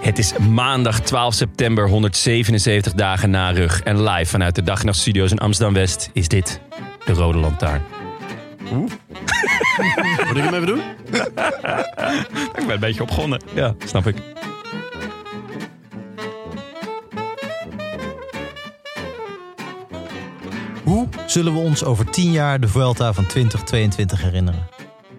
Het is maandag 12 september, 177 dagen na rug. En live vanuit de Dag en Nacht Studio's in Amsterdam-West is dit de Rode Lantaarn. Moet ik hem even doen? Ik ben een beetje opgonnen. Ja, snap ik. Hoe zullen we ons over 10 jaar de Vuelta van 2022 herinneren?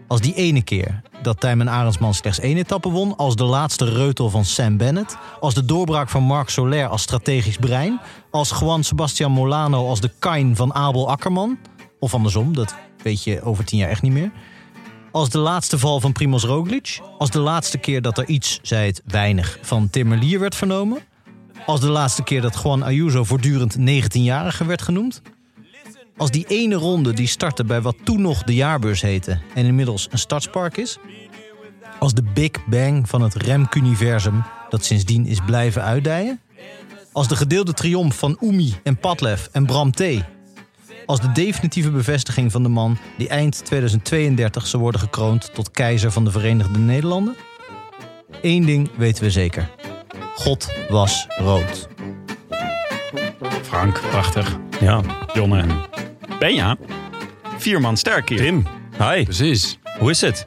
Als die ene keer dat Tijmen Arendsman slechts één etappe won, als de laatste reutel van Sam Bennett, als de doorbraak van Marc Soler als strategisch brein, als Juan Sebastian Molano als de Kain van Abel Akkerman, of andersom, dat weet je over 10 jaar echt niet meer. Als de laatste val van Primoz Roglic, als de laatste keer dat er iets, zei het weinig, van Timmerlier werd vernomen, als de laatste keer dat Juan Ayuso voortdurend 19-jarige werd genoemd, als die ene ronde die startte bij wat toen nog de jaarbeurs heette en inmiddels een stadspark is. Als de Big Bang van het Remk-universum dat sindsdien is blijven uitdijen. Als de gedeelde triomf van Umi en Padlef en Bram T. Als de definitieve bevestiging van de man die eind 2032 zal worden gekroond tot keizer van de Verenigde Nederlanden. Eén ding weten we zeker. God was rood. Frank, prachtig. Ja. Jonne. Benja. Vierman sterk hier. Tim. Hi, Precies. hoe is het?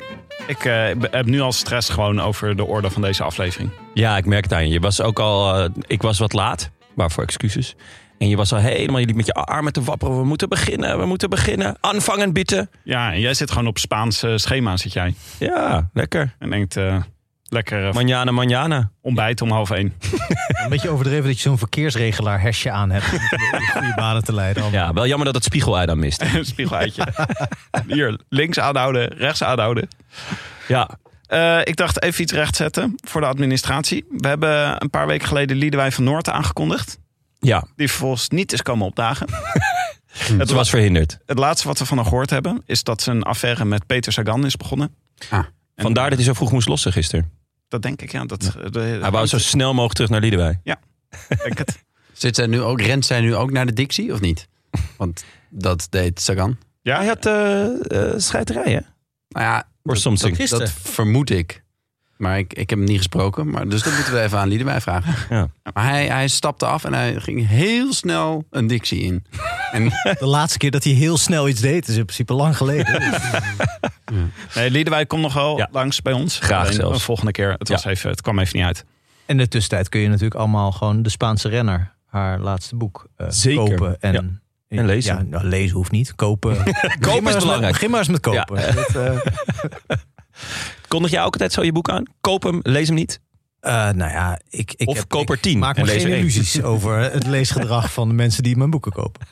Ik eh, b- heb nu al stress gewoon over de orde van deze aflevering. Ja, ik merk het aan je. Je was ook al... eh, ik was wat laat. Waarvoor excuses. En je was al helemaal... Je liep met je armen te wapperen. We moeten beginnen, we moeten beginnen. Aanvangen, bitte. Ja, en jij zit gewoon op Spaanse schema, zit jij. Ja, lekker. En denkt, eh, lekker eh, Manjana, manjana. ontbijt om half één. Een beetje overdreven dat je zo'n verkeersregelaar hesje aan hebt. Om de goede banen te leiden. allemaal. Ja, wel jammer dat het spiegelei dan mist. Spiegeleitje. Hier, links aanhouden, rechts aanhouden. Ja, Eh, ik dacht even iets rechtzetten voor de administratie. We hebben eh, een paar weken geleden Liedewij van Noord aangekondigd. ja. Die vervolgens niet is komen opdagen. Het was verhinderd. Het laatste wat we van haar gehoord hebben... is dat ze een affaire met Peter Sagan is begonnen. Ah. En Vandaar dat hij zo vroeg moest lossen gisteren. Dat denk ik, ja. Dat, eh, de- Hij wou zo snel mogelijk terug naar Liedewij. denk het. Zit zij nu ook, rent zij nu ook naar de Dixie of niet? Want dat deed Sagan. Ja, Hij had eh eh scheiterij, hè? Nou ja, Or something. Gisteren. dat vermoed ik. Maar ik, ik heb hem niet gesproken. Maar, dus dat moeten we even aan Liedewij vragen. Ja. Maar hij, hij stapte af en hij ging heel snel een Dixie in. En De laatste keer dat hij heel snel iets deed is in principe lang geleden. Nee, Liedewij komt nog wel Ja. langs bij ons. Graag Alleen zelfs. Een volgende keer. Het, was even, het kwam even niet uit. En in de tussentijd kun je natuurlijk allemaal gewoon de Spaanse renner, haar laatste boek, eh, Zeker. kopen. En, Ja. En lezen. Ja, nou, lezen hoeft niet. Kopen. Kopen is belangrijk. begin maar eens met kopen. Dat, eh, Kondig jij ook altijd zo je boek aan? Koop hem, lees hem niet. eh, nou ja, ik, ik, Of heb, koop er ik tien maak en me lees geen er één. illusies over het leesgedrag van de mensen die mijn boeken kopen.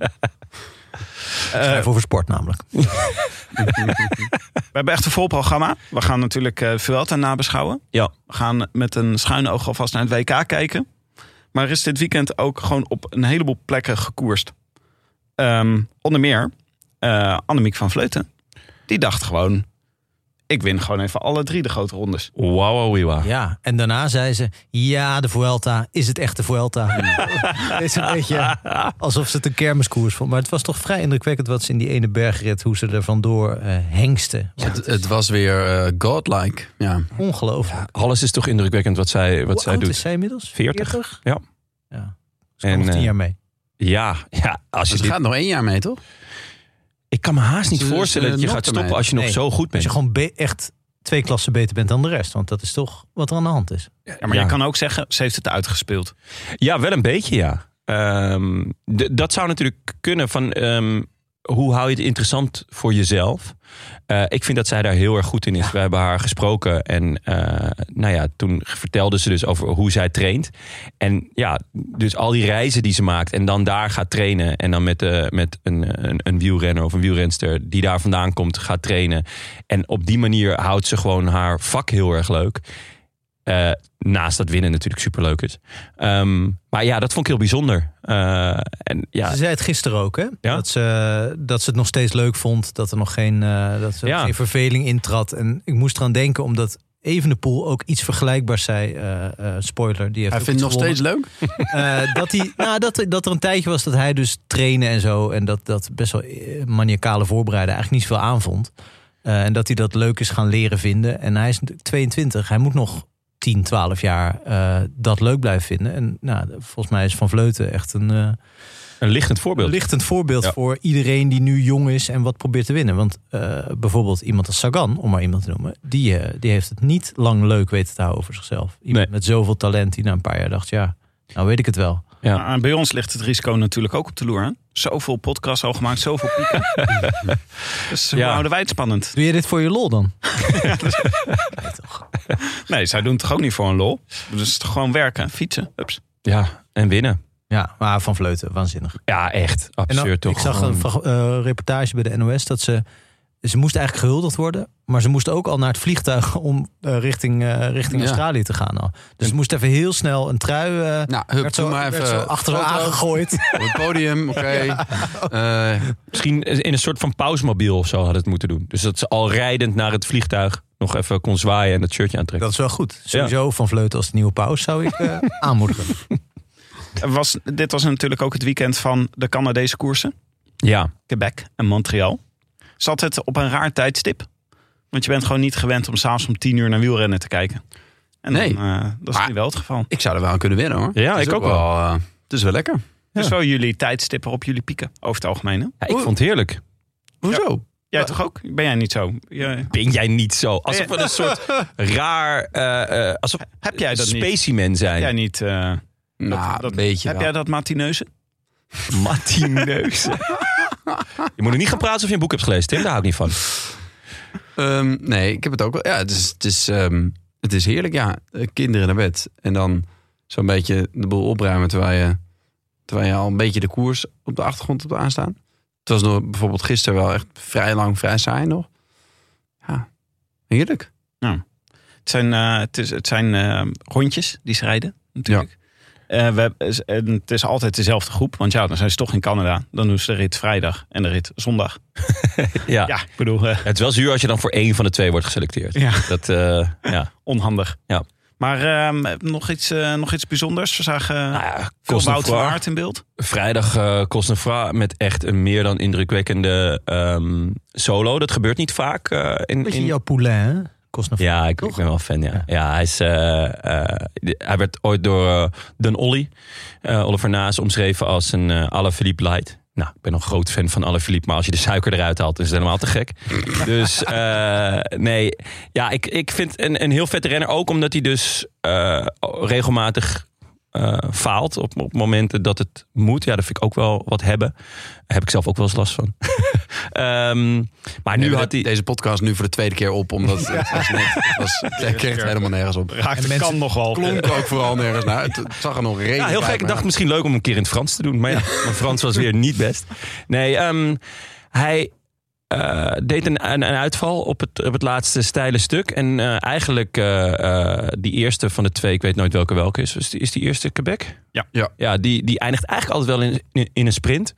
Schrijf over sport namelijk. We hebben echt een vol programma. We gaan natuurlijk eh Vuelta nabeschouwen. Ja. We gaan met een schuine oog alvast naar het WK kijken. Maar er is dit weekend ook gewoon op een heleboel plekken gekoerst. Ehm, onder meer eh, Annemiek van Vleuten. Die dacht gewoon, ik win gewoon even alle drie de grote rondes. Wow, wow, wee, wow. Ja, en daarna zei ze: Ja, de Vuelta, is het echt de Vuelta? Het is een beetje alsof ze het een kermiskoers vond. Maar het was toch vrij indrukwekkend wat ze in die ene bergrit, hoe ze er vandoor eh hengsten. het, het was weer eh, godlike. Ja. Ongelooflijk. Alles is toch indrukwekkend wat zij, wat Hoe zij oud doet. is zij inmiddels? 40? Ja. Ja. Ze En, en, nog tien eh, jaar mee. Ja, ja als je dit- Ze Dus gaat nog één jaar mee, toch? ik kan me haast niet Ze- ze- voorstellen dat je ze gaat lokt hem stoppen als je nog Nee. zo goed Als bent. je gewoon be- echt twee klassen beter bent dan de rest. Want dat is toch wat er aan de hand is. Ja, maar Ja. je kan ook zeggen, ze heeft het uitgespeeld. Ja, wel een beetje, ja. Ehm, d- dat zou natuurlijk kunnen van... ehm, hoe hou je het interessant voor jezelf? Eh, ik vind dat zij daar heel erg goed in is. We hebben haar gesproken en eh, nou ja, toen vertelde ze dus over hoe zij traint. En ja, dus al die reizen die ze maakt en dan daar gaat trainen. En dan met, eh, met een, een, een wielrenner of een wielrenster die daar vandaan komt gaat trainen. En op die manier houdt ze gewoon haar vak heel erg leuk. Eh, naast dat winnen natuurlijk superleuk is. Ehm, maar ja, dat vond ik heel bijzonder. Eh, en ja, Ze zei het gisteren ook, hè? Ja. Dat, ze, dat ze het nog steeds leuk vond. Dat er nog geen, eh, dat ze Ja. nog geen verveling intrad. En ik moest eraan denken, omdat Evenepoel ook iets vergelijkbaars zei. eh, eh, spoiler, die heeft Hij ook vindt iets het nog gewonnen. steeds leuk. Eh, dat, hij, nou, dat, dat er een tijdje was dat hij dus trainen en zo. En dat, dat best wel eh, maniacale voorbereiden eigenlijk niet zoveel aanvond. Eh, en dat hij dat leuk is gaan leren vinden. En hij is natuurlijk 22. Hij moet nog 10, 12 jaar eh, dat leuk blijven vinden. En nou, volgens mij is Van Vleuten echt een eh, een lichtend voorbeeld. lichtend voorbeeld Ja. voor iedereen die nu jong is en wat probeert te winnen. Want eh, bijvoorbeeld iemand als Sagan, om maar iemand te noemen, die, eh, die heeft het niet lang leuk weten te houden voor zichzelf. Iemand Nee. met zoveel talent die na een paar jaar dacht, ja, nou weet ik het wel. Ja. Maar bij ons ligt het risico natuurlijk ook op de loer. Hè? Zoveel podcasts al gemaakt, zoveel pieken. dus hoe Ja. houden wij het spannend? Doe je dit voor je lol dan? Nee, zij doen het toch ook niet voor een lol? Dus het is toch gewoon werken, fietsen, ups. Ja, en winnen. Ja, maar van Vleuten, waanzinnig. Ja, echt. En Absurd toch? dan, ik zag Gewoon- een frag- eh, reportage bij de NOS dat ze... Ze moest eigenlijk gehuldigd worden, maar ze moest ook al naar het vliegtuig om eh, richting, eh, richting Ja. Australië te gaan. Al. Dus ze moest even heel snel een trui. eh, Nou, hup, werd zo, doe maar werd zo even. achter haar foto aangegooid. Op het podium, oké. Eh, Misschien in een soort van pausmobiel of zo had het moeten doen. Dus dat ze al rijdend naar het vliegtuig nog even kon zwaaien en dat shirtje aantrekken. Dat is wel goed. Sowieso van Vleuten als de nieuwe paus zou ik eh, aanmoedigen. Er Was, dit was natuurlijk ook het weekend van de Canadese koersen. Ja, Quebec en Montreal. Zat het op een raar tijdstip? Want je bent gewoon niet gewend om s'avonds om tien uur naar wielrennen te kijken. En Nee. dan, eh, dat is Maar- nu wel het geval. ik zou er wel aan kunnen winnen hoor. Ja, Het is ik ook wel. eh, het is wel lekker. Dus wel jullie tijdstippen op jullie pieken, over het algemeen. hè? Ja, ik vond het heerlijk. Hoezo? Jij toch ook? Ben jij niet zo? Je- Ben jij niet zo? Alsof we een soort raar. eh, eh, alsof heb jij dat niet? specimen zijn. Heb jij niet? eh, Nou, dat- een beetje heb wel. jij dat matineuze? Matineus. je moet er niet gaan praten of je een boek hebt gelezen, Tim. Daar hou ik niet van. Ehm, nee, ik heb het ook wel. Ja, het is, het is, ehm, het is heerlijk, ja. Eh, Kinderen naar bed. En dan zo'n beetje de boel opruimen terwijl je, terwijl je al een beetje de koers op de achtergrond hebt aanstaan. Het was nog, bijvoorbeeld gisteren wel echt vrij lang, vrij saai nog. Ja, heerlijk. Het zijn, eh, het is, het zijn eh, rondjes die ze rijden, natuurlijk. Eh, we, hebben- is- en het is altijd dezelfde groep, want ja, dan zijn ze toch in Canada. Dan doen ze de rit vrijdag en de rit zondag. Ja. Ja, ik bedoel, eh, Het is wel zuur als je dan voor één van de twee wordt geselecteerd. Ja. Dat, eh, ja. onhandig. Ja. Maar ehm, nog, iets, eh, nog iets bijzonders. We zagen eh, Nou ja, veel kost een Wout van vraag. Aert in beeld. Vrijdag eh Cosnefra met echt een meer dan indrukwekkende ehm, solo. Dat gebeurt niet vaak. eh, in, Beetje in... jouw Poulain, hè? Kost nog Ja, ik, ik Toch? ben wel fan. Ja, ja. hij, is, eh, eh, de- hij werd ooit door eh Dan Olly, eh, Oliver Naas, omschreven als een eh Alaphilippe Light. Nou, ik ben een groot fan van Alaphilippe, maar als je de suiker eruit haalt, is het helemaal te gek. dus eh, nee, ja, ik, ik vind een, een heel vette renner ook omdat hij dus eh, regelmatig eh, faalt op, op momenten dat het moet. Ja, dat vind ik ook wel wat hebben. Daar heb ik zelf ook wel eens last van. Ehm, maar nu We had hebben hij... deze podcast nu voor de tweede keer op, omdat het was net, het was, het kreeg het helemaal nergens op. Raakt de mensen- kan nogal. Klonk ook vooral nergens naar. Het, het zag er nog redelijk Ja, heel uit, gek. Ik maar dacht misschien leuk om een keer in het Frans te doen. Maar ja, mijn Frans was weer niet best. Nee, ehm, hij eh, deed een, een, een uitval op het, op het laatste steile stuk. En eh, eigenlijk eh, eh, die eerste van de twee, ik weet nooit welke welke is. Is die, is die eerste Quebec? Ja. Ja. ja die, die eindigt eigenlijk altijd wel in, in een sprint.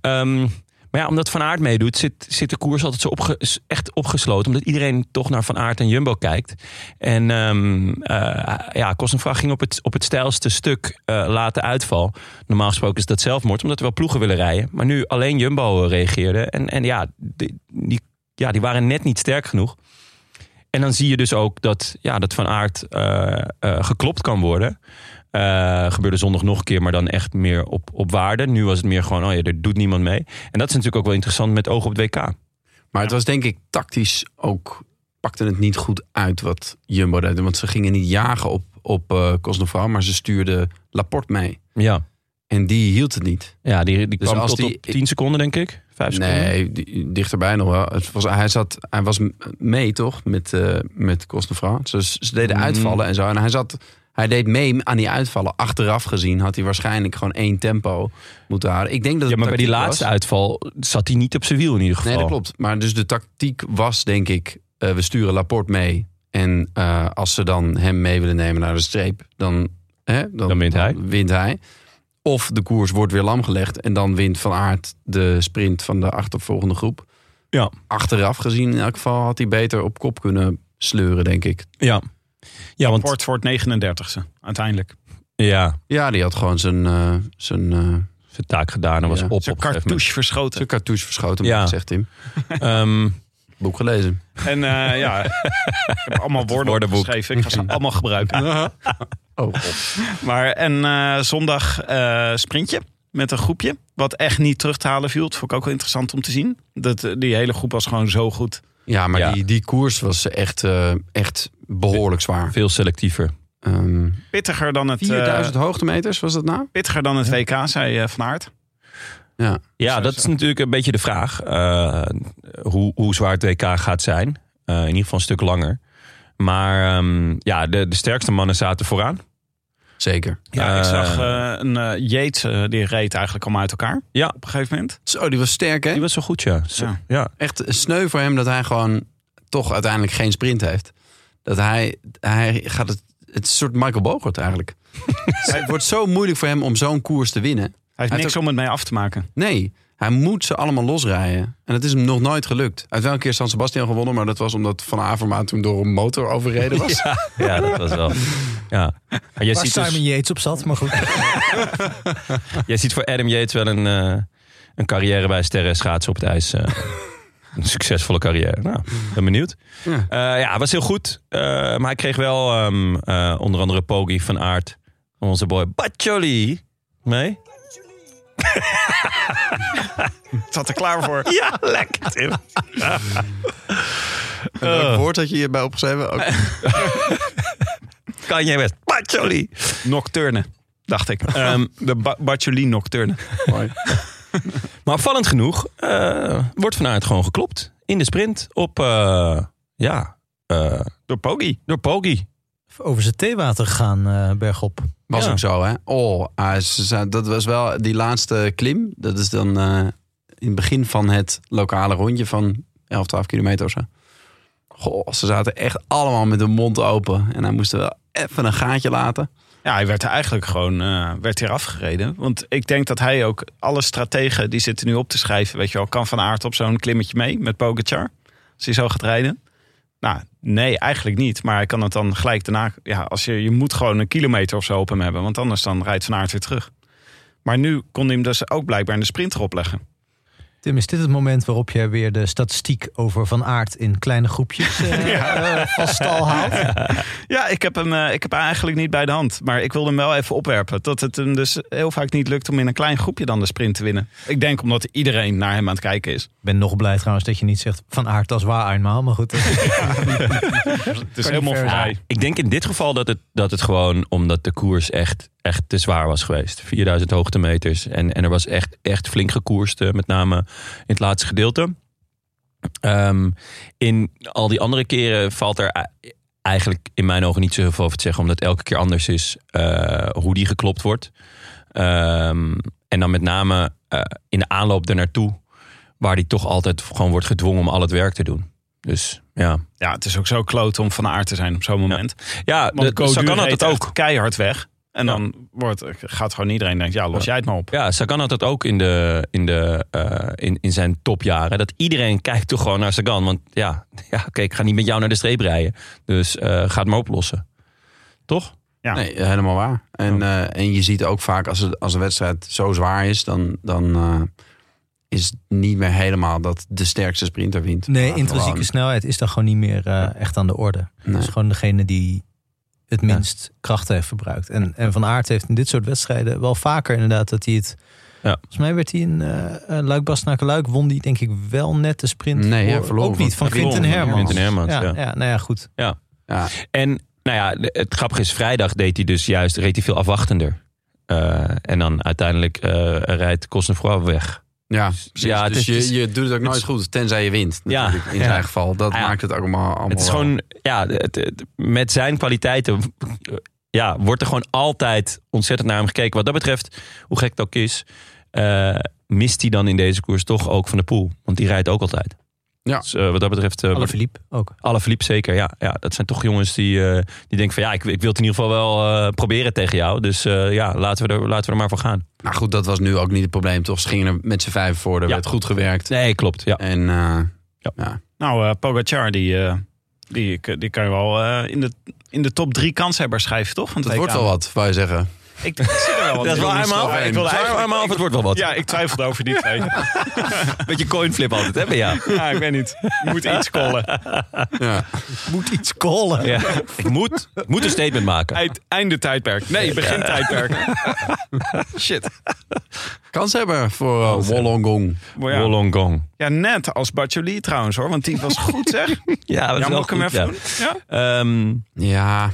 Ehm, maar ja, omdat Van Aert meedoet, zit, zit de koers altijd zo opge- is echt opgesloten. Omdat iedereen toch naar Van Aert en Jumbo kijkt. En ehm eh ja, Kostenvraag ging op het, op het stijlste stuk eh late uitval. Normaal gesproken is dat zelfmoord, omdat er wel ploegen willen rijden. Maar nu alleen Jumbo eh, reageerde. En, en ja, die, die, ja, die waren net niet sterk genoeg. En dan zie je dus ook dat, ja, dat Van Aert eh, eh, geklopt kan worden. Eh, gebeurde zondag nog een keer, maar dan echt meer op, op waarde. Nu was het meer gewoon, oh ja, er doet niemand mee. En dat is natuurlijk ook wel interessant met oog op het WK. Maar het was denk ik tactisch ook, pakte het niet goed uit wat Jumbo deed. Want ze gingen niet jagen op, op eh Cosnefroid, maar ze stuurden Laporte mee. Ja, En die hield het niet. ja die, die Dus kwam als tot die- op 10 seconden, denk ik. Vijf seconden? Nee, di- dichterbij nog wel. Het was, hij, zat, hij was m- mee, toch? Met, eh met Cosnefrans. Dus ze deden Mm. uitvallen en zo. En hij, zat, hij deed mee aan die uitvallen. Achteraf gezien had hij waarschijnlijk gewoon één tempo moeten houden. Ik denk dat Ja, het maar bij die tactiek laatste was. uitval zat hij niet op zijn wiel in ieder geval. Nee, dat klopt. Maar dus de tactiek was, denk ik, eh, we sturen Laporte mee. En eh, als ze dan hem mee willen nemen naar de streep, dan, hè, dan, Dan wint hij. wint hij. Of de koers wordt weer lam gelegd en dan wint Van Aert de sprint van de achtervolgende groep. Ja. Achteraf gezien in elk geval had hij beter op kop kunnen sleuren, denk ik. Ja, ja want Port voor het 39e, uiteindelijk. ja, Ja, die had gewoon zijn, eh, zijn, eh, zijn taak gedaan en was Ja. op op Zijn een gegeven moment. cartouche verschoten. zijn cartouche verschoten, Ja. zegt Tim. Ehm, Boek gelezen. En eh, ja, ik heb allemaal woorden woordenboek. geschreven. Ik ga ze allemaal gebruiken. Oh, god. Maar en eh, zondag eh, sprintje met een groepje. Wat echt niet terug te halen viel. Dat vond ik ook wel interessant om te zien. Dat, eh, die hele groep was gewoon zo goed. Ja, maar Ja. Die, die koers was echt, eh, echt behoorlijk zwaar. veel selectiever. Ehm, Pittiger dan het, eh, 4000 hoogtemeters was dat nou? pittiger dan het WK, zei eh, Van Aert. Ja. Ja, Zo, dat zo. is natuurlijk een beetje de vraag. eh, hoe, hoe zwaar het WK gaat zijn. Eh, in ieder geval een stuk langer. Maar ehm, ja, de, de sterkste mannen zaten vooraan. Zeker. Ja, ik Eh, zag eh, een eh Yates, eh, die reed eigenlijk allemaal uit elkaar. Ja. Op een gegeven moment. Zo, die was sterk hè? Die was zo goed, ja. Zo- Ja. ja. Echt sneu voor hem dat hij gewoon toch uiteindelijk geen sprint heeft. Dat hij, hij gaat het, het is een soort Michael Bogert eigenlijk. het wordt zo moeilijk voor hem om zo'n koers te winnen. Hij heeft Hij niks om het mee af te maken. Nee, hij moet ze allemaal losrijden. En dat is hem nog nooit gelukt. Uit welke keer San Sebastian gewonnen, maar dat was omdat Van Avermaat toen door een motor overreden was. Ja, dat was wel. Ja. Maar jij, Waar ziet dus- Simon Yates op zat, maar goed. jij ziet voor Adam Yates wel een, eh, een carrière bij Sterren Schaatsen op het ijs. eh, een succesvolle carrière. Nou, ben benieuwd. Ja. Eh, ja, het was heel goed. Eh, maar hij kreeg wel ehm, eh, onder andere Pogi van Aert. Onze boy Baccioli. Nee? Ik zat er klaar voor. Ja, lekker Tim. Welk woord had je hierbij opgeschreven? Ook- Kan jij best. Baccioli. Nocturne, dacht ik. Ehm, de ba Bartoli Nocturne. Mooi. maar opvallend genoeg eh, wordt Van Aert gewoon geklopt. In de sprint op, eh, ja, eh, Door Poggi. door Pogi. Over zijn theewater gegaan, eh, bergop. Was Ja. ook zo, hè? Oh, ah, ze zei- dat was wel die laatste klim. Dat is dan eh, in het begin van het lokale rondje van 11, 12 kilometer of zo. Goh, ze zaten echt allemaal met hun mond open. En hij moest er wel even een gaatje laten. Ja, hij werd er eigenlijk gewoon eh werd hier afgereden. Want ik denk dat hij ook alle strategen die zitten nu op te schrijven. Weet je wel, kan van aard op zo'n klimmetje mee met Pogacar? Als hij zo gaat rijden. Nou, nee, eigenlijk niet. Maar hij kan het dan gelijk daarna. Ja, als je, je moet gewoon een kilometer of zo op hem hebben. Want anders dan rijdt van aard weer terug. Maar nu kon hij hem dus ook blijkbaar in de sprint erop leggen. Tim, is dit het moment waarop jij weer de statistiek over Van Aert in kleine groepjes eh, eh, van stal haalt? Ja, ik heb, hem, eh, ik heb hem eigenlijk niet bij de hand. Maar ik wilde hem wel even opwerpen. Dat het hem dus heel vaak niet lukt om in een klein groepje dan de sprint te winnen. Ik denk omdat iedereen naar hem aan het kijken is. Ik ben nog blij trouwens dat je niet zegt Van Aert als waar eenmaal, maar goed. eh, Het is helemaal ver voorbij. Ik denk in dit geval dat het, dat het gewoon omdat de koers echt, echt te zwaar was geweest. 4000 hoogtemeters. En, en er was echt, echt flink gekoerst, eh, met name in het laatste gedeelte. Ehm, in al die andere keren valt er e- eigenlijk in mijn ogen niet zo heel veel over te zeggen. Omdat het elke keer anders is eh, hoe die geklopt wordt. Ehm, en dan met name eh, in de aanloop daarnaartoe. Waar die toch altijd gewoon wordt gedwongen om al het werk te doen. Dus ja. Ja, het is ook zo kloot om van aard te zijn op zo'n moment. Ja, Want de, Go zo Duur kan dat reed het ook. echt keihard weg. En Ja. dan wordt, gaat gewoon iedereen denken, ja, los jij het maar op. Ja, Sagan had dat ook in, de, in, de, eh, in, in zijn topjaren. Dat iedereen kijkt toch gewoon naar Sagan. Want ja, ja oké, ik ga niet met jou naar de streep rijden. Dus eh, ga het maar oplossen. Toch? Ja. Nee, helemaal waar. En, eh, en je ziet ook vaak als, het, als een wedstrijd zo zwaar is, dan, dan eh, is het niet meer helemaal dat de sterkste sprinter wint. nee, Maar intrinsieke gewoon- snelheid is dan gewoon niet meer eh, echt aan de orde. Dat is Nee. gewoon degene die het minst krachten heeft verbruikt. En, en Van Aert heeft in dit soort wedstrijden wel vaker inderdaad dat hij het... Ja. Volgens mij werd hij in eh luik bastenaken luik won die denk ik wel net de sprint. Nee, hij voor- verloor Ook van- niet, van hij verloor Quinten van Hermans. Quinten Hermans, ja, ja. ja, nou ja, goed. Ja, En nou ja, de- het grappige is, vrijdag deed hij dus juist reed hij veel afwachtender. Eh, en dan uiteindelijk eh rijdt Cosnefroid weg. Ja, precies. Ja, het is- dus je, het is- je doet het ook nooit is- goed, tenzij je wint. Ja, Natuurlijk, in ja. zijn geval. Dat Ah, ja. maakt het ook allemaal, allemaal Het is wel. gewoon, ja, het- het- met zijn kwaliteiten ja, wordt er gewoon altijd ontzettend naar hem gekeken. Wat dat betreft, hoe gek het ook is, eh, mist hij dan in deze koers toch ook van de poel. Want die rijdt ook altijd. Ja. Dus, eh, wat dat betreft, eh, wordt- Alaphilippe ook. Alaphilippe zeker. Ja, ja, dat zijn toch jongens die, eh, die denken van ja, ik, ik wil het in ieder geval wel eh, proberen tegen jou. Dus eh, ja, laten we, er, laten we er maar voor gaan. Maar Nou goed, dat was nu ook niet het probleem, toch? Ze gingen er met z'n vijf voor, er Ja. werd goed gewerkt. Nee, klopt. Ja. En eh, Nou, eh Pogacar, die, eh, die, die kan je wel eh, in, de, in de top drie kanshebbers schrijven, toch? Van het dat WK? wordt wel wat, wou je zeggen. Ik, ik zit er wel wat Dat is in. wel jongens, helemaal. Sloveen. Ik wilde Zou- eigenlijk helemaal of het wordt wel wat. Ja, ik twijfelde over die twee. Beetje coinflip altijd, hè? bij jou. Ja, ik weet niet. Moet iets callen. Ja. Moet iets callen. Ja. Ik moet, ik moet een statement maken. Eind- Einde tijdperk. Nee, begin tijdperk. Shit. Kans hebben voor eh, Wollongong. Maar ja. Wollongong. ja, net als Bacholi trouwens hoor. Want die was goed zeg. Ja, dat is Ja, wel mag ik hem goed, ja. even doen? Ja? Ehm, Ja,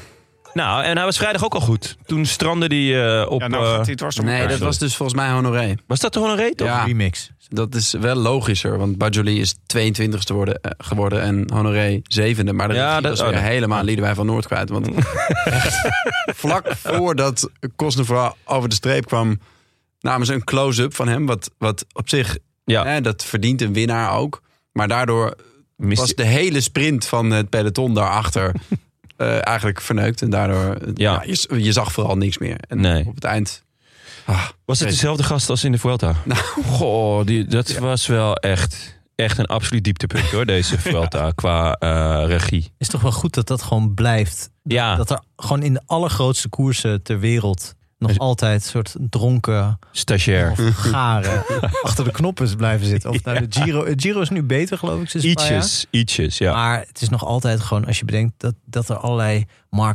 nou, en hij was vrijdag ook al goed. Toen strandde hij eh, op... Ja, nou eh, gaat hij dwars om nee, elkaar. dat was dus volgens mij Honoré. was dat toch een reet? of- Ja, Remix. dat is wel logischer, want Bajoli is 22ste worden, eh, geworden en Honoré 7e. Maar dat, Ja, ja, dat- was oh, weer dat- helemaal Liedewij van Noord kwijt. Want vlak voordat Cosnefra over de streep kwam, namen ze een close-up van hem. Wat, wat op zich, Ja. hè, dat verdient een winnaar ook. Maar daardoor Mist- was de hele sprint van het peloton daarachter eh, eigenlijk verneukt. En daardoor, eh, Ja. ja. je, z- je zag vooral niks meer. En Nee. op het eind... Was het dezelfde gast als in de Vuelta? Goh, die, dat was wel echt, echt een absoluut dieptepunt hoor, deze Vuelta qua eh, regie. Is toch wel goed dat dat gewoon blijft. Ja, Dat er gewoon in de allergrootste koersen ter wereld nog Dus- altijd soort dronken stagiair. of garen achter de knoppen blijven zitten. Of nou, de Giro, het Giro is nu beter geloof ik. sinds een paar jaar. Ietsjes, ietsjes, ja. Maar het is nog altijd gewoon, als je bedenkt dat, dat er allerlei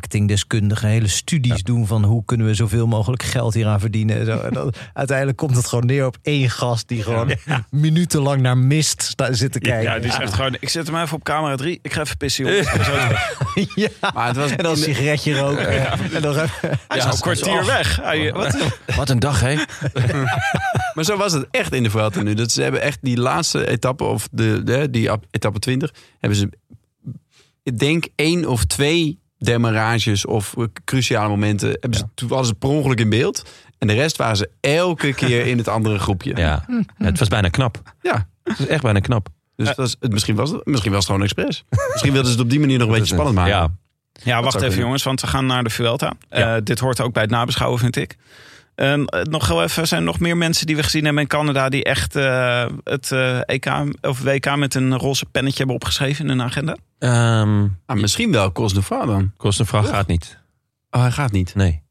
marketingdeskundigen hele studies doen van hoe kunnen we zoveel mogelijk geld hieraan verdienen. En zo. En dan, uiteindelijk komt het gewoon neer op één gast die gewoon minutenlang naar mist sta- zit te kijken. Ja, die zegt gewoon, ik zet hem even op camera 3. Ik ga even pissen, jongens. En zo is het. Ja. Maar het was En dan een sigaretje roken. En dan even- Hij is al een kwartier weg. Hij, wat? Wat een dag, hè? Maar zo was het echt in de Vuelta nu. Dat ze hebben echt die laatste etappe, of de, de, die ap- etappe 20, hebben ze, ik denk, één of twee demarages of eh, cruciale momenten. Hebben ze, toen waren ze per ongeluk in beeld. En de rest waren ze elke keer in het andere groepje. Ja. Ja, het was bijna knap. Ja. Het was echt bijna knap. Dus dat is, het, misschien, was het, misschien was het gewoon expres. Misschien wilden ze het op die manier nog een beetje spannend maken. Ja, Ja, wacht zou even kunnen. jongens, want we gaan naar de Vuelta. Ja. Eh, dit hoort ook bij het nabeschouwen, vind ik. En eh, nog heel even, zijn er nog meer mensen die we gezien hebben in Canada... die echt eh, het eh, EK of WK met een roze pennetje hebben opgeschreven in hun agenda? Ehm Ah, misschien wel Cos de Vaar dan. Kostenvraag gaat niet. Oh, hij gaat niet. Nee.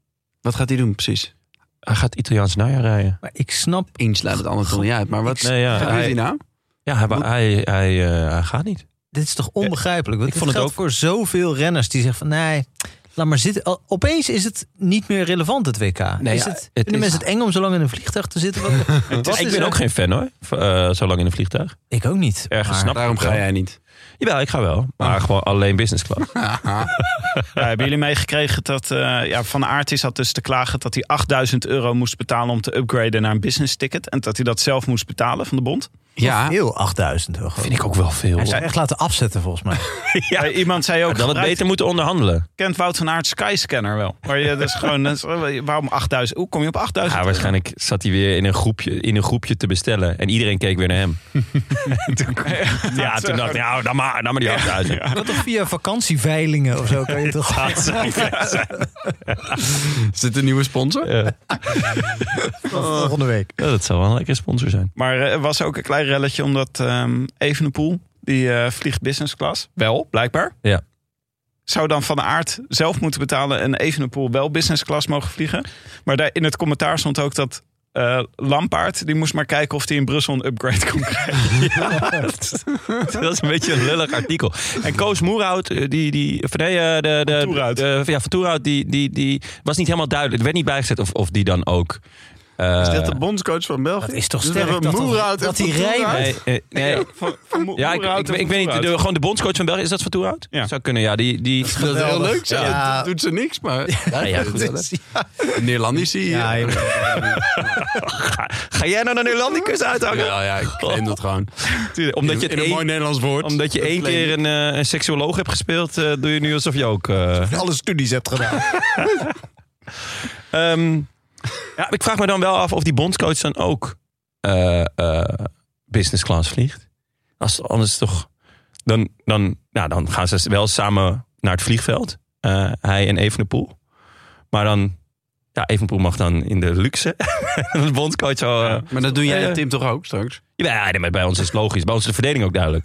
Wat gaat hij doen precies? Hij gaat Italiaans najaar rijden. Maar ik snap, Eens sluit het ander toch niet uit. Maar wat Nee, ja, gebeurt hij- hier nou? Ja, hij, hij, hij, eh, hij gaat niet. dit is toch onbegrijpelijk? Want Ik ik vond het vond het ook voor zoveel renners die zeggen van nee, laat maar zitten. Al- Opeens is het niet meer relevant het WK. Nee, is ja, het, het vinden is- mensen het eng om zo lang in een vliegtuig te zitten? Wat, wat ik is ben er- ook geen fan hoor, v- eh, zo lang in een vliegtuig. Ik ook niet. Ergens maar- snap ik Daarom het wel. ga jij niet. Jawel, ik ga wel. Maar gewoon alleen business class. Ja, hebben jullie meegekregen dat eh, ja, Van Aert is had dus te klagen... dat hij 8000 euro moest betalen om te upgraden naar een business ticket... en dat hij dat zelf moest betalen van de bond? Ja, Heel 8000 euro. Vind ik ook wel veel. Hij zou echt laten afzetten volgens mij. Ja. iemand zei ook, Ah, Dan het gebruik- beter moeten onderhandelen. kent Wout van Aert Skyscanner wel. Maar je, dat is gewoon, dat is- waarom 8000? Hoe kom je op 8000? Ja, waarschijnlijk zat hij weer in een, groepje, in een groepje te bestellen. En iedereen keek weer naar hem. toen, ja, toen dacht ik, nou, dan maar, dan maar die 8000. Dat toch via vakantieveilingen of zo kan je toch... is dit een nieuwe sponsor? Ja, volgende week. dat zou wel een lekkere sponsor zijn. Maar eh, er was ook een klein relletje omdat ehm Evenepoel, die eh, vliegt business class. Wel, blijkbaar. Ja. Zou dan Van Aert zelf moeten betalen en Evenepoel wel business class mogen vliegen. Maar daar, in het commentaar stond ook dat eh, Lampaard, die moest maar kijken of hij in Brussel een upgrade kon krijgen. Dat is een beetje een lullig artikel. En Koos Moerhout, eh, die, die, of nee, eh, de, de, Toerhout. de- ja, van Toerhout, die, die, die was niet helemaal duidelijk. Er werd niet bijgezet of, of die dan ook Eh, Is dit de bondscoach van België? Dat is toch Dus we sterk hebben dat, Moerhout en dat die Van rijmen. Toerhout. nee, eh, nee. Ja, ik, ik, ik weet niet. de- gewoon de bondscoach van België. Is dat van Toerhout? Ja. Zou kunnen, ja. Die, die, Dat is heel Geweldig. leuk. Zo. Ja. Dat doet ze niks, maar... Nou ja, dat goed. is- Neerlandici. Ja, eh, je- Ga, ga jij nou naar Nederlandicus uithangen? ja, ja, ik claim dat gewoon. Tuurlijk, Omdat je, in het een mooi één, Nederlands woord. omdat je Dat één claim keer een, eh, een seksuoloog hebt gespeeld, eh, doe je nu alsof je ook... eh, Alle studies hebt gedaan. Ehm, ja, maar ik vraag me dan wel af of die bondscoach dan ook eh, eh, business class vliegt. Als, anders toch. Dan, dan, nou, dan gaan ze wel samen naar het vliegveld. Eh, hij en Evenepoel. Maar dan. Ja, Evenepoel mag dan in de luxe. En de bondscoach al. eh, Maar dat doe jij Eh. en Tim toch ook straks? ja, nee, maar bij ons is het logisch. Bij ons is de verdeling ook duidelijk.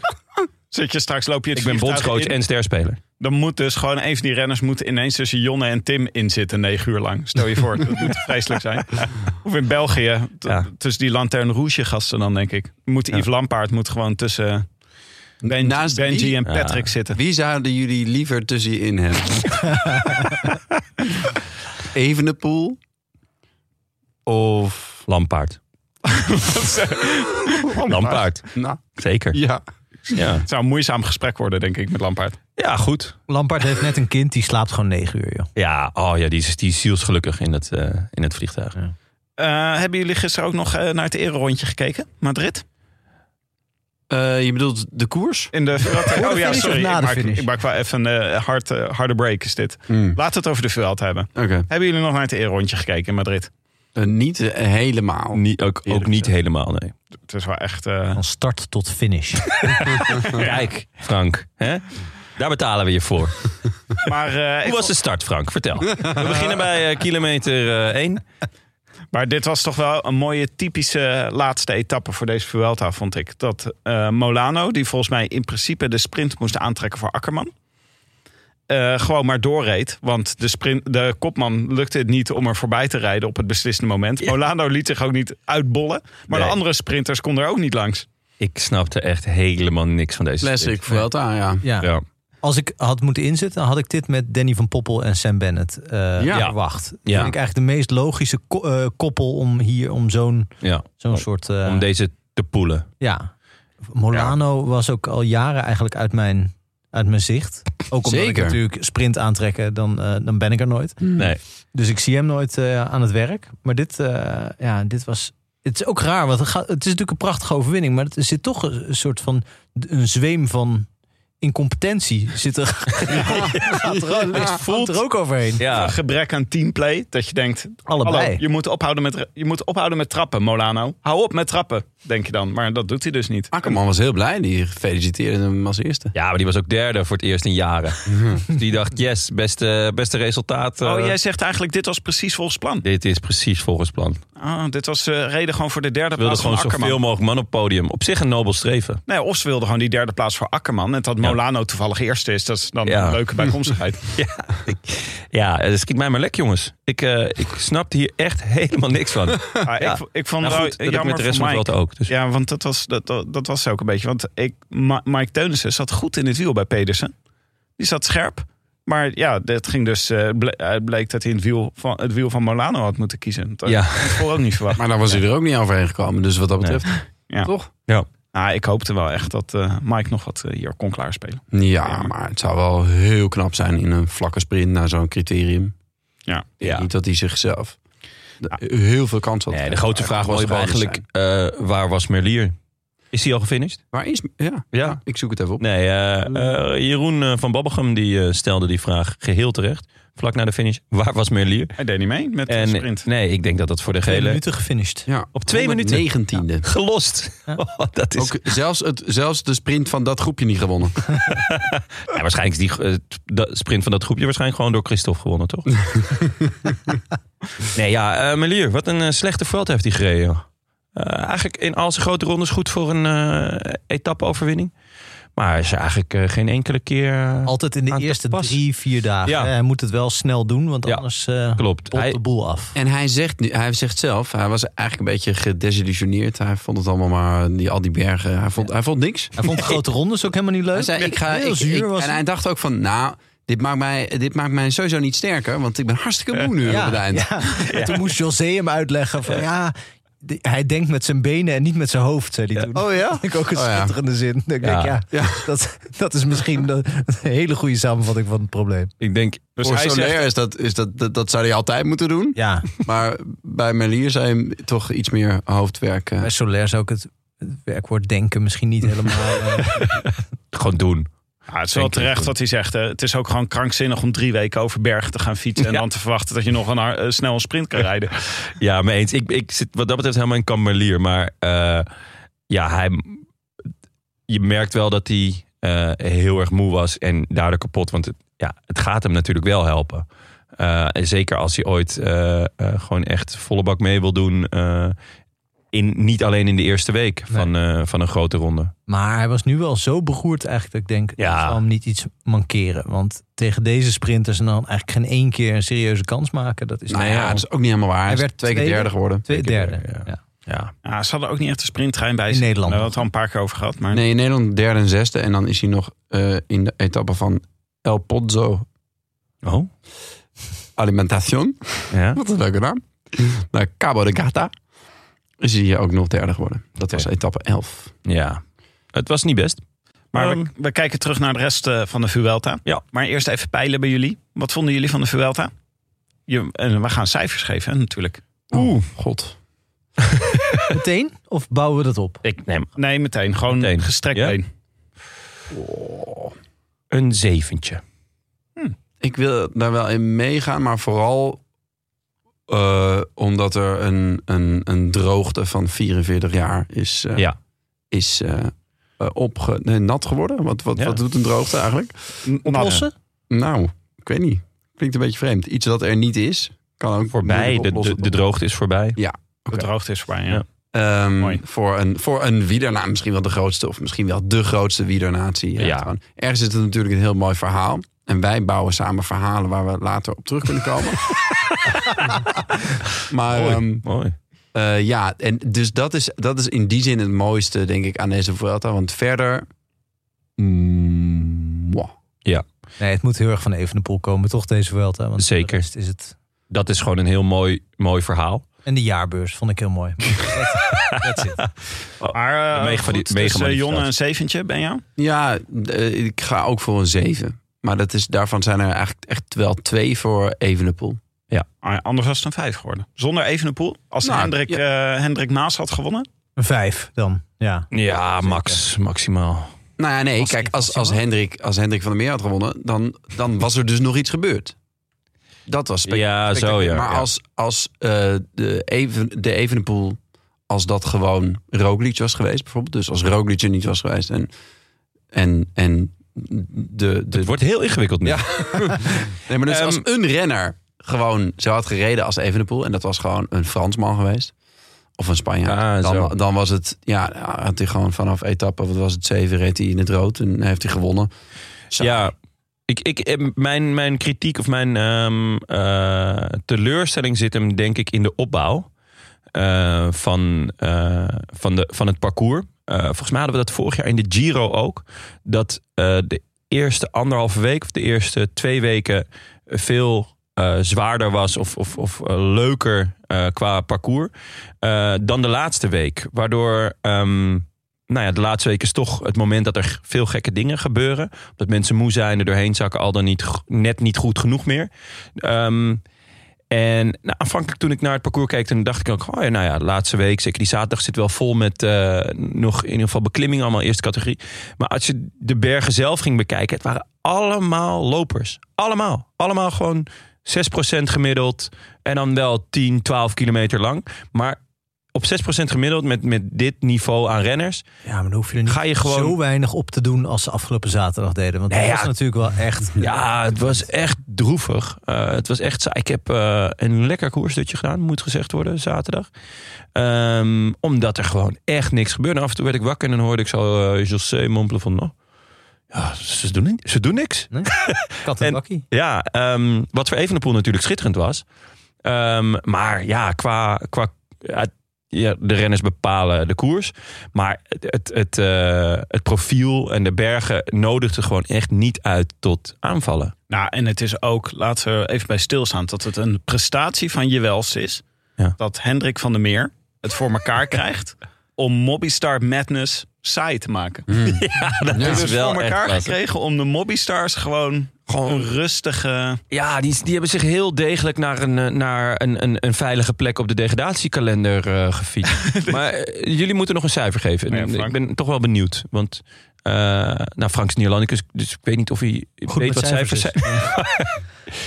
Zit je straks, loop je het Ik ben vliegtuig bondscoach in. en sterspeler. Dan moet dus gewoon een van die renners moet ineens tussen Jonne en Tim inzitten negen uur lang. Stel je voor, dat moet vreselijk zijn. Of in België, t- Ja. tussen die Lanterne Rouge gasten dan denk ik. Moet Yves Lampaard moet gewoon tussen Benji, Naast Benji wie? en Patrick zitten. Wie zouden jullie liever tussenin hebben? Evenepoel? Of... Lampaard. Lampaard. Nou, Zeker. ja. Ja, Het zou een moeizaam gesprek worden denk ik met Lampaard. ja goed. Lampard heeft net een kind, die slaapt gewoon negen uur, joh. Ja, oh ja, die is, die is zielsgelukkig in het, eh, in het vliegtuig. Eh, hebben jullie gisteren ook nog eh, naar het ererondje gekeken? Madrid? Eh, je bedoelt de koers? In de Vuelta. Oh finish of Ik na de maak, finish? ik maak wel even een eh, hard, eh, harde break is dit. Hmm. Laten we het over de Vuelta hebben. Oké. Hebben jullie nog naar het ererondje gekeken in Madrid? Eh, niet eh, helemaal. Niet, ook, ook niet helemaal, nee. Het is wel echt... eh, Van start tot finish. Kijk, Frank, hè? daar betalen we je voor. maar eh, ik Hoe was de start, Frank? Vertel. We beginnen bij eh, kilometer 1. Maar dit was toch wel een mooie typische laatste etappe voor deze Vuelta, vond ik. Dat eh, Molano, die volgens mij in principe de sprint moest aantrekken voor Akkerman... eh, gewoon maar doorreed. Want de, sprint, de kopman lukte het niet om er voorbij te rijden op het beslissende moment. Molano liet zich ook niet uitbollen. Maar Nee. de andere sprinters konden er ook niet langs. Ik snapte echt helemaal niks van deze Classic sprint. Vuelta, ja. Ja. Ja. Als ik had moeten inzetten, dan had ik dit met Danny van Poppel en Sam Bennett eh, Ja. verwacht. Dat Ja. vind ik eigenlijk de meest logische ko- eh, koppel om hier om zo'n Ja. zo'n Om- soort. eh, Om deze te poelen. ja. Molano was ook al jaren eigenlijk uit mijn, uit mijn zicht. Ook omdat ik Zeker. natuurlijk sprint aantrekken, dan, eh, dan ben ik er nooit. Nee. Dus ik zie hem nooit eh, aan het werk. Maar dit, eh, ja, dit was. Het is ook raar, want het, gaat, het is natuurlijk een prachtige overwinning. Maar er zit toch een soort van. een zweem van incompetentie. Zit er, gaat er, ook- gaat er ook overheen. Ja. Een gebrek aan teamplay, dat je denkt... Allebei. hallo, je, moet ophouden met, je moet ophouden met trappen, Molano. Hou op met trappen, denk je dan. Maar dat doet hij dus niet. Akkerman was heel blij. Die feliciteerde hem als eerste. ja, maar die was ook derde voor het eerst in jaren. Dus Die dacht, yes, beste, beste resultaat. eh, Oh, jij zegt eigenlijk, dit was precies volgens plan. Dit is precies volgens plan. Ah, dit was eh, reden gewoon voor de derde We wilden plaats van gewoon Akkerman. zoveel mogelijk man op podium. Op zich een nobel streven. Nee, of ze wilden gewoon die derde plaats voor Akkerman. En dat Molano toevallig eerste is, dat is dan Ja. een leuke bijkomstigheid. Ja, eh, schiet mij maar lek, jongens. Ik, eh ik snapte hier echt helemaal niks van. Maar Ja. Ah, ik, v- ik vond Nou wel goed, dat heb ik jammer met de rest voor van Mike. het ook. Dus. Ja, want dat was, dat, dat, dat was ook een beetje. Want ik, Ma- Mike Teunissen zat goed in het wiel bij Pedersen. Die zat scherp. Maar ja, het ging dus, eh, ble- eh, bleek dat hij in het, wiel van, het wiel van Molano had moeten kiezen. Dat Ja. had ik voor ook niet verwacht. Maar dan was hij er ook niet overheen gekomen. Dus wat dat betreft... Ja. Toch? Ah, ik hoopte wel echt dat eh, Mike nog wat eh, hier kon klaarspelen. Ja, maar het zou wel heel knap zijn in een vlakke sprint naar zo'n criterium. Ja. Ik denk Ja. Niet dat hij zichzelf de- heel veel kans had. Nee, de grote vraag was gewoon eigenlijk, eh, waar was Merlier? Is hij al gefinished? Waar is... Ja, Ja. ik zoek het even op. Nee, eh, eh, Jeroen eh, van Babbegem die, eh, stelde die vraag geheel terecht. Vlak na de finish, waar was Merlier? Hij deed niet mee met de En sprint. nee, ik denk dat dat voor de Twee gele... minuten gefinished. Ja, Op twee minuten. 19e. Gelost. Oh, dat is, Ook zelfs, het, zelfs de sprint van dat groepje niet gewonnen. Ja, waarschijnlijk is die eh, t- de sprint van dat groepje waarschijnlijk gewoon door Christophe gewonnen, toch? nee, ja, eh, Melier, wat een eh, slechte veld heeft hij gereden. joh. Eh, eigenlijk in al zijn grote rondes goed voor een eh etappe-overwinning. Maar hij is eigenlijk eh, geen enkele keer... eh, Altijd in de Aan te eerste pas. drie, vier dagen. Ja. hè. Hij moet het wel snel doen, want Ja. anders eh klopt. popt Hij, de boel af. En hij zegt, nu, hij zegt zelf, hij was eigenlijk een beetje gedesillusioneerd. Hij vond het allemaal maar, die, al die bergen, hij vond, hij vond niks. Hij vond grote rondes ook helemaal niet leuk. Hij zei, ik ga, Heel ik, zuur ik- was en hij. hij dacht ook van, nou, Dit maakt, mij, dit maakt mij sowieso niet sterker, want ik ben hartstikke moe nu op het eind. ja. En Toen moest José hem uitleggen van ja, die- hij denkt met zijn benen en niet met zijn hoofd, zei hij toen. Oh ja? Vind ik ook een Oh ja. schitterende zin. Dat Ik denk, ja, Ja. Dat, dat is misschien een hele goede samenvatting van het probleem. Ik denk, Dus voor hij Soler- zegt... is dat, is dat, dat, dat zou hij altijd moeten doen. Ja, Maar bij Melier zou je hem toch iets meer hoofdwerk... eh, bij Soler zou ik het het werkwoord denken misschien niet helemaal... eh, gewoon doen. Ja, Ah, het is wel terecht wat hij zegt. hè. Het is ook gewoon krankzinnig om drie weken over bergen te gaan fietsen. En Ja. dan te verwachten dat je nog een, har- eh, snel een sprint kan rijden. Ja, mee eens. Ik, ik zit wat dat betreft helemaal in Kamerlier. Maar eh, ja, hij, je merkt wel dat hij eh, heel erg moe was en daardoor kapot. Want het, ja, het gaat hem natuurlijk wel helpen. Eh, en zeker als hij ooit eh, eh, gewoon echt volle bak mee wil doen. eh, in, niet alleen in de eerste week Nee. van, eh, van een grote ronde. Maar hij was nu wel zo beroerd eigenlijk dat ik denk, Ja. ik zal hem niet iets mankeren. Want tegen deze sprinters en dan eigenlijk geen één keer een serieuze kans maken, dat is nou toch ja, wel dat is ook niet helemaal waar. Hij, Hij is werd twee keer tweede. derde geworden. twee Twee keer derde. derde, ja. Ja, Ja, ze hadden ook niet echt een sprinttrein bij In zich. Nederland. We hadden het al een paar keer over gehad. Maar Nee, in Nederland derde en zesde. En dan is hij nog eh, in de etappe van El Pozo oh, Alimentación. ja. Wat een leuke naam. Naar Cabo de Gata. Is hij ook nog derde geworden. Dat was Oké. etappe 11. ja. Het was niet best. maar Ehm, we, we kijken terug naar de rest eh, van de Vuelta. Ja. Maar eerst even peilen bij jullie. Wat vonden jullie van de Vuelta? Je, en we gaan cijfers geven hè, natuurlijk. Oeh, god. Meteen? Of bouwen we dat op? ik neem Nee, meteen. Gewoon Meteen. gestrekt Ja? been. een zeventje. Ik wil daar wel in meegaan, maar vooral eh, omdat er een, een, een droogte van 44 jaar is, eh, Ja. is eh, eh, opge- nee, nat geworden. Wat, wat, Ja. wat doet een droogte eigenlijk? Oplossen? Nou, ik weet niet. Klinkt een beetje vreemd. Iets dat er niet is, kan ook Voorbij, de, de, de droogte is voorbij. De droogte is voorbij. Ja. Ja. Mooi. Ehm, voor een, voor een wielernaam, misschien wel de grootste, of misschien wel de grootste wielernatie. Ja. gewoon. Ergens is het natuurlijk een heel mooi verhaal. En wij bouwen samen verhalen waar we later op terug kunnen komen. maar ehm, Mooi. eh, ja, en dus dat is, dat is in die zin het mooiste, denk ik, aan deze Vuelta. Want verder. mm, mwah. Nee, het moet heel erg van Evenepoel komen, toch deze Vuelta? Want voor de Zeker. rest is het... Dat is gewoon een heel mooi, mooi verhaal. En de jaarbeurs vond ik heel mooi. Maar eh, Mega- goed, mega- dus eh, mega- Jonne een zeventje, ben je? Ja, eh, ik ga ook voor een 7. Maar dat is, daarvan zijn er eigenlijk echt wel twee voor Evenepoel. Ah, Anders was het een vijf geworden. Zonder Evenepoel. Als Nou, Hendrik, eh, Hendrik Maas had gewonnen. Een vijf dan, ja. Ja, max, maximaal. Nou ja, nee, Was- kijk, als, was- als, Hendrik, als Hendrik van der Meer had gewonnen, dan, dan was er dus nog iets gebeurd. Dat was spectaculair. Ja, zo ja. Maar Ja. als, als eh, de, even, de Evenepoel, als dat gewoon Roglic was geweest bijvoorbeeld. Dus als Roglic er niet was geweest en, en, en de... de Het wordt heel ingewikkeld nu. Ja. nee, maar dus Ehm, als een renner gewoon zo had gereden als Evenepoel... en dat was gewoon een Fransman geweest... Of een Spanjaard. Ah, zo. dan, dan was het, ja, had hij gewoon vanaf etappe, wat was het, zeven, reed hij in het rood en heeft hij gewonnen. Zo. Ja, ik, ik, eh, mijn, mijn kritiek of mijn ehm, eh, teleurstelling zit hem denk ik in de opbouw eh, van, eh, van, de, van het parcours. Eh, volgens mij hadden we dat vorig jaar in de Giro ook. Dat eh, de eerste anderhalve week of de eerste twee weken veel eh, zwaarder was of, of, of eh, leuker eh, qua parcours eh, dan de laatste week. Waardoor ehm, nou ja, de laatste week is toch het moment dat er veel gekke dingen gebeuren. Dat mensen moe zijn, er doorheen zakken, al dan niet, g- net niet goed genoeg meer. Ehm, en nou, aanvankelijk toen ik naar het parcours keek, toen dacht ik ook, oh ja, nou ja, de laatste week, zeker die zaterdag zit wel vol met eh, nog in ieder geval beklimming, allemaal eerste categorie. Maar als je de bergen zelf ging bekijken, het waren allemaal lopers. Allemaal. Allemaal gewoon 6% gemiddeld en dan wel 10, 12 kilometer lang. Maar op 6% gemiddeld met, met dit niveau aan renners, Ja, maar dan hoef je er niet Ga je gewoon- zo weinig op te doen als ze afgelopen zaterdag deden. Want Nee, dat ja. was natuurlijk wel echt... Ja, het was echt droevig. Eh, het was echt saai. Ik heb eh, een lekker koersdutje gedaan, moet gezegd worden, zaterdag. Ehm, omdat er gewoon echt niks gebeurde. Af en toe werd ik wakker en dan hoorde ik zo eh José mompelen van... "Nou, ja, ze doen, ni- ze doen niks. Kat en En- bakkie. Ja, ehm, wat voor Evenepoel natuurlijk schitterend was. Ehm, maar ja, qua, qua, ja, ja, de renners bepalen de koers. Maar het, het, het, eh, het profiel en de bergen nodigden gewoon echt niet uit tot aanvallen. Nou, en het is ook, laten we even bij stilstaan, dat het een prestatie van Jewels is. Ja. Dat Hendrik van der Meer het voor elkaar krijgt om Mobbystar Madness saai te maken. Ja, dat Ja. Hij is heeft het voor elkaar klasse. gekregen om de Mobbystars gewoon, Gewoon- een rustige... Ja, die, die hebben zich heel degelijk naar een, eh, naar een, een, een veilige plek op de degradatiekalender eh gefietst. maar eh, jullie moeten nog een cijfer geven. eh, Ja, Frank. ik ben toch wel benieuwd. Want eh nou, Frank is Nederlandicus, dus ik weet niet of hij weet met wat cijfers zijn.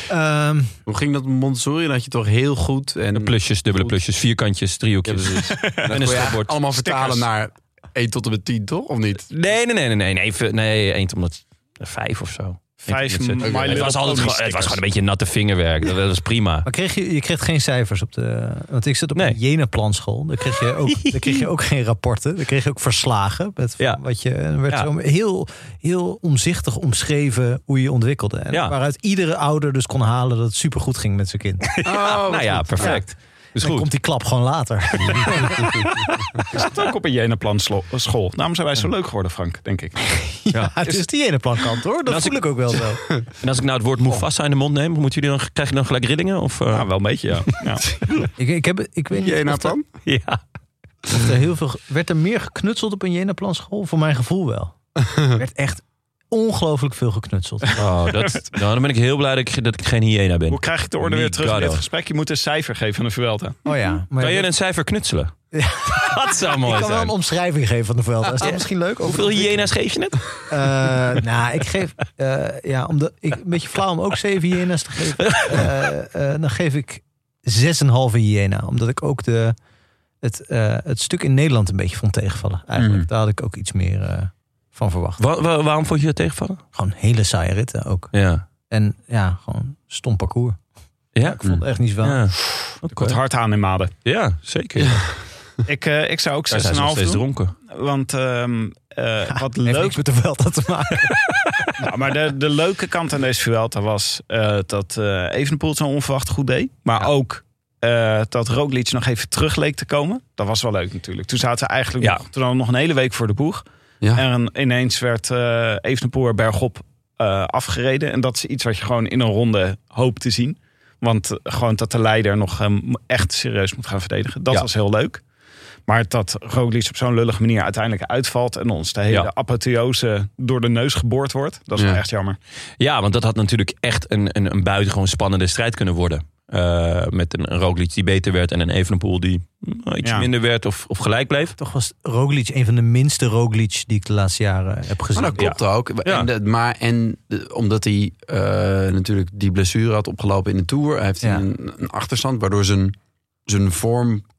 Ehm, Hoe ging dat met Montessori? Dan had je toch heel goed. En De Hmm. plusjes, dubbele plusjes, vierkantjes, Ja, driehoekjes. precies. En dat kon een je stopbord. Allemaal vertalen naar 1 tot en met 10, toch? Of niet? Nee, nee, nee, nee, nee, nee, v- nee, één tot omdat vijf of zo. Vijf Eén tot omdat- My het Little was altijd Pony gewoon, het was stickers. gewoon een beetje natte vingerwerk. Dat, dat was prima. maar kreeg je, je kreeg geen cijfers op de... Want ik zat op Nee. een Jena-planschool. Daar, kreeg je ook- daar kreeg je ook geen rapporten. Daar kreeg je ook verslagen. Met Ja. wat je, er werd Ja. zo heel, heel omzichtig omschreven hoe je je ontwikkelde. En Ja. waaruit iedere ouder dus kon halen dat het supergoed ging met zijn kind. Oh, nou ja, perfect. Dus Dan goed. komt die klap gewoon later. zat ook op een Jenaplan slo- school. Daarom zijn wij zo leuk geworden, Frank, denk ik. Ja, het is die ene plankant hoor. Dat Nou, als voel ik ook wel zo. En als ik nou het woord Mufasa in de mond neem, moeten jullie dan, krijg je dan gelijk rillingen? Of, eh? Ja, wel een beetje, ja. ja. Ik, ik, heb, ik weet niet of Jena er- plan? ja. of er heel veel... Werd er meer geknutseld op een Jena-plan school? Voor mijn gevoel wel. Er werd echt ongelooflijk veel geknutseld. Oh, dat, nou, dan ben ik heel blij dat ik, dat ik geen hyena ben. Hoe krijg ik de orde weer terug in dit gesprek? Je moet een cijfer geven aan de Vuelta. Oh ja. Maar Kan je je een cijfer knutselen? Ja. Dat zou mooi kan wel zijn. een omschrijving geven van de Vuelta. Is dat misschien leuk? Over Hoeveel de ontwikkeling? hyena's geef je het? Eh, nou, ik geef... eh, ja, omdat ik, een beetje flauw om ook zeven hyena's te geven. Eh, eh, dan geef ik 6,5 hyena. Omdat ik ook de, het, eh, het stuk in Nederland een beetje vond tegenvallen. Eigenlijk, Mhm. daar had ik ook iets meer eh, van verwacht. Mm. Wa- wa- waarom vond je dat tegenvallen? Gewoon hele saaie ritten ook. Ja. En ja, gewoon stom parcours. Ja? Ik vond het echt niet zwaar. Mm. Ja, Wat hard aan in Maden. ja zeker. Ja. Ik, eh, ik zou ook 6,5 Zij zijn nog steeds doen. dronken. Want ehm, eh, wat Ah, Heeft leuk niks met de Vuelta te maken. Nou, maar de, de leuke kant aan deze Vuelta was eh, dat eh Evenepoel het zo onverwacht goed deed. Maar ook eh, dat Roglic nog even terug leek te komen. Dat was wel leuk natuurlijk. Toen zaten ze eigenlijk Ja. nog, toen hadden we nog een hele week voor de boeg. Ja. En ineens werd eh Evenepoel er bergop eh, afgereden. En dat is iets wat je gewoon in een ronde hoopt te zien. Want eh, gewoon dat de leider nog eh, echt serieus moet gaan verdedigen. Dat Ja. was heel leuk. Maar dat Roglic op zo'n lullige manier uiteindelijk uitvalt... en ons de hele Ja. apotheose door de neus geboord wordt... dat is wel Ja. echt jammer. Ja, want dat had natuurlijk echt een, een, een buitengewoon spannende strijd kunnen worden. Eh, met een, een Roglic die beter werd en een Evenepoel die mm, iets Ja. minder werd of, of gelijk bleef. Toch was Roglic een van de minste Roglic die ik de laatste jaren Ah, nou, heb gezien. Maar Oh, dat klopt ook. Ja. En, dat- maar en de- omdat hij eh, natuurlijk die blessure had opgelopen in de Tour... heeft hij Ja. een, een achterstand waardoor zijn, zijn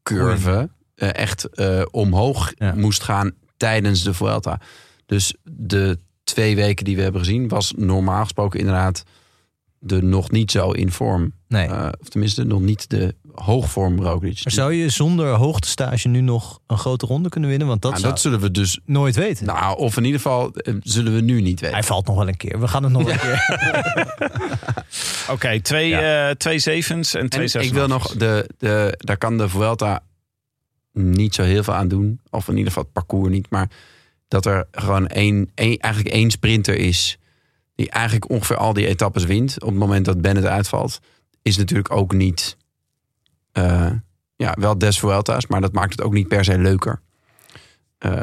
vormcurve eh, echt eh, omhoog Ja. moest gaan tijdens de Vuelta. Dus de twee weken die we hebben gezien was normaal gesproken inderdaad de nog niet zo in vorm. Ah. nee. Eh, of tenminste nog niet de hoogvorm Roglic. Maar zou je zonder hoogtestage nu nog een grote ronde kunnen winnen? Want dat Nou, zou dat zullen we dus... ik nooit weten. Nou, of in ieder geval eh, zullen we nu niet weten. Hij valt nog wel een keer. We gaan het nog wel een keer. Oké, twee, eh, twee zevens en twee En zesens. ik wil nog, de, de, daar kan de Vuelta niet zo heel veel aan doen. Of in ieder geval het parcours niet. Maar dat er gewoon één, één, eigenlijk één sprinter is. Die eigenlijk ongeveer al die etappes wint. Op het moment dat Bennett uitvalt. Is natuurlijk ook niet... eh, ja, wel des Vuelta's. Maar dat maakt het ook niet per se leuker. Eh,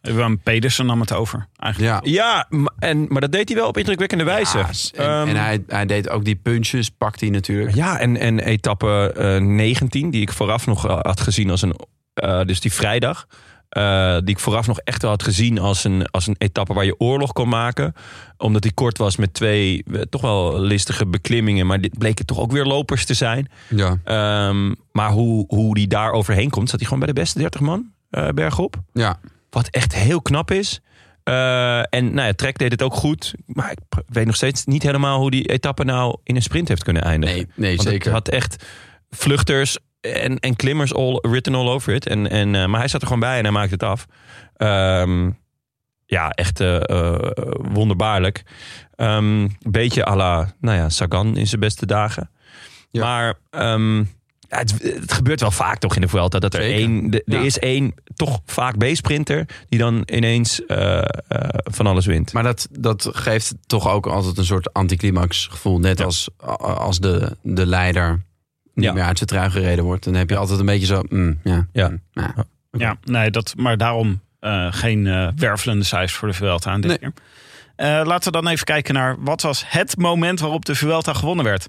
Willem Pedersen nam het over. Eigenlijk. ja. Ja, maar- en, maar dat deed hij wel op indrukwekkende wijze. Ja, en Ehm, en hij, hij deed ook die punches. Pakt hij natuurlijk. Ja, en, en etappe eh, 19, die ik vooraf nog eh, had gezien als een. eh, dus die vrijdag. eh, die ik vooraf nog echt wel had gezien als een, als een etappe waar je oorlog kon maken. Omdat die kort was met twee eh, toch wel listige beklimmingen. Maar dit bleken toch ook weer lopers te zijn. Ja. Ehm, maar hoe, hoe die daar overheen komt, zat hij gewoon bij de beste 30 man eh, bergop. Ja. Wat echt heel knap is. Eh, en nou ja, Trek deed het ook goed. Maar ik pr- weet nog steeds niet helemaal hoe die etappe nou in een sprint heeft kunnen eindigen. Nee, nee Want zeker. Het had echt vluchters en, en klimmers all written all over it. En, en, eh, maar hij zat er gewoon bij en hij maakte het af. Ehm, ja, echt eh, eh, wonderbaarlijk. Ehm, Een beetje à la nou ja, Sagan in zijn beste dagen. Ja. Maar ehm, Ja, het, het gebeurt wel vaak toch in de Vuelta dat er Zeker. één, de- er Ja. is één toch vaak B-sprinter die dan ineens eh, eh, van alles wint. Maar dat, dat geeft toch ook altijd een soort anticlimax gevoel. Net Ja. als, a- als de, de leider niet Ja. meer uit zijn trui gereden wordt. Dan heb je altijd een beetje zo... mm, ja, Ja. mm, ja. Ja, nee, dat, maar daarom eh, geen eh, wervelende cijfers voor de Vuelta aan dit Nee. keer. Eh, laten we dan even kijken naar wat was het moment waarop de Vuelta gewonnen werd.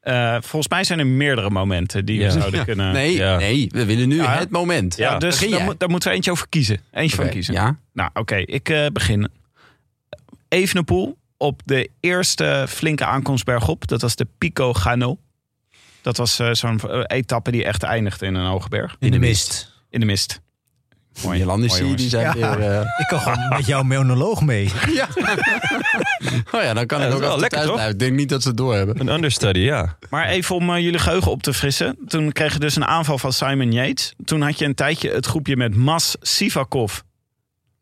Eh, volgens mij zijn er meerdere momenten die we Ja. zouden Ja. kunnen... Nee, ja. nee, we willen nu Ja. het moment. Ja, dus Begin daar, jij. moet- daar moeten we eentje over kiezen. Eentje Oké, van kiezen. Ja, Nou, oké, ik eh, begin. Evenepoel op de eerste flinke aankomst bergop. Dat was de Pico Gano. Dat was eh, zo'n eh, etappe die echt eindigt in een hoge berg. In de mist. In de mist. Mooi, mooi, Jolandi jongens. die zijn Ja. weer... eh, Ik kan gewoon met jouw monoloog mee. ja. oh ja, dan kan Ja, dat ik is ook wel altijd lekker, thuis toch? blijven. Ik denk niet dat ze het doorhebben. Een understudy, ja. Maar even om eh, jullie geheugen op te frissen. Toen kreeg je dus een aanval van Simon Yates. Toen had je een tijdje het groepje met Mas Sivakov.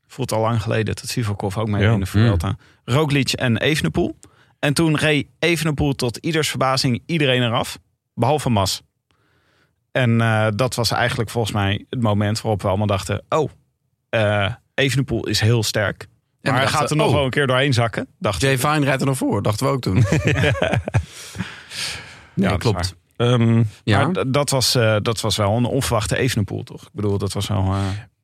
Voelt al lang geleden dat Sivakov ook mee Ja. in de Vuelta. Roglic en Evenepoel. En toen reed Evenepoel tot ieders verbazing iedereen eraf. Behalve Mas. En eh, dat was eigenlijk volgens mij het moment waarop we allemaal dachten... Oh, eh Evenepoel is heel sterk. we Maar hij dachten, gaat er nog oh. wel een keer doorheen zakken. Dacht Jay Fine rijdt er nog voor, dachten we ook toen. ja, dat is klopt. Ehm, Ja. Maar d- dat, was, eh, dat was wel een onverwachte Evenepoel, toch? Ik bedoel, dat was wel...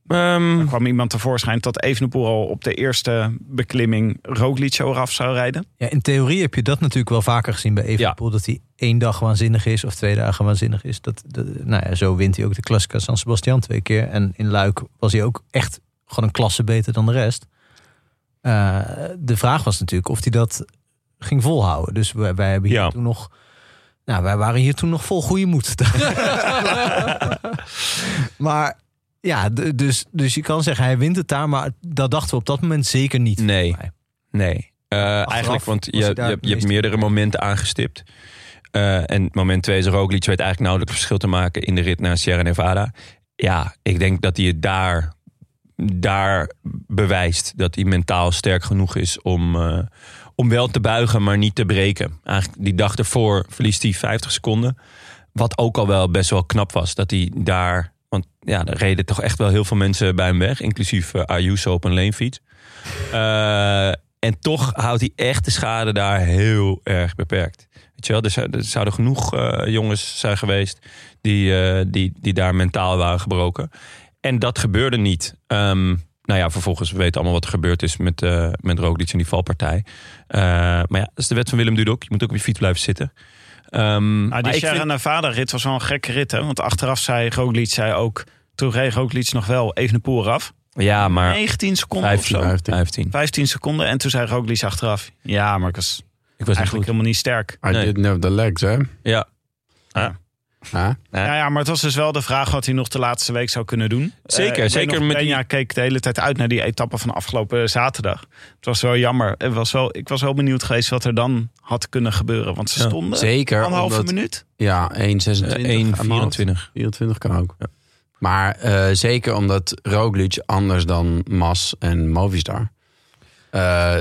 eh, ehm, er kwam iemand tevoorschijn dat Evenepoel al op de eerste beklimming Roglic zo eraf zou rijden. Nou, Ja, in theorie heb je dat natuurlijk wel vaker gezien bij Evenepoel. Dat hij één dag waanzinnig is of twee dagen waanzinnig is. Dat, dat- nou ja, zo wint hij ook de Classica San Sebastian twee keer. En in Luik was hij ook echt gewoon een klasse beter dan de rest. Eh, de vraag was natuurlijk of hij dat ging volhouden. Dus wij, wij hebben hier Ja. toen nog... Nou, wij waren hier toen nog vol goede moed. maar ja, d- dus, dus je kan zeggen hij wint het daar. Maar dat dachten we op dat moment zeker niet. nee, mij. nee. Eh, eigenlijk, want je, hij je, daar hebt- het je hebt meest- meerdere momenten aangestipt. Eh, en moment 2 is Roglic weet eigenlijk nauwelijks verschil te maken in de rit naar Sierra Nevada. Ja, ik denk dat hij het daar, daar bewijst dat hij mentaal sterk genoeg is om, eh, om wel te buigen, maar niet te breken. Eigenlijk die dag ervoor verliest hij 50 seconden. Wat ook al wel best wel knap was. Dat hij daar. Want ja, er reden toch echt wel heel veel mensen bij hem weg. Inclusief eh, Ayuso op een leenfiets. Eh, en toch houdt hij echt de schade daar heel erg beperkt. Weet je wel, er, zou- er zouden genoeg eh, jongens zijn geweest die, eh, die, die daar mentaal waren gebroken. En dat gebeurde niet. Ehm, nou ja, vervolgens we weten allemaal wat er gebeurd is met, eh met Roglic en die valpartij. Eh, maar ja, dat is de wet van Willem Dudok. Je moet ook op je fiets blijven zitten. Ehm, maar Nou, die ik Sierra vind- Nevada rit was wel een gekke rit, hè? Want achteraf zei Roglic zei ook, toen reed Roglic nog wel Evenepoel eraf. ja, maar 19 seconden of zo. 15. 15. 15 seconden en toen zei Roglic achteraf, ja, maar ik was Ik was niet eigenlijk goed. helemaal niet sterk. I Nee. didn't have the legs, hè? Ja. Ja. Ja. Ja, ja, maar het was dus wel de vraag wat hij nog de laatste week zou kunnen doen. Zeker, Eh, ik weet zeker nog, met die- Benja keek de hele tijd uit naar die etappe van afgelopen zaterdag. Het was wel jammer. Het was wel, ik was wel benieuwd geweest wat er dan had kunnen gebeuren. Want ze Ja, stonden Zeker. anderhalve omdat- minuut. Ja, 1,26. aan mijn hoofd. 1,24. 24 kan ook. Maar eh, zeker omdat Roglic anders dan Mas en Movistar eh,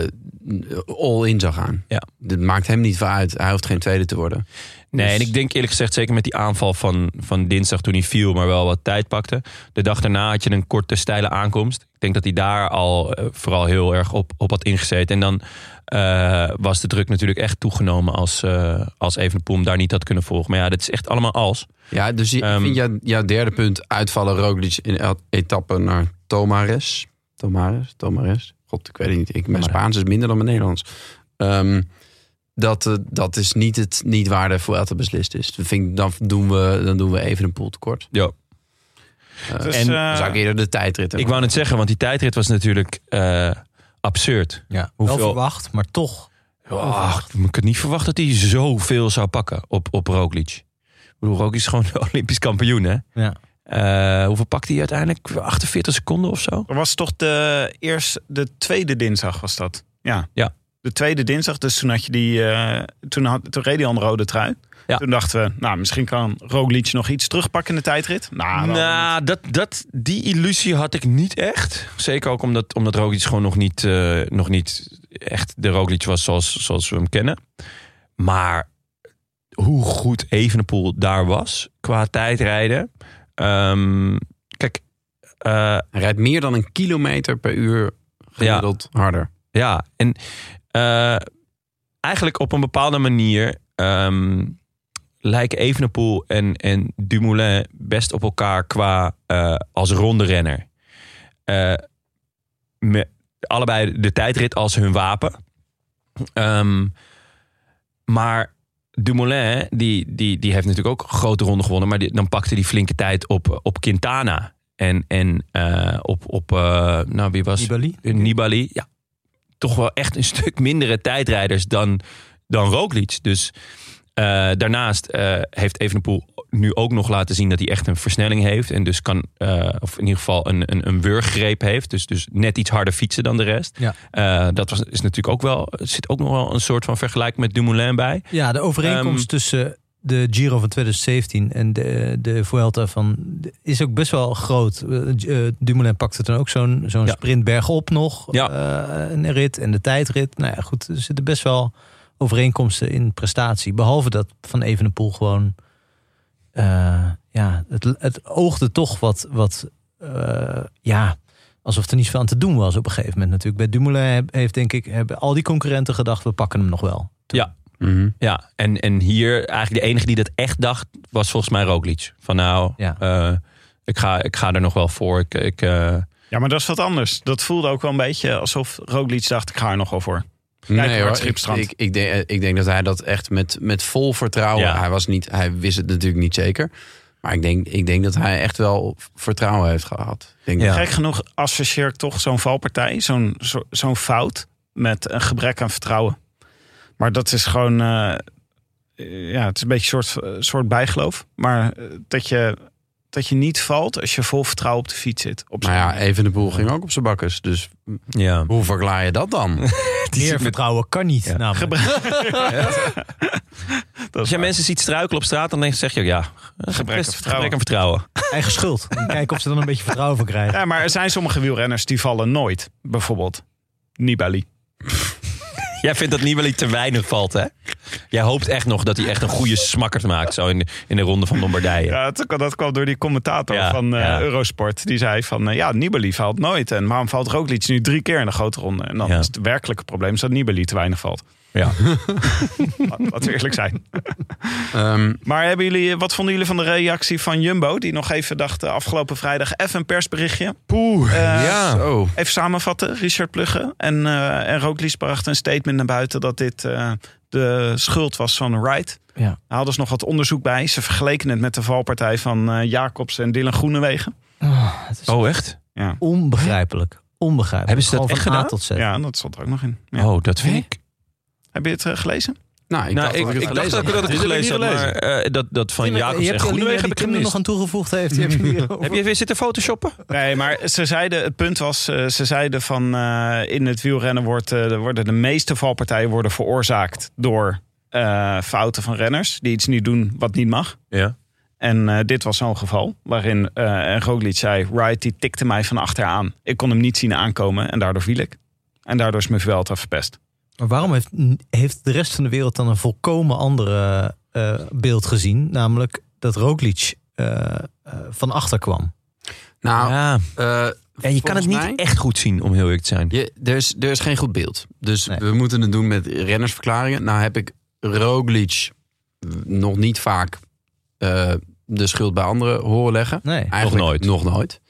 all in zou gaan. Ja. Dit maakt hem niet veel uit. Hij hoeft geen tweede te worden. Nee, Dus- en ik denk eerlijk gezegd, zeker met die aanval van, van dinsdag toen hij viel, maar wel wat tijd pakte. De dag daarna had je een korte, steile aankomst. Ik denk dat hij daar al eh, vooral heel erg op, op had ingezeten. En dan eh, was de druk natuurlijk echt toegenomen als, eh als Evenepoel hem daar niet had kunnen volgen. Maar ja, dat is echt allemaal als. Ja, dus je, Ehm. ik vind jou- jouw derde punt uitvallen Roglic in el- etappe naar Tomares. Tomares? Tomares? God, ik weet het niet. Ik, mijn Spaans is minder dan mijn Nederlands. Ehm, dat, eh, dat is niet het niet waar de Vuelta beslist is. Dat vind ik, dan, doen we, dan doen we even een pool tekort. Ja. Dus, en- eh, Dan zou ik eerder de tijdrit hebben. Ik wou net zeggen, want die tijdrit was natuurlijk eh, absurd. Ja, Hoeveel- wel verwacht, maar toch. Oh, ik had niet verwacht dat hij zoveel zou pakken op, op Roglic. Ik bedoel, Roglic is gewoon de Olympisch kampioen, hè? Ja. Eh, hoeveel pakte hij uiteindelijk? 48 seconden of zo? er was toch de, eerst, de tweede dinsdag was dat. Ja. Ja. De tweede dinsdag, dus toen had je die, eh, toen, had, toen reed hij al een rode trui. Ja. Toen dachten we, nou, misschien kan Roglic nog iets terugpakken in de tijdrit. Nou, dan- nou, dat, dat, die illusie had ik niet echt. Zeker ook omdat, omdat Roglic gewoon nog niet, eh, nog niet echt de Roglic was zoals, zoals we hem kennen. Maar hoe goed Evenepoel daar was qua tijdrijden. Ehm, kijk, eh, Hij rijdt meer dan een kilometer per uur gemiddeld harder. Ja, en eh, eigenlijk op een bepaalde manier ehm, lijken Evenepoel en, en Dumoulin best op elkaar qua eh, als ronderenner. Eh met allebei de tijdrit als hun wapen. Ehm, maar Dumoulin, die, die, die heeft natuurlijk ook een grote ronde gewonnen. Maar die- dan pakte hij flinke tijd op, op Quintana. En, en eh, op, op eh, nou wie was Nibali. een Nibali, ja, toch wel echt een stuk mindere tijdrijders dan, dan Roglic. Dus eh, daarnaast eh, heeft Evenepoel nu ook nog laten zien dat hij echt een versnelling heeft. En dus kan, eh, of in ieder geval een, een, een wurggreep heeft. Dus, dus net iets harder fietsen dan de rest. Ja. Eh, dat was, is natuurlijk ook wel, er zit ook nog wel een soort van vergelijking met Dumoulin bij. Ja, de overeenkomst Ehm, tussen de Giro van 2017 en de, de Vuelta van, is ook best wel groot. Eh, eh, Dumoulin pakte toen ook zo'n zo'n Ja. sprint bergop nog. Ja. eh, een rit en de tijdrit. Nou ja, goed, er zitten best wel overeenkomsten in prestatie. Behalve dat Van Evenepoel gewoon... eh, ja, het, het oogde toch wat... wat eh, ja, alsof er niets van te doen was op een gegeven moment natuurlijk. Bij Dumoulin heb- heeft denk ik... hebben al die concurrenten gedacht, we pakken hem nog wel. Mhm. Ja, en, en hier eigenlijk de enige die dat echt dacht, was volgens mij Roglic. Van nou, Ja. eh, ik, ga, ik ga er nog wel voor. Ik, ik, eh, Ja, maar dat is wat anders. Dat voelde ook wel een beetje alsof Roglic dacht, ik ga er nogal voor. Kijk, Bart ik, Schipstrand. ik, ik, denk, eh, ik denk dat hij dat echt met, met vol vertrouwen. Ja. Hij, was niet, hij wist het natuurlijk niet zeker. Maar ik denk, ik denk dat hij echt wel vertrouwen heeft gehad. Ik Denk Ja. dat- Gek genoeg associeer ik toch zo'n valpartij, zo'n zo, zo'n fout, met een gebrek aan vertrouwen. Maar dat is gewoon, eh, eh, ja, het is een beetje een soort, eh, soort bijgeloof. Maar eh, dat, je, dat je niet valt als je vol vertrouwen op de fiets zit. Op Nou zo'n- ja, even de boel ging ook op zijn bakkers. Dus ja. hoe verklaar je dat dan? Meer vertrouwen kan niet. Ja. namelijk. dat Als is jij waar. mensen ziet struikelen op straat, dan denk- zeg je ook ja, eh, gebrek aan vertrouwen. Gebrek aan vertrouwen. Eigen schuld. En kijken of ze dan een beetje vertrouwen van krijgen. Ja, maar er zijn sommige wielrenners die vallen nooit. Bijvoorbeeld Nibali. Jij vindt dat Nibali te weinig valt, hè? Jij hoopt echt nog dat hij echt een goede smakkert maakt, zo in de, in de ronde van Lombardije. Ja, dat, dat kwam door die commentator Ja, van eh, ja. Eurosport. Die zei van, eh, ja, Nibali valt nooit. En waarom valt Roglic nu drie keer in de grote ronde? En dan Ja. is het werkelijke probleem is dat Nibali te weinig valt. Ja. Laat- Laten we eerlijk zijn. Ehm, Maar hebben jullie, eh, wat vonden jullie van de reactie van Jumbo? Die nog even dacht eh, afgelopen vrijdag even een persberichtje. Poeh, Ah. ja. zo. Even samenvatten, Richard Plugge en, eh en Roglic brachten een statement naar buiten dat dit eh, de schuld was van Wright. Ja. Daar hadden ze nog wat onderzoek bij. Ze vergeleken het met de valpartij van eh, Jacobs en Dylan Groenewegen. Oh, het is Oh, echt? onbegrijpelijk. Onbegrijpelijk. Hebben ze dat Gewoon echt van A gedaan? tot Z. Ja, dat stond er ook nog in. Ja. Oh, dat vind Hè? ik. Heb je het eh, gelezen? Nou, ik nou, dacht dat ik het dacht gelezen ook dat ik het gelezen had, maar eh, dat, dat van Tim, Jacobs je en hebt die Alinea Groenewegen die heb ik Tim er gemist. nog aan toegevoegd heeft. Die heb je hier Heb je weer zitten photoshoppen? Nee, maar ze zeiden, het punt was, eh, ze zeiden van eh, in het wielrennen wordt, eh, worden de meeste valpartijen worden veroorzaakt door eh, fouten van renners. Die iets niet doen wat niet mag. Ja. En eh, dit was zo'n geval waarin eh Roglic zei... Wright die tikte mij van achteraan. Ik kon hem niet zien aankomen en daardoor viel ik. En daardoor is mijn Vuelta verpest. Maar waarom heeft, heeft de rest van de wereld dan een volkomen andere eh, beeld gezien? Namelijk dat Roglic eh, eh, van achter kwam. Nou, ja. eh, Ja, je kan het volgens niet mij- echt goed zien, om heel eerlijk te zijn. Je, er, is, er is geen goed beeld. Dus Nee. we moeten het doen met rennersverklaringen. Nou heb ik Roglic nog niet vaak eh, de schuld bij anderen horen leggen. Nee. Eigenlijk nooit. Nog nooit.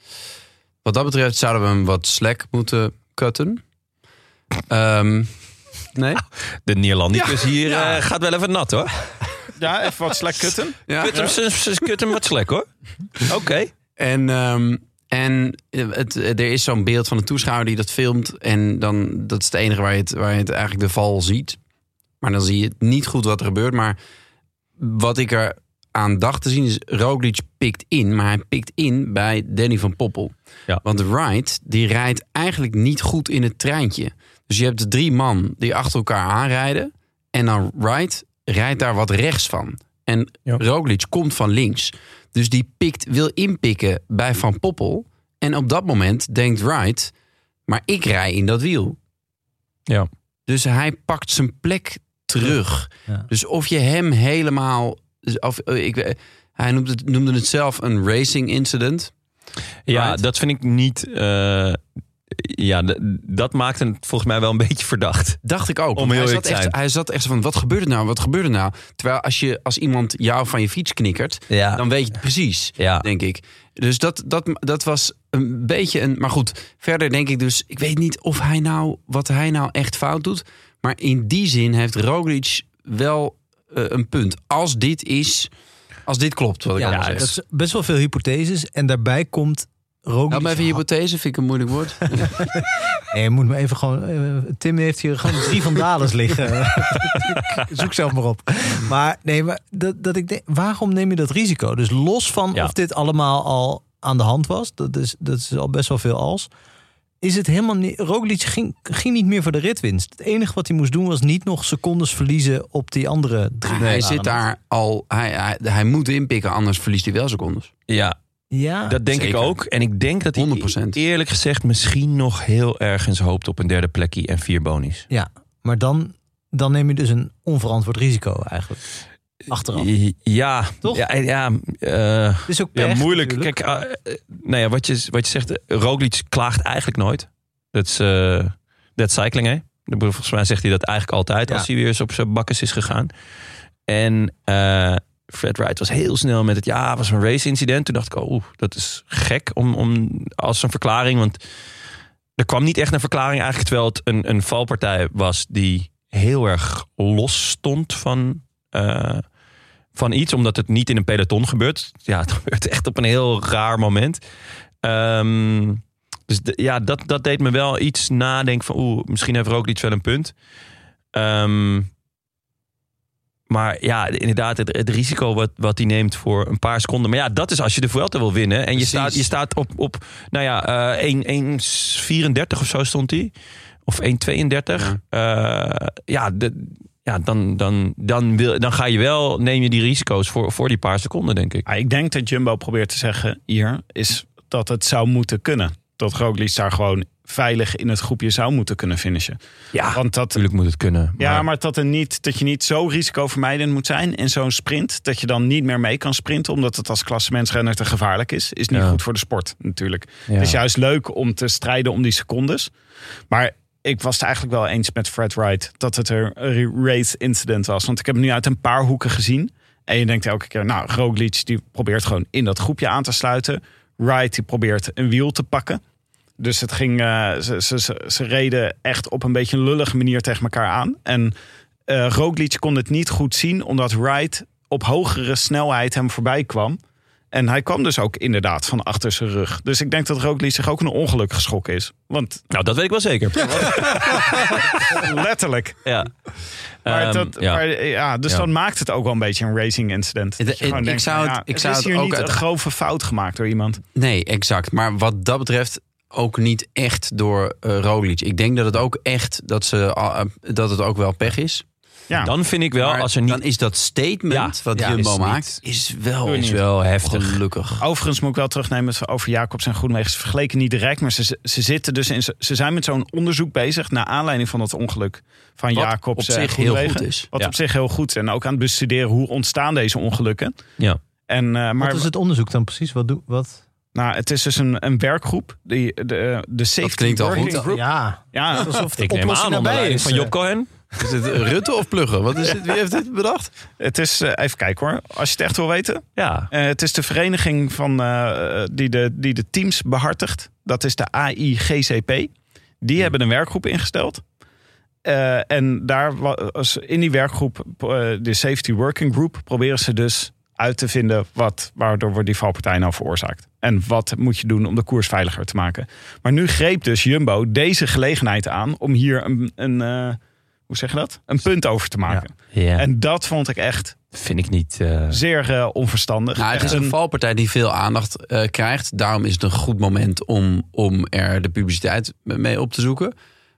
Wat dat betreft zouden we hem wat slack moeten cutten. Ehm, nee? De Neerlandicus hier eh, gaat wel even nat, hoor. Ja, even wat slecht kutten. Ja. Kut hem, ze- ze- kut hem wat slek, hoor. Oké. En, ehm, en eh, het, er is zo'n beeld van een toeschouwer die dat filmt. En dan, dat is het enige waar je het, waar je het eigenlijk de val ziet. Maar dan zie je het niet goed wat er gebeurt. Maar wat ik er aan dacht te zien is... Roglic pikt in, maar hij pikt in bij Danny van Poppel. Ja. Want Wright, die rijdt eigenlijk niet goed in het treintje. Dus je hebt drie man die achter elkaar aanrijden. En dan Wright rijdt daar wat rechts van. En Ja. Roglic komt van links. Dus die pikt, wil inpikken bij Van Poppel. En op dat moment denkt Wright, maar ik rij in dat wiel. Ja. Dus hij pakt zijn plek terug. Ja. Dus of je hem helemaal... Of, eh, ik, we- hij noemde het, noemde het zelf een racing incident. Ja, Right? dat vind ik niet. eh, ja, d- dat maakt het volgens mij wel een beetje verdacht. Dacht ik ook. Om want heel hij, zat eerlijk te echt, zijn. hij zat echt zo van, wat gebeurt er nou? Wat gebeurt er nou? Terwijl als, je, als iemand jou van je fiets knikkert... Ja. dan weet je het precies, Ja. denk ik. Dus dat, dat, dat was een beetje een... Maar goed, verder denk ik dus... Ik weet niet of hij nou, wat hij nou echt fout doet. Maar in die zin heeft Roglic wel eh, een punt. Als dit is... Als dit klopt, wat ik Ja, allemaal dat zeg. is best wel veel hypotheses. En daarbij komt Help me Roglic... even hypothese, vind ik een moeilijk woord. Nee, je moet me even gewoon... eh, Tim heeft hier gewoon drie vandales liggen. Zoek zelf maar op. Maar nee, maar dat, dat ik denk, waarom neem je dat risico? Dus los van Ja. of dit allemaal al aan de hand was. Dat is, dat is al best wel veel als. Is het helemaal niet... Roglic ging, ging niet meer voor de ritwinst. Het enige wat hij moest doen was niet nog secondes verliezen op die andere drie. hij banen. zit daar al... Hij, hij, hij moet inpikken, anders verliest hij wel secondes. Ja, Ja, dat denk zeker. ik ook. En ik denk dat hij 100%. eerlijk gezegd misschien nog heel ergens hoopt op een derde plekje en vier bonies. ja. maar dan, dan neem je dus een onverantwoord risico eigenlijk. Achteraf. Eh, Ja, Toch? Ja, ja, eh, Het is ook ja pech moeilijk. natuurlijk. Kijk, eh, eh, nou ja, wat je, wat je zegt, eh, Roglic klaagt eigenlijk nooit. Dat is eh, dat is cycling, hè? Ik bedoel, Volgens mij zegt hij dat eigenlijk altijd Ja. als hij weer eens op zijn bakkes is gegaan. En eh, Fred Wright was heel snel met het, ja, was een race-incident. Toen dacht ik, oh, dat is gek om, om, als een verklaring. Want er kwam niet echt een verklaring eigenlijk, terwijl het een, een valpartij was die heel erg los stond van, eh, van iets. Omdat het niet in een peloton gebeurt. Ja, het gebeurt echt op een heel raar moment. Ehm, dus d- ja, dat, dat deed me wel iets nadenken van... oeh, misschien heeft Roglic wel een punt. Ehm, maar ja, inderdaad, het, het risico wat, wat hij neemt voor een paar seconden. Maar ja, dat is als je de Vuelta wil winnen. En je Precies. staat, je staat op, op, nou ja, eh 1, 1,34 of zo stond hij. Of 1,32. Eh, ja, de, ja dan, dan, dan, wil, dan ga je wel, neem je die risico's voor, voor die paar seconden, denk ik. Ah, ik denk dat Jumbo probeert te zeggen hier, is dat het zou moeten kunnen. Dat Roglic daar gewoon veilig in het groepje zou moeten kunnen finishen. Ja, Want dat, natuurlijk moet het kunnen. ja, maar dat, er niet, dat je niet zo risicovermijdend moet zijn in zo'n sprint. Dat je dan niet meer mee kan sprinten, omdat het als klassementsrenner te gevaarlijk is. Is niet Ja. goed voor de sport natuurlijk. Ja. Het is juist leuk om te strijden om die secondes. Maar ik was het eigenlijk wel eens met Fred Wright dat het er een race incident was. Want ik heb hem nu uit een paar hoeken gezien. En je denkt elke keer, nou, Roglic die probeert gewoon in dat groepje aan te sluiten. Wright die probeert een wiel te pakken. Dus het ging, eh, ze, ze, ze, ze reden echt op een beetje een lullige manier tegen elkaar aan. En eh Roglic kon het niet goed zien, omdat Wright op hogere snelheid hem voorbij kwam. En hij kwam dus ook inderdaad van achter zijn rug. Dus ik denk dat Roglic zich ook een ongeluk geschokt is. Want Nou, dat weet ik wel zeker. letterlijk. Ja. Maar Ehm, dat, ja. maar, ja, dus Ja. dan maakt het ook wel een beetje een racing incident. Het- Dat je het- gewoon ik denkt, zou nou het- ja, ik zou is het hier ook niet uit- een grove fout gemaakt door iemand. Nee, exact. Maar wat dat betreft ook niet echt door eh, Roglic. Ik denk dat het ook echt dat, ze, ah, eh, dat het ook wel pech is. Ja. Dan vind ik wel, Maar als er dan niet... is dat statement Ja, wat ja, Jumbo is niet- maakt, is wel, is wel heftig. gelukkig. Overigens moet ik wel terugnemen dat we over Jacobs en Groenwegen. Ze vergeleken niet direct, maar ze, ze, zitten dus in, ze ze zijn met zo'n onderzoek bezig. naar aanleiding van dat ongeluk van Wat Jacobs op en zich heel Groenewegen. goed is. Wat Ja. op zich heel goed is. En ook aan het bestuderen hoe ontstaan deze ongelukken. Ja. En, eh, maar Wat is het onderzoek dan precies? Wat doe, wat? Nou, het is dus een, een werkgroep. Die, de, de safety klinkt al working goed. group. Ja, Ja, alsof de Ik neem oplossing aan, onder nabij leiding is. eh, van Job Cohen. Is het Rutte of Pluggen? Wat is dit? Wie heeft dit bedacht? het is, eh, even kijken hoor. Als je het echt wil weten. Ja. Eh, het is de vereniging van, eh, eh, die, de, die de teams behartigt. Dat is de AIGCP. Hmm. Die hebben een werkgroep ingesteld. Eh, en daar was, in die werkgroep, eh, de Safety Working Group, proberen ze dus uit te vinden wat, waardoor wordt die valpartij nou veroorzaakt. En wat moet je doen om de koers veiliger te maken. Maar nu greep dus Jumbo deze gelegenheid aan om hier een, een eh, hoe zeg je dat? Een punt over te maken. ja. En dat vond ik echt vind ik niet... eh, zeer eh, onverstandig. Nou, het Echt is een valpartij die veel aandacht eh, krijgt. Daarom is het een goed moment om, om er de publiciteit mee op te zoeken.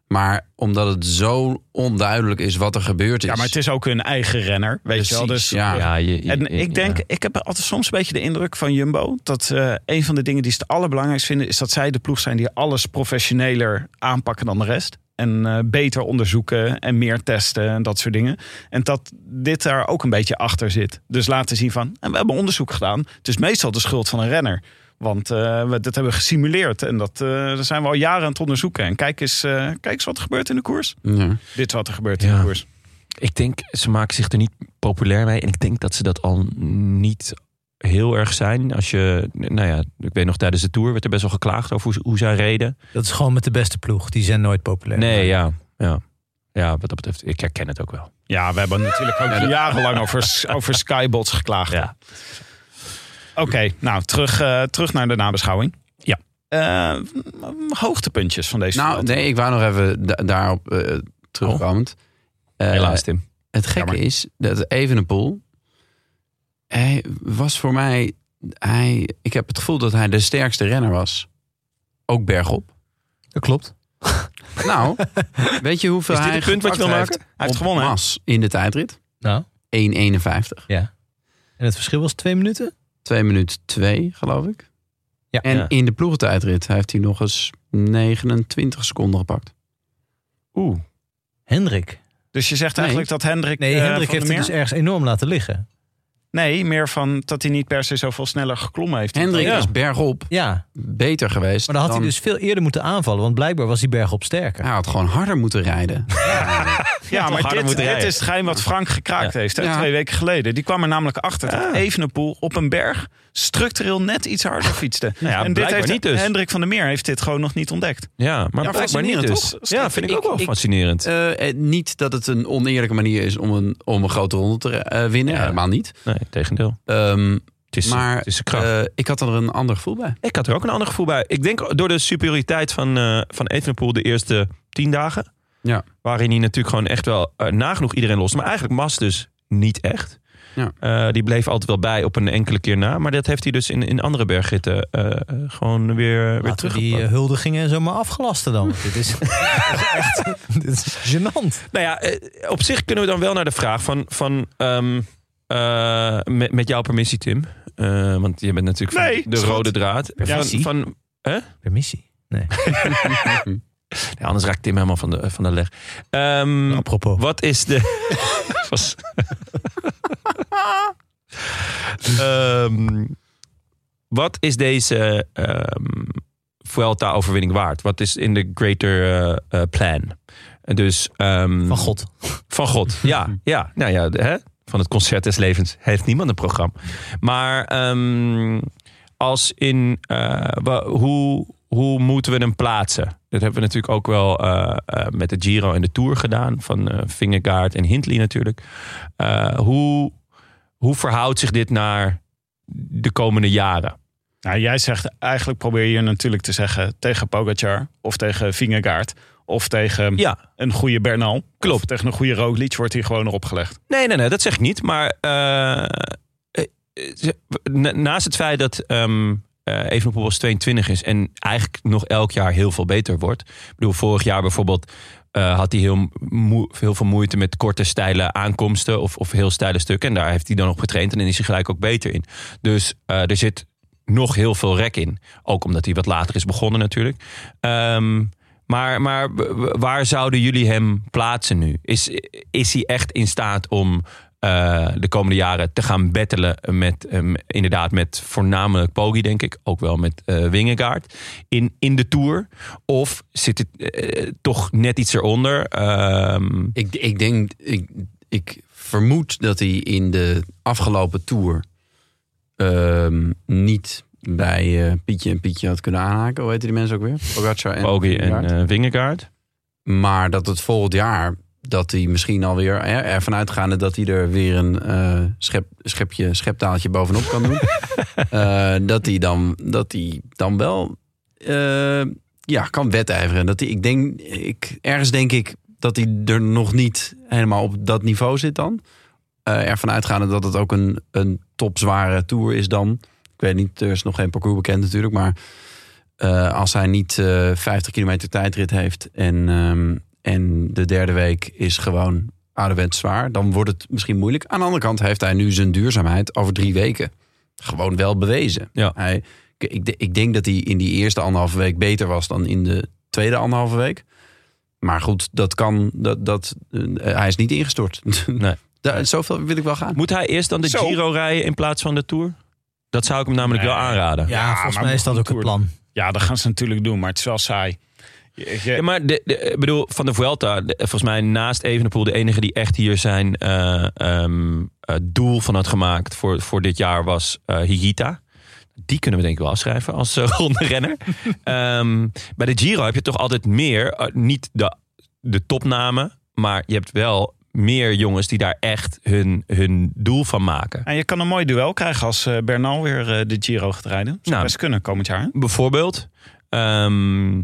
Maar omdat het zo onduidelijk is wat er gebeurd is. Ja, maar het is ook hun eigen renner. Weet je wel. Dus, Precies, ja. ja, je, je- En ik denk, ja. ik heb altijd soms een beetje de indruk van Jumbo. dat eh, een van de dingen die ze het allerbelangrijkst vinden. is dat zij de ploeg zijn die alles professioneler aanpakken dan de rest. En eh, beter onderzoeken en meer testen en dat soort dingen. En dat dit daar ook een beetje achter zit. Dus laten zien van, en we hebben onderzoek gedaan. Het is meestal de schuld van een renner. Want eh, we, dat hebben we gesimuleerd. En dat, eh, daar zijn we al jaren aan het onderzoeken. En kijk eens, eh, kijk eens wat er gebeurt in de koers. Ja. Dit is wat er gebeurt in Ja. de koers. Ik denk, ze maken zich er niet populair mee. En ik denk dat ze dat al niet heel erg zijn. Als je, nou ja, ik weet nog, tijdens de Tour werd er best wel geklaagd over hoe, hoe zij reden. Dat is gewoon met de beste ploeg. Die zijn nooit populair. Nee, ja, ja. Ja, wat dat betreft, ik herken het ook wel. Ja, we hebben natuurlijk ook jarenlang over, over skybots geklaagd. Ja. Oké, nou terug, eh, terug naar de nabeschouwing. Ja. Eh, m- hoogtepuntjes van deze Nou, Vuelta. nee, ik wou nog even da- daarop eh terugkomend. Eh, Oh. Helaas, Tim. Het gekke Jammer. is dat Evenepoel... Hij was voor mij... Hij, ik heb het gevoel dat hij de sterkste renner was. Ook bergop. Dat klopt. Nou, weet je hoeveel Is dit hij het punt wat je wil gepakt maken? heeft Hij heeft op gewonnen, hè? Mas in de tijdrit. Nou, 1,51. en het verschil was twee minuten? 2 minuten 2, geloof ik. Ja. En Ja. in de ploegentijdrit heeft hij nog eens 29 seconden gepakt. Oeh. Hendrik. Dus je zegt Nee. eigenlijk dat Hendrik. Nee, eh, Hendrik van heeft de het dus Meer- ergens enorm laten liggen. Nee, meer van dat hij niet per se zoveel sneller geklommen heeft. Hendrik Ja. is bergop Ja, beter geweest. maar dan had hij dus veel eerder moeten aanvallen. Want blijkbaar was die berg op sterker. Hij had gewoon harder moeten rijden. Ja, maar harder dit, moeten dit rijden. is het geheim wat Frank gekraakt heeft. Hè, Ja. Twee weken geleden. Die kwam er namelijk achter dat Evenepoel op een berg structureel net iets harder fietste. ja, en dit blijkbaar heeft niet dus. Hendrik van der Meer heeft dit gewoon nog niet ontdekt. Ja, maar blijkbaar niet fascinerend, dus. toch? Ja, vind ik, Ik- ook wel ik- fascinerend. Eh, eh, niet dat het een oneerlijke manier is om een, om een grote ronde te eh, winnen. Ja. Helemaal niet. nee, tegendeel. Ehm, Het is, maar het is de kracht. eh, ik had er een ander gevoel bij. Ik had er ook een ander gevoel bij. Ik denk door de superioriteit van, eh van Evenepoel de eerste tien dagen. Ja. Waarin hij natuurlijk gewoon echt wel eh, nagenoeg iedereen los. Maar eigenlijk Mas dus niet echt. Ja. Eh, die bleef altijd wel bij op een enkele keer na. Maar dat heeft hij dus in, in andere bergritten eh, eh, gewoon weer, weer Laten we die teruggepakt. eh, huldigingen zomaar afgelasten dan. Want dit is echt dit is gênant. Nou ja, eh, op zich kunnen we dan wel naar de vraag van... van ehm, eh, met, met jouw permissie, Tim. Eh, want je bent natuurlijk van Nee, de schat. rode draad. Van, Permissie? van, Permissie. Nee, ja, anders raakt Tim helemaal van de, van de leg. Ehm, apropos. Wat is de. Was- Ehm, wat is deze ehm Vuelta-overwinning waard? Wat is in de greater eh, eh, plan? En Dus, ehm, Van God. Van God, ja. ja nou ja, de- hè? van het concert des levens heeft niemand een programma. Maar ehm, als in, eh, wa- hoe, hoe moeten we hem plaatsen? Dat hebben we natuurlijk ook wel eh, eh, met de Giro en de Tour gedaan. Van eh Vingegaard en Hindley natuurlijk. Eh, hoe, hoe verhoudt zich dit naar de komende jaren? Nou, jij zegt eigenlijk probeer je natuurlijk te zeggen tegen Pogacar of tegen Vingegaard of tegen Ja, een goede Bernal. Klopt. Of tegen een goede Roglic wordt hier gewoon erop gelegd. nee, nee, nee, dat zeg ik niet. Maar eh, eh, ze- na- naast het feit dat ehm eh Evenepoel als 22 is en eigenlijk nog elk jaar heel veel beter wordt. Ik bedoel, vorig jaar bijvoorbeeld eh, had hij heel, moe- heel veel moeite met korte, steile aankomsten of, of heel steile stukken. En daar heeft hij dan op getraind en dan is hij gelijk ook beter in. Dus eh, er zit nog heel veel rek in. Ook omdat hij wat later is begonnen natuurlijk. Ehm, maar maar w- w- waar zouden jullie hem plaatsen nu? Is, is hij echt in staat om eh, de komende jaren te gaan battelen met, eh, m- inderdaad, met voornamelijk Poggi, denk ik. Ook wel met eh Wingegaard in, in de Tour. Of zit het eh, toch net iets eronder? Ehm, Ik, ik denk, ik, ik vermoed dat hij in de afgelopen tour ehm, niet bij eh, Pietje en Pietje had kunnen aanhaken. Hoe heten die mensen ook weer? Pogacar en Poggi en Vingegaard. eh Wingegaard. Maar dat het volgend jaar, dat hij misschien alweer hè, ervan uitgaande dat hij er weer een eh, schep, schepje, scheptaaltje bovenop kan doen. eh, dat, hij dan, dat hij dan wel eh, ja, kan wedijveren. Dat hij, ik denk, ik, ergens denk ik dat hij er nog niet helemaal op dat niveau zit dan. Eh ervan uitgaande dat het ook een, een topzware tour is dan. Ik weet niet, er is nog geen parcours bekend natuurlijk, maar eh, als hij niet eh, 50 kilometer tijdrit heeft en, ehm, en de derde week is gewoon ouderwets zwaar, dan wordt het misschien moeilijk. Aan de andere kant heeft hij nu zijn duurzaamheid over drie weken gewoon wel bewezen. Ja. Hij, ik, ik, ik denk dat hij in die eerste anderhalve week beter was dan in de tweede anderhalve week. Maar goed, dat kan. Dat, dat, eh, hij is niet ingestort. Nee. Daar, zoveel wil ik wel gaan. Moet hij eerst dan de Zo. Giro rijden in plaats van de Tour? Dat zou ik hem namelijk Nee. wel aanraden. Ja, Ja, volgens maar mij is dat ook het Tour- plan. Ja, dat gaan ze natuurlijk doen, maar het is wel saai. Je- je- Ja, maar de, de- ik bedoel, van de Vuelta, de- volgens mij naast Evenepoel de enige die echt hier zijn eh, ehm, eh, doel van had gemaakt voor, voor dit jaar was eh, Higita. Die kunnen we denk ik wel afschrijven als eh, ronde renner. Ehm, bij de Giro heb je toch altijd meer, eh, niet de, de topnamen, maar je hebt wel meer jongens die daar echt hun, hun doel van maken. En je kan een mooi duel krijgen als eh, Bernal weer eh, de Giro gaat rijden. Zou Nou. best kunnen komend jaar. hè? bijvoorbeeld. Ehm,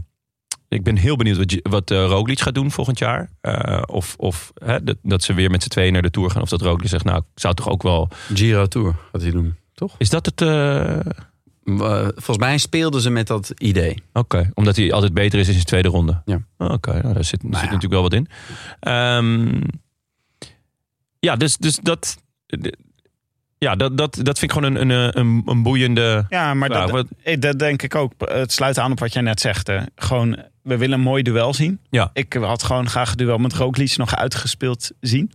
ik ben heel benieuwd wat, G- wat eh, Roglic gaat doen volgend jaar. Eh, of of hè, dat, dat ze weer met z'n tweeën naar de Tour gaan. Of dat Roglic zegt, nou, ik zou toch ook wel... Giro Tour gaat hij doen. Is dat het... eh, Eh, volgens mij speelden ze met dat idee. Oké, omdat hij altijd beter is in zijn tweede ronde. Ja. Oké, nou, daar zit, zit ja. natuurlijk wel wat in. Ehm, ja, dus, dus dat... d- Ja, dat, dat, dat vind ik gewoon een, een, eh, een, een boeiende... Ja, maar vraag. dat, Wat- Eh, Dat denk ik ook. Het sluit aan op wat jij net zegt. Hè. Gewoon, we willen een mooi duel zien. Ja. Ik had gewoon graag het duel met Roglic nog uitgespeeld zien.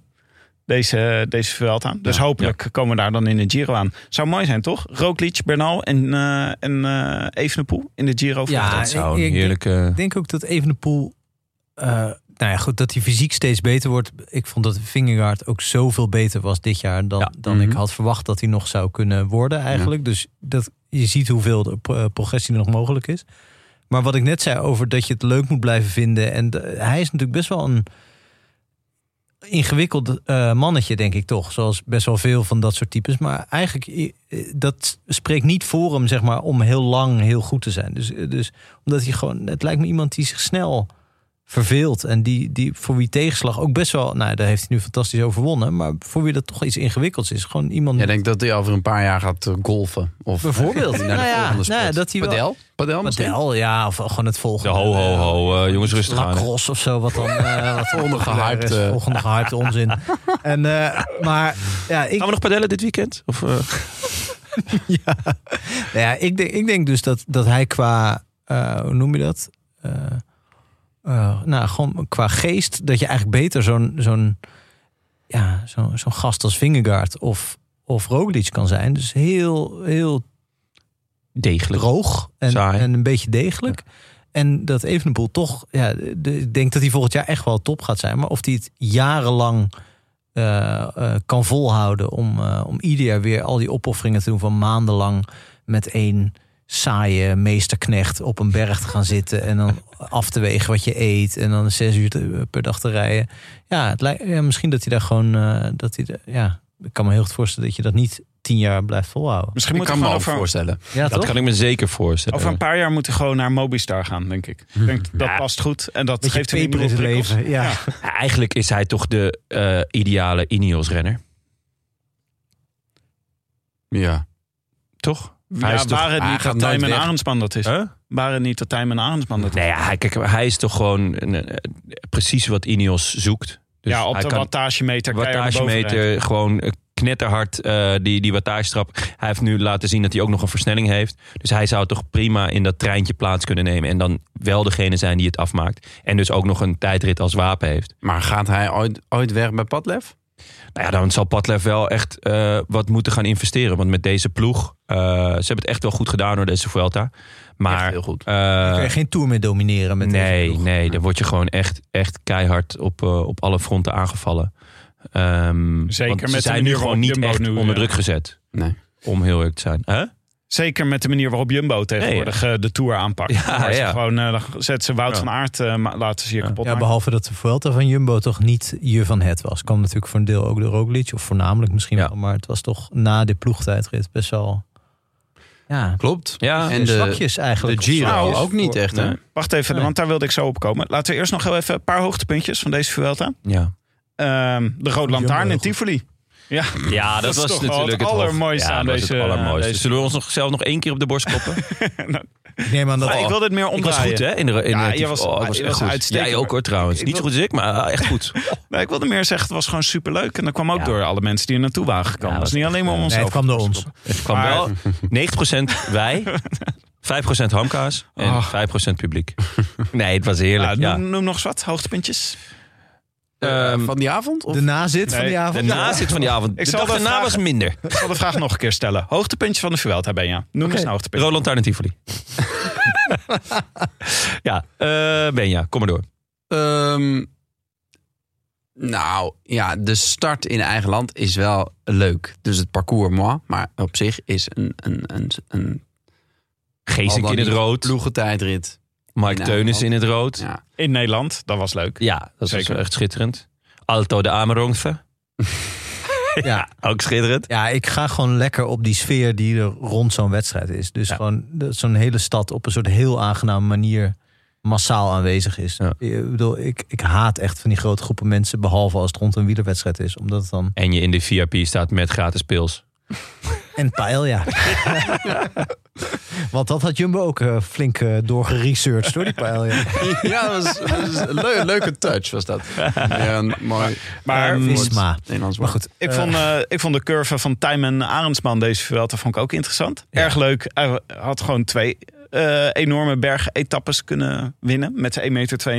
Deze, deze Vuelta. Dus Ja. hopelijk komen we daar dan in de Giro aan. Zou mooi zijn, toch? Roglic, Bernal en, eh, en eh Evenepoel in de Giro. Ja, dat zou Oh, ik- een ik- heerlijke... Ik denk ook dat Evenepoel... eh nou ja, goed, dat hij fysiek steeds beter wordt. Ik vond dat Vingegaard ook zoveel beter was dit jaar... dan, Ja. dan ik Mhm. had verwacht dat hij nog zou kunnen worden eigenlijk. Dus dat, je ziet hoeveel de pro- eh, progressie er nog mogelijk is. Maar wat ik net zei over dat je het leuk moet blijven vinden... en de- hij is natuurlijk best wel een ingewikkeld eh, mannetje, denk ik toch. Zoals best wel veel van dat soort types. Maar eigenlijk, eh, eh, dat spreekt niet voor hem, zeg maar, om heel lang heel goed te zijn. Dus, eh, dus omdat hij gewoon, het lijkt me iemand die zich snel verveelt. En die, die voor wie tegenslag ook best wel, nou, daar heeft hij nu fantastisch overwonnen. Maar voor wie dat toch iets ingewikkelds is. Gewoon iemand. Jij denkt dat hij over een paar jaar gaat eh, golfen. Of Bijvoorbeeld. Naar de Nou ja, volgende sport. nou ja, dat hij wel- Padel? Padel misschien? Padel, ja, of gewoon het De volgende. ho, ho, ho. eh, jongens, rustig aan. hè. eh. Lacrosse of zo, wat dan. eh wat dan Volgende populair is. gehypte. Volgende gehypte onzin. En, eh, maar ja, ik, Gaan we nog padellen dit weekend? Of, eh? ja. Nou ja, ik denk, ik denk dus dat, dat hij qua, eh, hoe noem je dat? Eh, eh, nou, gewoon qua geest, dat je eigenlijk beter zo'n zo'n ja, zo, zo'n gast als Vingegaard of, of Roglic kan zijn. Dus heel, heel Degelijk. droog en, Saai. en een beetje degelijk. En dat Evenepoel toch, ja, de- ik denk dat hij volgend jaar echt wel top gaat zijn. Maar of hij het jarenlang eh, eh, kan volhouden om, eh, om ieder jaar weer al die opofferingen te doen van maandenlang met één saaie meesterknecht op een berg te gaan zitten en dan af te wegen wat je eet en dan zes uur te- per dag te rijden. Ja, het lijkt, ja, misschien dat hij daar gewoon, eh, dat hij, de- ja, ik kan me heel goed voorstellen dat je dat niet tien jaar blijft volhouden. Misschien Ik moet kan hij me gewoon ook over, voorstellen. Ja, Dat toch? kan ik me zeker voorstellen. over een paar jaar moet hij gewoon naar Mobistar gaan, denk ik. Ik denk, dat past goed en dat geeft hem peper in nieuwe het prikkels. leven. Ja. Eigenlijk is hij toch de eh, ideale Ineos-renner, Ja. toch? Ja, Hij is toch... waren het hij niet gaat dat Tijmen nooit weg. Arendsman dat is. Huh? Waren het niet dat Tijmen Arendsman dat is. Nee, ja, hij- kijk, hij is toch gewoon een, eh, precies wat Ineos zoekt. Dus ja, op hij de kan wattagemeter. keihard bovenrijden. wattagemeter gewoon eh, knetterhard eh, die, die wattagestrap. Hij heeft nu laten zien dat hij ook nog een versnelling heeft. Dus hij zou toch prima in dat treintje plaats kunnen nemen. En dan wel degene zijn die het afmaakt. En dus ook nog een tijdrit als wapen heeft. Maar gaat hij ooit, ooit weg bij Padlef? Nou ja, dan zal Padlef wel echt eh, wat moeten gaan investeren. Want met deze ploeg, eh, ze hebben het echt wel goed gedaan door deze Vuelta. Maar Echt heel goed. eh, kan je geen tour meer domineren met deze nee, ploeg. nee, dan word je gewoon echt, echt keihard op, eh, op alle fronten aangevallen. Ehm, Zeker want met ze de zijn manier nu gewoon waarop niet Jumbo echt nu, onder eh, druk gezet. Nee. Om heel eerlijk te zijn. Huh? Zeker met de manier waarop Jumbo tegenwoordig eh, de Tour aanpakt. Ja, Waar ze ja. Gewoon, eh, dan zet ze Wout Ja. van Aert, eh, ma- laten ze hier kapot Ja, maken. behalve dat de Vuelta van Jumbo toch niet je van het was. Kwam natuurlijk voor een deel ook door Roglic, of voornamelijk misschien Ja. wel. Maar het was toch na de ploegtijdrit best wel... Ja, Klopt. Ja, en de, zwakjes eigenlijk. de Giro Nou, ook niet echt, hè? Nee. Wacht even, Nee. want daar wilde ik zo op komen. Laten we eerst nog heel even een paar hoogtepuntjes van deze Vuelta. Ja. Ehm, de Rode Lantaarn heel in goed. Tivoli. Ja, ja, dat, is was toch wel natuurlijk het hoofd- allermooiste ja, aan dat was deze- het allermooiste. deze- Zullen we ons nog, zelf nog één keer op de borst kloppen? Ik neem aan dat... Ah, ik wil dit meer ik was omdraaien. goed, hè? In de, in Ja, de- je was- ik je was goed. uitstekend. Jij ook, hoor, trouwens. Ik Niet zo wil- goed als ik, maar eh, echt goed. Nee, ik wilde meer zeggen, het was gewoon superleuk. En dat kwam ook Ja. door alle mensen die er naartoe waren gekomen. Ja, eh, dat is dat niet alleen maar om Nee, het onszelf. kwam door ons. Het kwam Maar- wel 90% wij, 5% 5% hamkaas en Oh. 5% publiek. Ah. Nee, het was heerlijk. Nou, ja. noem, noem nog eens wat hoogtepuntjes. Eh, Ehm, van die avond? Of? De nazit van Nee, die De avond. nazit van die avond. Ik de zal dag dat daarna was vragen. minder. Ik zal de vraag nog een keer stellen. Hoogtepuntje van de Vuelta ben je. Noem eens een hoogtepuntje. Roland Taarn en Tivoli. ja, eh, Benja, kom maar door. Ehm, nou, ja, de start in eigen land is wel leuk. Dus het parcours, moi, maar op zich is een, een, een, een Geesink al in dan het niet rood. ploegentijdrit. Mike Teunis in het rood. Ja. In Nederland, dat was leuk. Ja, dat is Zeker. echt schitterend. Alto de Amerongfe. Ja. Ook schitterend. Ja, ik ga gewoon lekker op die sfeer die er rond zo'n wedstrijd is. Dus Ja. gewoon dat zo'n hele stad op een soort heel aangename manier massaal aanwezig is. Ja. Ik bedoel, ik, ik haat echt van die grote groepen mensen, behalve als het rond een wielerwedstrijd is. Omdat het dan... En je in de VIP staat met gratis pils. En paella. Want dat had Jumbo ook eh, flink eh, doorgeresearched door die paella. Ja, dat was, dat was een leu- leuke touch was dat. Ja, een mooi Maar Ehm, woord. Visma. Nederlands Maar woord. goed. ik, eh, vond, eh, ik vond de curve van Tijmen Arendsman deze Vuelta vond ik ook interessant. Erg leuk. Hij had gewoon twee eh, enorme bergetappes kunnen winnen met zijn 1,92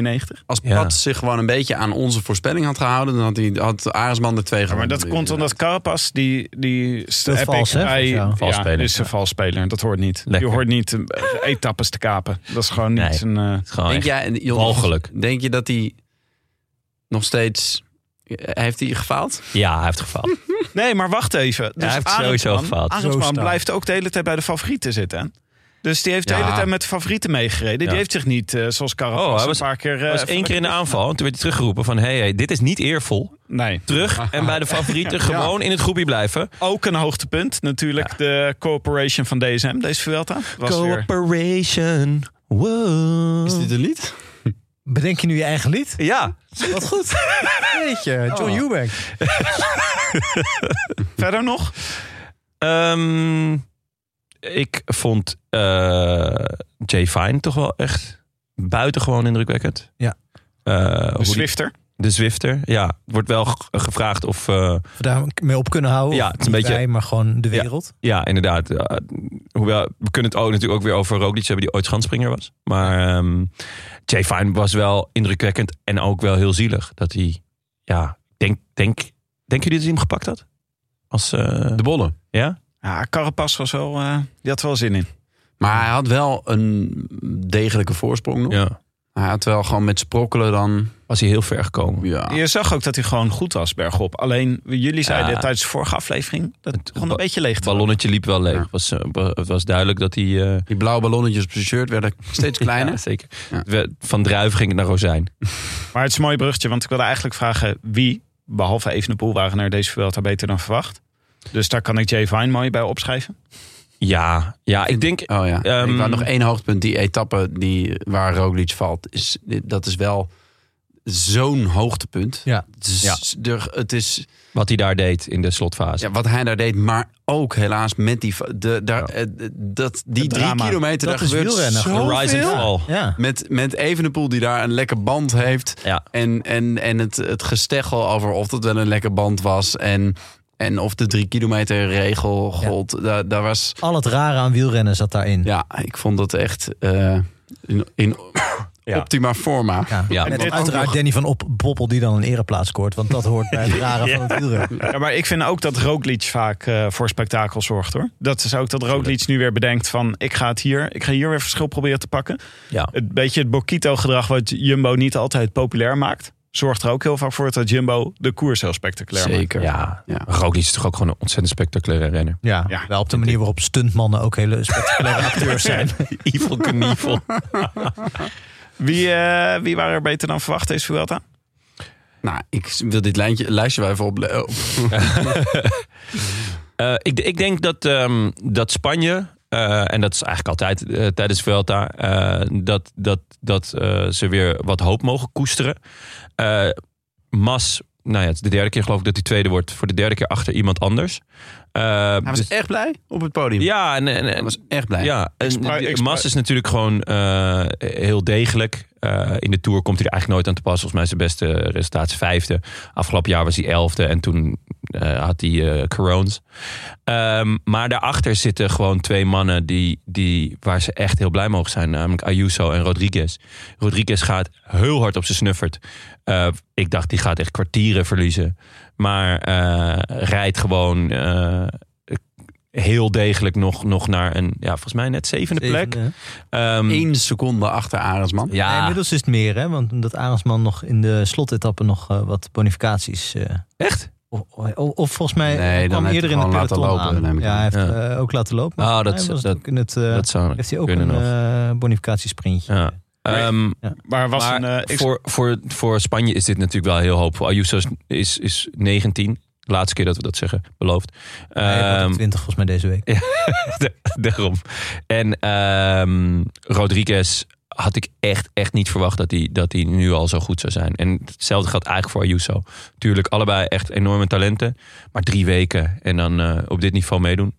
meter. Als Ja. Pat zich gewoon een beetje aan onze voorspelling had gehouden, dan had, hij, had Aresman er twee Ja, maar gewonnen. dat komt omdat Carapas, die, die Dat vals, hè? hij, Ja. ja, Valsspeler. is een valsspeler. Dat hoort niet. Lekker. Je hoort niet eh, etappes te kapen. Dat is gewoon niet Nee. zijn... eh, Het is gewoon Denk Oh, echt- jij, Jon, walgelijk. Denk je dat hij nog steeds... Heeft hij gefaald? Ja, hij heeft gefaald. Nee, maar wacht even. Dus hij heeft sowieso Arendsman- gefaald. Zo Arendsman staan. blijft ook de hele tijd bij de favorieten zitten. hè? Dus die heeft de Ja. hele tijd met de favorieten meegereden. Ja. Die heeft zich niet, eh, zoals Carapaz, Oh, hij was- een paar keer... eh, Hij was één keer in de aanval. En toen werd hij teruggeroepen van... Hey, hey, dit is niet eervol. Nee. Terug en bij de favorieten gewoon in het groepje blijven. Ook een hoogtepunt natuurlijk. De cooperation van DSM, deze Vuelta. Was weer... Cooperation. Wow. Is dit een lied? Bedenk je nu je eigen lied? Ja, Wat goed. Weet je, John Oh. Eubank. Verder Oh, nog? Ehm, ik vond eh, Jay Fine toch wel echt buitengewoon indrukwekkend. Ja. Eh, De hoe die- Swifter. de Zwifter. Ja, Er wordt wel ge- gevraagd of... eh, Of we daar mee op kunnen houden. Ja, Of het is een niet beetje- wij, maar gewoon de wereld. ja, inderdaad. eh, hoewel, we kunnen het ook natuurlijk ook weer over Roglic hebben... die ooit schansspringer was. Maar ehm Jay Fine was wel indrukwekkend en ook wel heel zielig. Dat hij... Ja, denk, denk, denk jullie dat hij hem gepakt had? Als, eh, De bollen. ja? Ja, Carapaz was wel... eh, die had wel zin in. Maar hij had wel een degelijke voorsprong nog. ja. Hij had wel gewoon met sprokkelen dan... Was hij heel ver gekomen. Ja, Je zag ook dat hij gewoon goed was bergop. Alleen, jullie zeiden Ja. tijdens de vorige aflevering... dat het Het gewoon ba- een beetje leeg Het ballonnetje liep wel leeg. Ja. Het was, eh, wa- het was duidelijk dat hij... eh, die blauwe ballonnetjes op zijn shirt werden steeds kleiner. Ja, zeker. Ja. We- Van druif ging het naar rozijn. Maar het is een mooi bruggetje, want ik wilde eigenlijk vragen wie, behalve Evenepoel, waren naar deze Vuelta beter dan verwacht. Dus daar kan ik Jay Vine mooi bij opschrijven. Ja, ja ik denk... Oh ja. Ehm, ik wou nog één hoogtepunt. Die etappe die, waar Roglic valt, is, dat is wel zo'n hoogtepunt. Ja. Het is, er- het is Wat hij daar deed in de slotfase. ja, wat hij daar deed, maar ook helaas met die... va- De, daar, Ja. eh, dat, die Het drie drama. kilometer, Dat daar is gebeurt wielrennen. zo- De rise and fall. Ja. Met, met Evenepoel die daar een lekker band heeft. Ja. En, en, en het, het gesteggel over of dat wel een lekker band was. En, en of de drie kilometer regel gold. Daar, daar was... Al het rare aan wielrennen zat daarin. Ja, ik vond dat echt eh, in, in Ja. optima forma. Ja. Ja. Met En dit uiteraard ook nog- Danny van Op Boppel die dan een ereplaats scoort. Want dat hoort bij het rare van het wielrennen. Ja, maar ik vind ook dat Roglic vaak eh, voor spektakel zorgt hoor. Dat is ook dat Roglic nu weer bedenkt van ik ga het hier, ik ga hier weer verschil proberen te pakken. Ja. Het beetje het Bokito gedrag wat Jumbo niet altijd populair maakt, zorgt er ook heel vaak voor dat Jumbo de koers heel spectaculair maakt. Zeker. Ja. Ja. Roglic is toch ook gewoon een ontzettend spectaculaire renner. Ja, Ja. wel op de manier waarop stuntmannen ook hele spectaculaire acteurs zijn. Evil Knievel. Wie, eh, wie waren er beter dan verwacht deze Vuelta? Nou, ik wil dit lijntje, lijstje wel even op. op- Eh, ik, ik denk dat, ehm, dat Spanje, eh, en dat is eigenlijk altijd eh, tijdens Vuelta, eh, dat, dat, dat eh, ze weer wat hoop mogen koesteren. Eh Mas, nou ja, het is de derde keer geloof ik dat hij tweede wordt, voor de derde keer achter iemand anders. Eh, Hij was dus- echt blij op het podium. ja, en, en, Hij en- was echt blij. ja, en spra- die- ik spra- Mas is natuurlijk gewoon eh, heel degelijk. Eh, in de Tour komt hij er eigenlijk nooit aan te pas. Volgens mij is zijn beste resultaat is vijfde. Afgelopen jaar was hij elfde en toen eh, had hij eh corones. Ehm, maar daarachter zitten gewoon twee mannen die, die, waar ze echt heel blij mogen zijn. Namelijk Ayuso en Rodriguez. Rodriguez gaat heel hard op zijn snuffert. Eh, ik dacht, die gaat echt kwartieren verliezen. Maar eh, rijdt gewoon eh, heel degelijk nog, nog naar een, ja, volgens mij net zevende plek. Zevende. Ehm, Eén seconde achter Arendsman. eh. Nee, ja, inmiddels is het meer, hè? Want omdat Arendsman nog in de slotetappe nog eh, wat bonificaties... eh, echt? o- o- o- of volgens mij Nee, dan kwam heeft eerder hij in het gewoon laten peloton lopen, aan. neem ik ja, hij aan. Ja. heeft eh, ook laten lopen. Ah, Maar volgens dat- mij was het dat- ook in het, eh, dat zou heeft hij ook kunnen een nog. eh bonificatiesprintje. Ja. Ehm, Maar was maar een, eh, ik- voor, voor, voor Spanje is dit natuurlijk wel heel hoopvol. Ayuso is, is, is 19. De laatste keer dat we dat zeggen, beloofd. hij wordt Ehm, op 20 volgens mij deze week. Daarom. En ehm, Rodriguez had ik echt, echt niet verwacht dat hij dat die nu al zo goed zou zijn. En hetzelfde geldt eigenlijk voor Ayuso. Tuurlijk, allebei echt enorme talenten. Maar drie weken en dan eh, op dit niveau meedoen.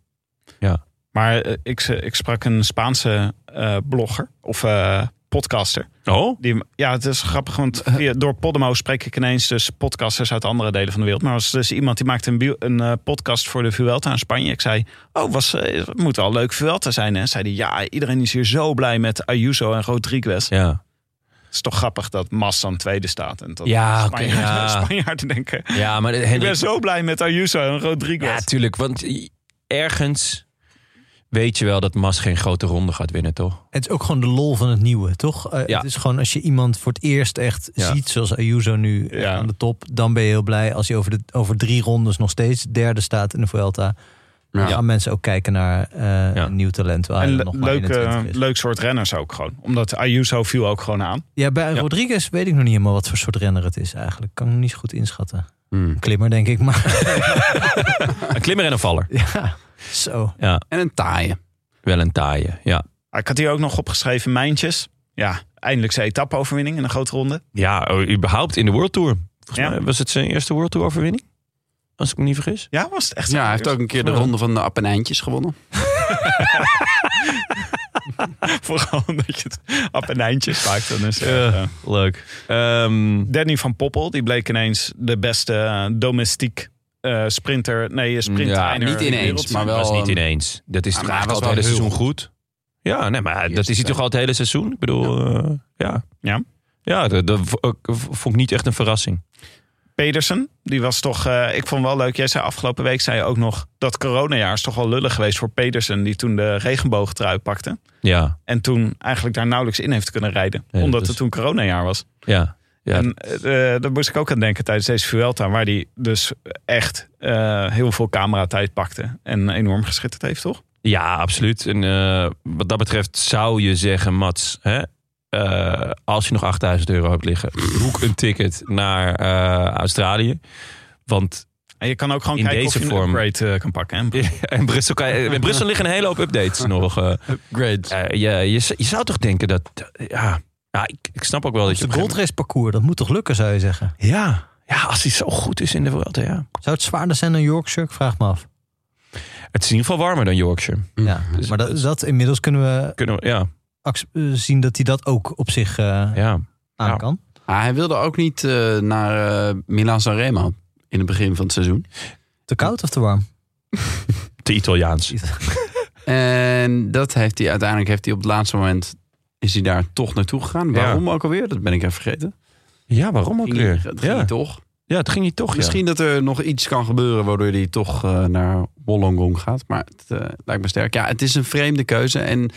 maar eh, ik, eh, ik sprak een Spaanse eh, blogger of eh, podcaster. Oh? Die, ja, het is grappig, want via- door Podemo spreek ik ineens dus podcasters uit andere delen van de wereld. Maar er was dus iemand die maakte een, bio- een eh, podcast voor de Vuelta in Spanje. Ik zei, oh, was, eh, het moet al leuk Vuelta zijn. En zei die, ja, iedereen is hier zo blij met Ayuso en Rodriguez. Ja. Het is toch grappig dat Mas dan tweede staat. En dat Ja, oké, Spanjaarden, ja. Spanjaarden denken, ja, maar ik Henrik, ben zo blij met Ayuso en Rodriguez. Ja, tuurlijk. Want ergens weet je wel dat Mas geen grote ronde gaat winnen, toch? Het is ook gewoon de lol van het nieuwe, toch? Eh, Ja. Het is gewoon als je iemand voor het eerst echt Ja. ziet, zoals Ayuso nu eh, Ja. aan de top, dan ben je heel blij als hij over, de, over drie rondes nog steeds derde staat in de Vuelta. Dan gaan mensen ook kijken naar eh, een nieuw talent waar en hij le- nog maar leuk, eh, 21 is. leuk soort renners ook gewoon. Omdat Ayuso viel ook gewoon aan. Ja, bij ja. Rodriguez weet ik nog niet helemaal wat voor soort renner het is eigenlijk. Kan ik nog niet zo goed inschatten. Hmm. Een klimmer denk ik, maar Een klimmer en een valler. ja, zo. Ja, En een taaie. wel een taaie. Ja, Ah, Ik had hier ook nog opgeschreven, Mijntjes. Ja, eindelijk zijn etappe-overwinning in een grote ronde. ja oh, überhaupt in de World Tour. Volgens Ja. mij was het zijn eerste World Tour overwinning. Als ik me niet vergis. Ja, was het echt Ja, hij heeft ook een keer de ronde van de Appenijntjes gewonnen. Vooral omdat je het appenijntjes maakt. Dan is, het, eh, Leuk. Ehm, Danny van Poppel, die bleek ineens de beste eh, domestiek eh, sprinter. Nee, sprinter. Ja, niet ineens, maar wel- dat was niet ehm, ineens. Dat is maar toch hij eigenlijk al het was hele wel seizoen heel goed. Ja, nee, maar dat is hij Eerste. toch al het hele seizoen? Ik bedoel, eh, ja. Ja. Ja, dat, dat v- ook- v- vond ik niet echt een verrassing. Pedersen, die was toch... eh, ik vond wel leuk, jij zei afgelopen week zei je ook nog... dat coronajaar is toch wel lullig geweest voor Pedersen... die toen de regenboogtrui pakte. Ja, En toen eigenlijk daar nauwelijks in heeft kunnen rijden. Nee, dat omdat is- het toen coronajaar was. ja. ja. En eh, eh, daar moest ik ook aan denken tijdens deze Vuelta. Waar hij dus echt eh, heel veel cameratijd pakte. En enorm geschitterd heeft, toch? Ja, absoluut. En eh, wat dat betreft zou je zeggen, Mats, hè, eh, als je nog 8000 euro hebt liggen, boek een ticket naar eh, Australië. Want En je kan ook gewoon In kijken deze of je vorm. een upgrade eh, kan pakken. En in Brussel, kan je- in Brussel liggen een hele hoop updates nog. eh. Great. Eh, je, je, z- je zou toch denken dat... ja, ja ik, ik snap ook wel dat je... De op een gegeven goldrace parcours, dat moet toch lukken zou je zeggen? moment- Ja, ja, als hij zo goed is in de wereld, ja. Zou het zwaarder zijn dan Yorkshire? Ik vraag me af. Het is in ieder geval warmer dan Yorkshire. Ja, Dus- maar dat, dat inmiddels kunnen we Kunnen we, ja, ac- eh, zien dat hij dat ook op zich eh, ja. aan Ja. kan. Ah, hij wilde ook niet eh, naar eh Milan Sanremo in het begin van het seizoen. Te koud of te warm? Te Italiaans. En dat heeft hij uiteindelijk heeft hij op het laatste moment is hij daar toch naartoe gegaan. Waarom ook alweer? Dat ben ik even vergeten. Ja, waarom ook Ging hij- weer? dat ging Ja. hij toch. ja, het ging niet toch, ja. Misschien dat er nog iets kan gebeuren waardoor hij toch eh, naar Wollongong gaat. Maar het eh, lijkt me sterk. Ja, het is een vreemde keuze. En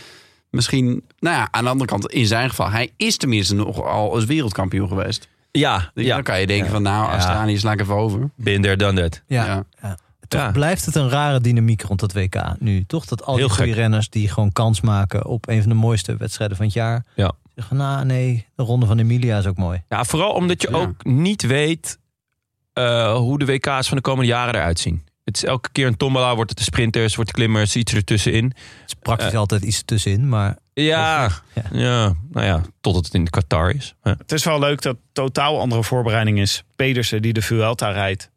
misschien, nou ja, aan de andere kant, in zijn geval, hij is tenminste nog al als wereldkampioen geweest. Ja, Dus ja. Dan kan je denken van, nou, Australië is laat ik even over. Binder dan dat. Ja. Ja. Toch Ja. blijft het een rare dynamiek rond dat WK nu. Toch dat al die Heel goede gek. renners die gewoon kans maken op een van de mooiste wedstrijden van het jaar. Ja. Zeggen, nou nee, de ronde van Emilia is ook mooi. Ja, vooral omdat je Ja. ook niet weet eh, hoe de WK's van de komende jaren eruit zien. Het is elke keer een tombola, wordt het de sprinters, wordt de klimmers, iets ertussenin. Het is praktisch altijd iets tussenin, maar Ja, Ja. ja. nou ja, totdat het in Qatar is. hè. Het is wel leuk dat totaal andere voorbereiding is. Pedersen die de Vuelta rijdt.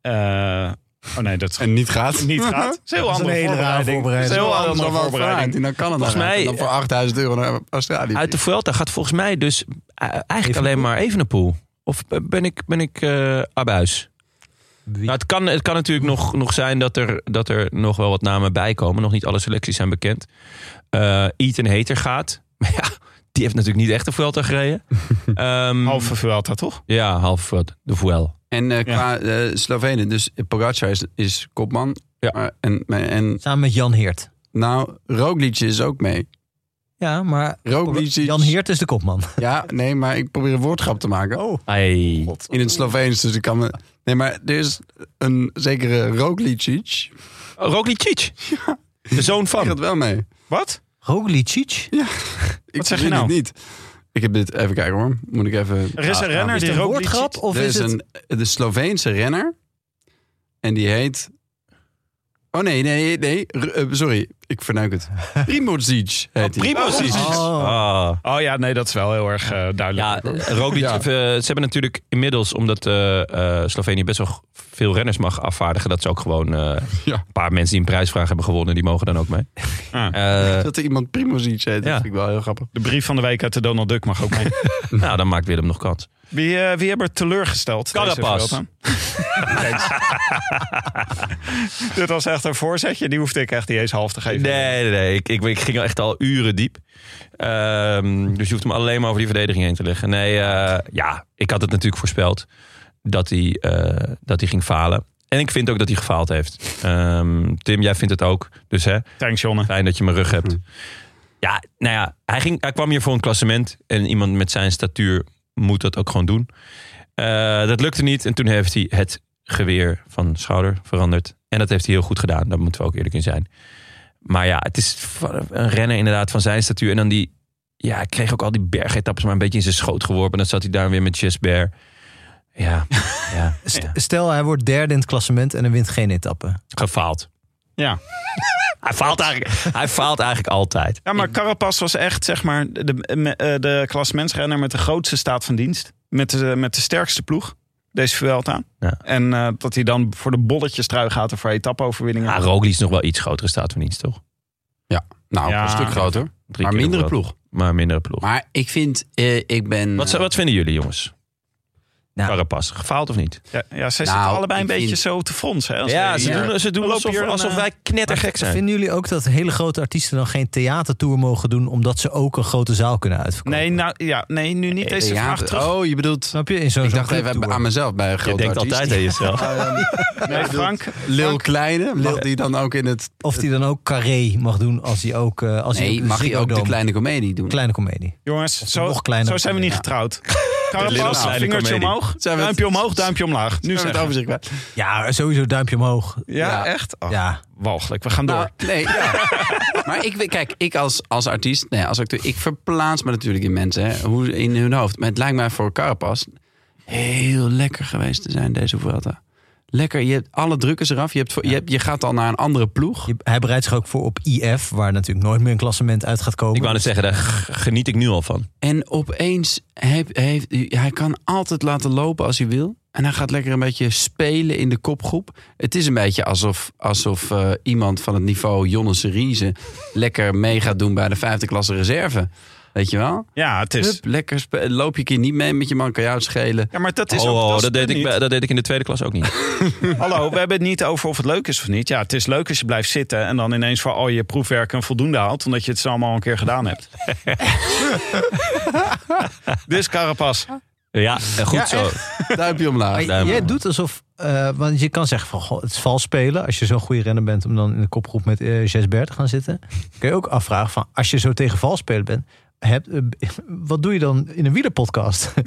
eh, Oh nee, dat is En niet gaat. niet gaat. Dat is heel is een andere hele rare voorbereiding. Dat is een heel voorbereiding. Anders andere dan wel voorbereiding. gevraagd. En dan kan het Volgens mij- eh, dan voor 8000 euro naar Australië. Uit de Vuelta gaat volgens mij dus eh, eigenlijk alleen maar Evenepoel. Of eh, ben ik, ben ik eh, abuis? Nou, het, kan, het kan natuurlijk nog, nog zijn dat er, dat er nog wel wat namen bij komen. Nog niet alle selecties zijn bekend. Eh Ethan Hater gaat. Maar ja, die heeft natuurlijk niet echt de Vuelta gereden. Ehm, Halve Vuelta, toch? Ja, half wat. De Vuel. En eh, qua eh, Slovenen, dus Pogacar is, is kopman. Ja. Maar- en, en Samen met Jan Heert. nou, Roglic is ook mee. Ja, maar Roglic is- Jan Heert is de kopman. Ja, nee, maar ik probeer een woordgrap te maken. Oh. Hey. In het Sloveens, dus ik kan me... Nee, maar er is een zekere Roglicic. Roglicic. De zoon Die van. gaat wel mee. Wat? Roglicic? Ik zeg je weet nou? Het niet. Ik heb dit even kijken hoor. Moet ik even. Ah, Er is een renner Is die het een Roglic- woordgrap of er is is het... een de Sloveense renner en die heet. Oh nee, nee, nee. R- eh, sorry, ik vernuik het. Primozic heet hij. Primozic. Oh. Ah. Oh ja, nee, dat is wel heel erg eh, Ja, duidelijk. eh, Roglic, Ja. eh, ze hebben natuurlijk inmiddels, omdat eh, eh, Slovenië best wel g- veel renners mag afvaardigen, dat ze ook gewoon eh, Ja. een paar mensen die een prijsvraag hebben gewonnen, die mogen dan ook mee. Ah. Eh, Dat er iemand Primozic heet, Ja. dat vind ik wel heel grappig. De brief van de week uit de Donald Duck mag ook mee. nou, dan maakt Willem nog kans. Wie, eh, wie hebben er teleurgesteld? deze Carapaz. Vuelta? Thanks. Dit was echt een voorzetje. Die hoefde ik echt niet eens half te geven. Nee, nee, nee. Ik, ik, ik ging al echt al uren diep. Ehm, dus je hoeft hem alleen maar over die verdediging heen te leggen. Nee, eh, ja, ik had het natuurlijk voorspeld dat hij, eh, dat hij ging falen. En ik vind ook dat hij gefaald heeft. Ehm, Tim, jij vindt het ook. Dus hè, Thanks, Jonne. Fijn dat je mijn rug hebt. Ja, nou ja, hij, ging, hij kwam hier voor een klassement. En iemand met zijn statuur moet dat ook gewoon doen. Eh, dat lukte niet. En toen heeft hij het geweer van schouder veranderd. En dat heeft hij heel goed gedaan. Daar moeten we ook eerlijk in zijn. Maar ja, het is van- een renner inderdaad van zijn statuur. En dan die... Ja, hij kreeg ook al die bergetappes maar een beetje in zijn schoot geworpen. En dan zat hij daar weer met Jesper. Ja, ja, ja. Stel, hij wordt derde in het klassement en hij wint geen etappe. gefaald. Ja. Hij faalt eigenlijk, hij faalt eigenlijk altijd. Ja, maar Carapaz was echt, zeg maar, de, me- eh, de klassementsrenner met de grootste staat van dienst. Met de, met de sterkste ploeg, deze Vuelta. Ja. En eh, dat hij dan voor de bolletjes trui gaat en voor etappeoverwinningen. Ja, Ah, Roglic is nog wel iets grotere staat van dienst, toch? Nou, Ja. een stuk groter, Drie maar keer mindere de groot- ploeg. Maar mindere ploeg. Maar ik vind, eh, ik ben. wat, eh, wat vinden jullie, jongens? Nou. Carapaz, gefaald of niet? Ja, ja zij Nou, zitten allebei een ik beetje vind- zo te fronsen. Hè, als Ja, wij ze hier- doen, ze doen lopen alsof, hier een, alsof eh, wij knettergek zijn. Vinden jullie ook dat hele grote artiesten dan geen theatertour mogen doen... omdat ze ook een grote zaal kunnen uitverkopen? Nee, nou, ja, nee, nu niet deze Eh, ja, vraag terug. Oh, je bedoelt. Snap je? In zo'n Ik zo'n dacht even clubtour. aan mezelf bij een Je grote denkt artiest. Eh, altijd aan jezelf. nee, Frank, Lil Kleine, mag die dan ook in het... Of die dan ook carré mag doen als hij ook... eh, als hij Nee, op mag je Ziggo ook de Dome- kleine comedie doen? Kleine komedie. jongens, Of zo, nog kleiner. zo zijn we niet Ja. getrouwd. Little Carapaz, Kleine vingertje Comedy. omhoog, Zijn we het- duimpje omhoog, duimpje omlaag. Nu Nu zijn zijn het het overzicht kwijt. Ja, sowieso duimpje omhoog. Ja, Ja. echt? Oh, Ja. Walgelijk, we gaan door. Nou, nee, ja. maar ik, weet- kijk, ik als, als artiest, nee, als acteur, ik verplaats me natuurlijk in mensen, hè, hoe, in hun hoofd. Maar het lijkt mij voor Carapas heel lekker geweest te zijn deze Vuelta. Lekker, je hebt alle druk is eraf. Je, hebt, voor- je, hebt- je gaat dan naar een andere ploeg. Je- hij bereidt zich ook voor op IF, waar natuurlijk nooit meer een klassement uit gaat komen. Ik wou net zeggen, daar g- geniet ik nu al van. En opeens heeft, heeft hij kan altijd laten lopen als hij wil. En hij gaat lekker een beetje spelen in de kopgroep. Het is een beetje alsof, alsof eh, iemand van het niveau Jonne Serize lekker mee gaat doen bij de vijfde klasse reserve. Weet je wel? Ja, het is... Hup, lekker spe- loop je een keer niet mee met je man, kan jou het schelen. Ja, maar dat is Oh, ook, oh, is dat, het deed ik, niet. bij- dat deed ik in de tweede klas ook niet. Hallo, we hebben het niet over of het leuk is of niet. Ja, het is leuk als je blijft zitten en dan ineens voor al je proefwerken een voldoende haalt, omdat je het zo allemaal een keer gedaan hebt. dus Carapas, Ja, eh, goed zo. Duimpje omlaag. Maar duim jij omhoog. doet alsof, eh, want je kan zeggen van, goh, het is vals spelen als je zo'n goede renner bent om dan in de kopgroep met eh Jesbert te gaan zitten. Kun je ook afvragen van, als je zo tegen vals spelen bent, hebt, eh, wat doe je dan in een wielerpodcast?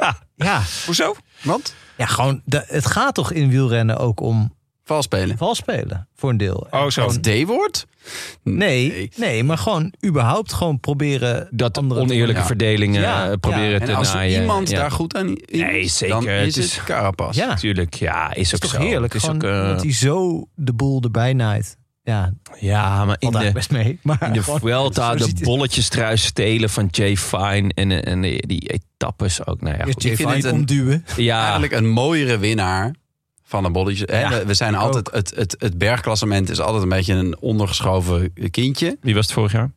Ja. ja, hoezo? Want? ja, gewoon, de- het gaat toch in wielrennen ook om Vals spelen. vals spelen voor een deel. Oh, zo. Als D-woord? Nee, nee, maar gewoon überhaupt gewoon proberen Dat anderen te- oneerlijke Ja. verdelingen Ja. eh, proberen Ja. te En als er naaien. iemand Ja, daar goed aan is, Nee, zeker. dan is Het het, is- Carapas. Ja, het Natuurlijk, ja, is ook is zo. toch heerlijk. Het is gewoon ook, eh, dat hij zo de boel erbij naait. Ja, ja, maar in valt de, eigenlijk best mee. Maar In de gewoon- Vuelta, zo de ziet het- bolletjestruis stelen van Jay Fine en, en die, die etappes ook. Nou ja, Ja, goed. Jay Ik vind Vine het een- omduwen. Ja, Eigenlijk een mooiere winnaar van een bolletje. Hè, Ja, we, we zijn altijd, het, het, het bergklassement is altijd een beetje een ondergeschoven kindje. Wie was het vorig jaar?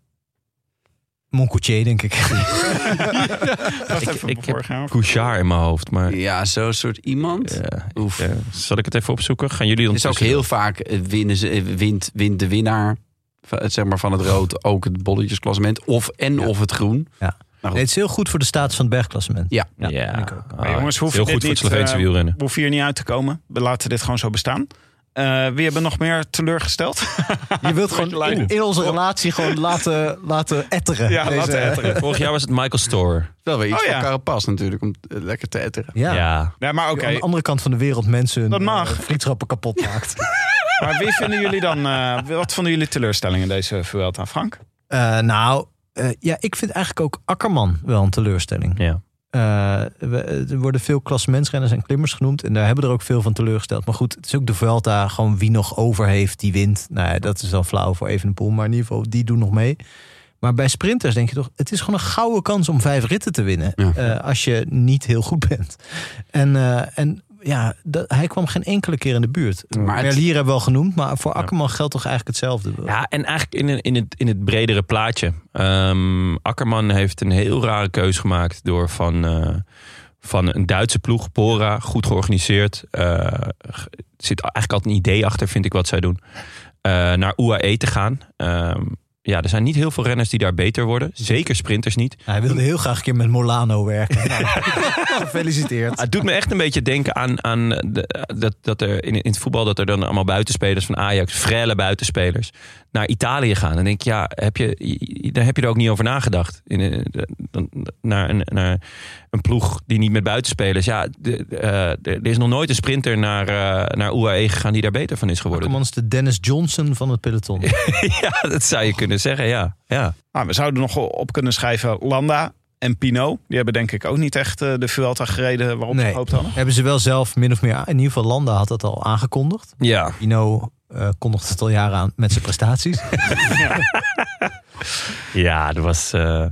Moncoutier, denk ik. Wacht even, ik vorig jaar. Couchard in mijn hoofd. Maar Ja, zo'n soort iemand. ja, Oef. ja. zal ik het even opzoeken? Gaan jullie Het is ook ondertussen heel vaak eh, winnen ze, eh, wint, wint de winnaar van, het, zeg maar, van het rood ook het bolletjesklassement. Of en of het groen. Nee, het is heel goed voor de status van het bergklassement. Ja. Ja, vind ik ook. Ah, Maar jongens, hoef heel dit goed voor het niet, Sloveense eh, wielrennen. We hoeven hier niet uit te komen. We laten dit gewoon zo bestaan. Eh, wie hebben nog meer teleurgesteld? Je wilt gewoon gewoon in- in, onze relatie gewoon laten, laten etteren. Ja, Deze- laten etteren. Vorig jaar was het Michael Store. Wel weer iets Oh, ja. van Carapas natuurlijk, om eh, lekker te etteren. Ja. Ja. Nee, maar oké. Aan de andere kant van de wereld mensen hun Dat mag. eh, vriendschappen kapot maakt. Maar wie vinden jullie dan... eh, wat vonden jullie teleurstellingen deze Vuelta, Frank? Eh, nou, eh, ja, ik vind eigenlijk ook Akkerman wel een teleurstelling. Ja. Eh, we- er worden veel klassementsrenners en klimmers genoemd. En daar hebben er ook veel van teleurgesteld. Maar goed, het is ook de Vuelta. Gewoon wie nog over heeft, die wint. Nou ja, dat is dan flauw voor Evenepoel. Maar in ieder geval, die doen nog mee. Maar bij sprinters denk je toch... het is gewoon een gouden kans om vijf ritten te winnen. Ja. eh, als je niet heel goed bent. En, eh, en ja, dat- hij kwam geen enkele keer in de buurt. Maar het- Merlier hebben we wel genoemd. Maar voor Akkerman geldt toch eigenlijk hetzelfde. Ja, en eigenlijk in, een- in, het, in het bredere plaatje. Ehm, Akkerman heeft een heel rare keus gemaakt door van, eh, van een Duitse ploeg, Pora, goed georganiseerd. Eh, g- er zit eigenlijk altijd een idee achter, vind ik, wat zij doen. eh, naar UAE te gaan. Ehm, ja, er zijn niet heel veel renners die daar beter worden. Zeker sprinters niet. Hij wilde heel graag een keer met Molano werken. Nou, gefeliciteerd. Ah, Het doet me echt een beetje denken aan, aan de- dat, dat er in, in het voetbal dat er dan allemaal buitenspelers van Ajax, frelle buitenspelers, naar Italië gaan. Dan denk ik, ja, heb je, je- daar heb je er ook niet over nagedacht. In, eh, dan- naar, een, naar een ploeg die niet met buitenspelers. Ja, de- eh, de- er is nog nooit een sprinter naar, eh, naar UAE gegaan die daar beter van is geworden. Akkerman is de Dennis Johnson van het peloton. Ja, dat zou je kunnen zeggen, ja. ja. Nou, we zouden nog op kunnen schrijven Landa en Pino. Die hebben denk ik ook niet echt eh, de Vuelta gereden waarop ze Nee. gehoopt hadden. Hebben ze wel zelf min of meer... In ieder geval Landa had dat al aangekondigd. ja. Pino eh kondigt het al jaren aan met zijn prestaties. Ja, dat was. eh,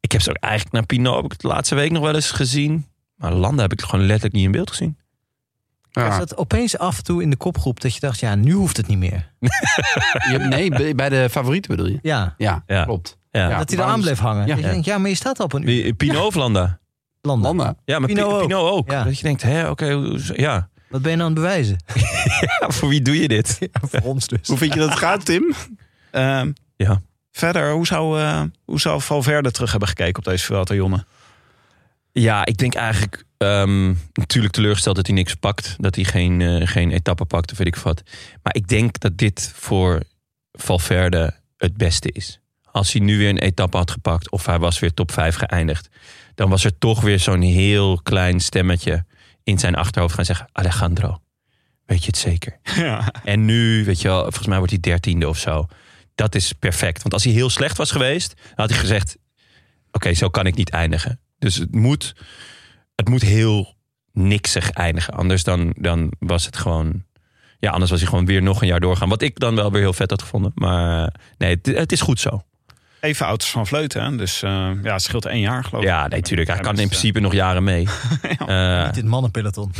ik heb ze ook eigenlijk naar Pinot heb ik het de laatste week nog wel eens gezien. Maar Landa heb ik gewoon letterlijk niet in beeld gezien. Er Ja. zat opeens af en toe in de kopgroep dat je dacht... ja, nu hoeft het niet meer. Je- nee, bij- bij de favorieten bedoel je? Ja, Ja, Ja. klopt. Ja. dat hij waarom eraan is- bleef hangen. Ja. Dat je Ja. denkt, ja, maar je staat al op een uur. Wie- Pinot of Landa? Landa, Landa. Ja, maar Pi- Pinot Pinot ook. ook. Ja. Dat je denkt, hè, oké, hoe- ja. wat ben je nou aan het bewijzen? ja. Voor wie doe je dit? Voor ons dus. Hoe vind je dat het gaat, Tim? Ehm, Ja. Verder, hoe zou, eh hoe zou Valverde terug hebben gekeken op deze Vuelta, Jonne? Ja, ik denk eigenlijk ehm, natuurlijk teleurgesteld dat hij niks pakt. Dat hij geen, eh, geen etappe pakt of weet ik wat. Maar ik denk dat dit voor Valverde het beste is. Als hij nu weer een etappe had gepakt of hij was weer top 5 geëindigd. Dan was er toch weer zo'n heel klein stemmetje in zijn achterhoofd gaan zeggen. Alejandro, weet je het zeker? Ja. En nu, weet je wel, volgens mij wordt hij dertiende of zo. Dat is perfect. Want als hij heel slecht was geweest, dan had hij gezegd... Oké, zo kan ik niet eindigen. Dus het moet, het moet heel niksig eindigen. Anders dan, dan was het gewoon... Ja, anders was hij gewoon weer nog een jaar doorgaan. Wat ik dan wel weer heel vet had gevonden. Maar nee, het, het is goed zo. Even auto's van Vleuten, hè? dus eh, ja, het scheelt één jaar geloof ik. Ja, nee, tuurlijk. Hij Ja, kan in dat is, eh, principe nog jaren mee. Eh, Dit mannenpeloton.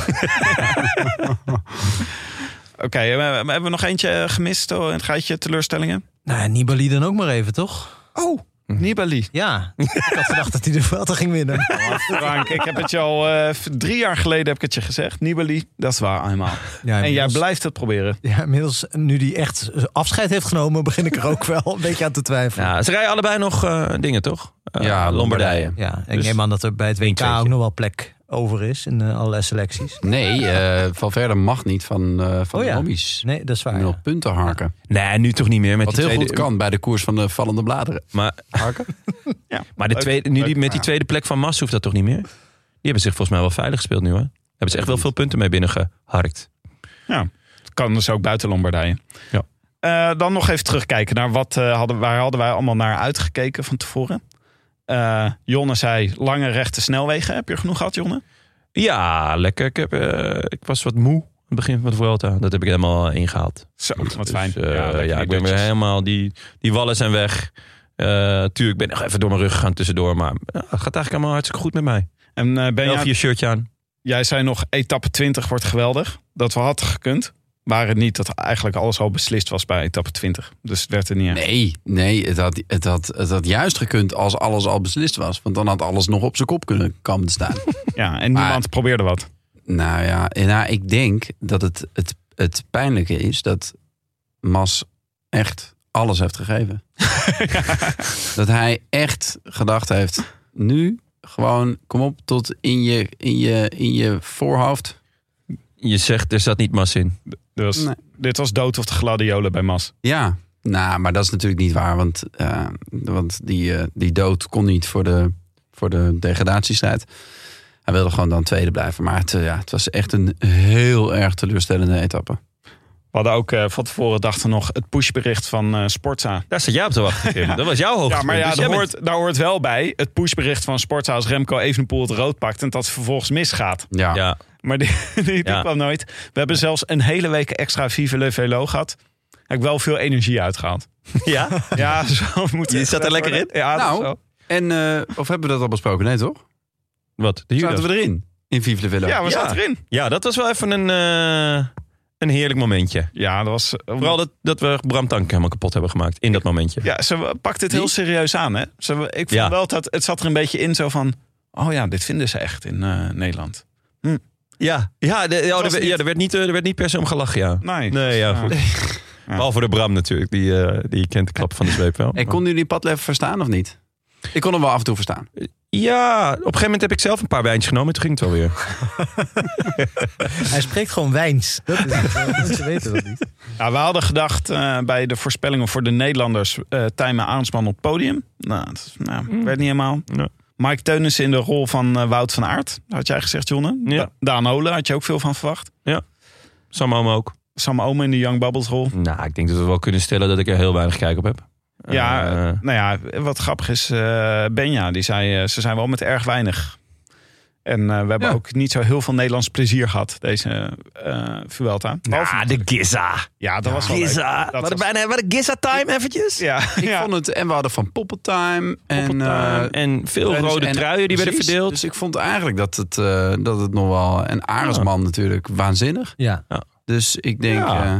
Oké, eh, we- we- hebben we nog eentje eh, gemist oh, in het gaatje teleurstellingen? Nou, ja, Nibali dan ook maar even, toch? Oh, Nibali. Ja, ik had gedacht dat hij de Vuelta ging winnen. Frank, ik heb het je al eh, v- drie jaar geleden heb ik het je gezegd. Nibali, dat is waar eenmaal. Ja, En jij inmiddels- blijft het proberen. Ja, inmiddels, nu die echt afscheid heeft genomen, begin ik er ook wel een beetje aan te twijfelen. Ja, nou, ze rijden allebei nog eh, dingen, toch? Eh, Ja, Lombardije. Lombardije. ik Dus- neem aan dat er bij het WK tweetje. ook nog wel plek over is in eh, allerlei selecties. Nee, eh, Valverde mag niet van, eh, van Oh de ja. hobby's. Nee, dat is Je waar. moet ja. nog punten harken. Nee, nu toch niet meer. Met Wat die heel goed tweede- kan bij de koers van de vallende bladeren. Maar Harken? Ja, Maar de leuk, tweede, nu leuk. die, met die tweede plek van Mas hoeft dat toch niet meer? Die hebben zich volgens mij wel veilig gespeeld nu, hè? Daar hebben ze echt wel veel punten mee binnengeharkt. Kan dus ook buiten Lombardije. Ja. Eh, dan nog even terugkijken naar wat eh, hadden, waar hadden wij allemaal naar uitgekeken van tevoren. Eh, Jonne zei lange rechte snelwegen. Heb je er genoeg gehad, Jonne? Ja, lekker. Ik, heb, eh, ik was wat moe aan het begin van de Vuelta. Dat heb ik helemaal ingehaald. Zo, wat fijn. Dus, eh, ja, lekker ik ben weer dutjes. helemaal... Die, die wallen zijn weg. Eh tuurlijk, ik ben nog even door mijn rug gegaan tussendoor. Maar eh, het gaat eigenlijk allemaal hartstikke goed met mij. En eh, ben je Elf je shirtje aan. jij zei nog etappe 20 wordt geweldig. Dat we hadden gekund. Maar het niet dat eigenlijk alles al beslist was bij etappe 20. Dus het werd er niet echt. Nee, nee het, had, het, had, het had juist gekund als alles al beslist was. Want dan had alles nog op zijn kop kunnen komen te staan. Ja, en Maar- niemand probeerde wat. Nou ja, en nou, ik denk dat het, het, het pijnlijke is dat Mas echt alles heeft gegeven. dat hij echt gedacht heeft, nu gewoon kom op tot in je, in je, in je voorhoofd. Je zegt, er zat niet mas in. Dus Nee. dit was dood of de gladiolen bij Mas. Ja, nou, maar dat is natuurlijk niet waar, want, eh, want die, eh, die dood kon niet voor de, voor de degradatiestrijd. Hij wilde gewoon dan tweede blijven, maar het, eh, ja, het was echt een heel erg teleurstellende etappe. We hadden ook eh, van tevoren dachten nog het pushbericht van eh, Sportza. Daar zat jij op te wachten, Tim. Dat was jouw hoogtepunt. Ja, maar ja, Dus daar jij hoort, daar hoort wel bij het pushbericht van Sportza als Remco Evenepoel het rood pakt en dat het vervolgens misgaat. Ja, bent- ja. Ja, Maar die, die, die Ja. kwam nooit. We hebben zelfs een hele week extra Vive Le Velo gehad. Heb ik wel veel energie uitgehaald. ja? Ja, zo moet Je het zat er gezegd lekker worden. Ja, dat Nou, is zo. En, eh, of hebben we dat al besproken? Nee, toch? Wat? De judo? Zaten we erin? In Vive la Villa. ja we dus. ja. zaten erin. Ja, dat was wel even een, eh, een heerlijk momentje. Ja, dat was... eh, Vooral dat, dat we Bram Tank helemaal kapot hebben gemaakt in dat momentje. Ja, ze pakt het heel Die? serieus aan, hè? Ze, ik vond Ja. wel dat het zat er een beetje in zo van... Oh ja, dit vinden ze echt in eh, Nederland. Ja, ja, de- ja, er, was werd- niet- ja er, werd niet, eh, er werd niet per se om gelachen, ja. Nee. Nee, ja, Ja. goed. Behalve de Bram natuurlijk, die, eh, die kent de klap van de zweep wel. En konden jullie Padlef verstaan of niet? Ik kon hem wel af en toe verstaan. Ja, op een gegeven moment heb ik zelf een paar wijntjes genomen. Toen ging het wel weer. Hij spreekt gewoon wijns. Dat is het. eh, Mensen weten dat niet. Ja, Nou, we hadden gedacht eh, bij de voorspellingen voor de Nederlanders... eh Tijmen Aansman op het podium. Nou, dat nou, werd niet helemaal. Nee. Mike Teunissen in de rol van eh, Wout van Aert. Had jij gezegd, Jonne. Ja. Da- Daan Olen had je ook veel van verwacht. Sam Oom ook. Sam Omen in de Young Bubbles rol. Nou, ik denk dat we wel kunnen stellen dat ik er heel weinig kijk op heb. Ja, Eh, nou ja, wat grappig is, eh, Benja, die zei, eh, ze zijn wel met erg weinig. En eh, we hebben Ja. ook niet zo heel veel Nederlands plezier gehad, deze eh Vuelta. Behalve- ah, de Giza. ja, dat was wel leuk. Giza. Dat Wat was- bijna wat een Giza-time eventjes. Ja, Ik ja. vond het, en we hadden van Poppeltime. En, eh, En, en veel dus- rode en- truien die werden precies. verdeeld. Dus ik vond eigenlijk dat het, eh, dat het nog wel... En Arendsman natuurlijk waanzinnig. Ja. Dus ik denk... Ja. eh,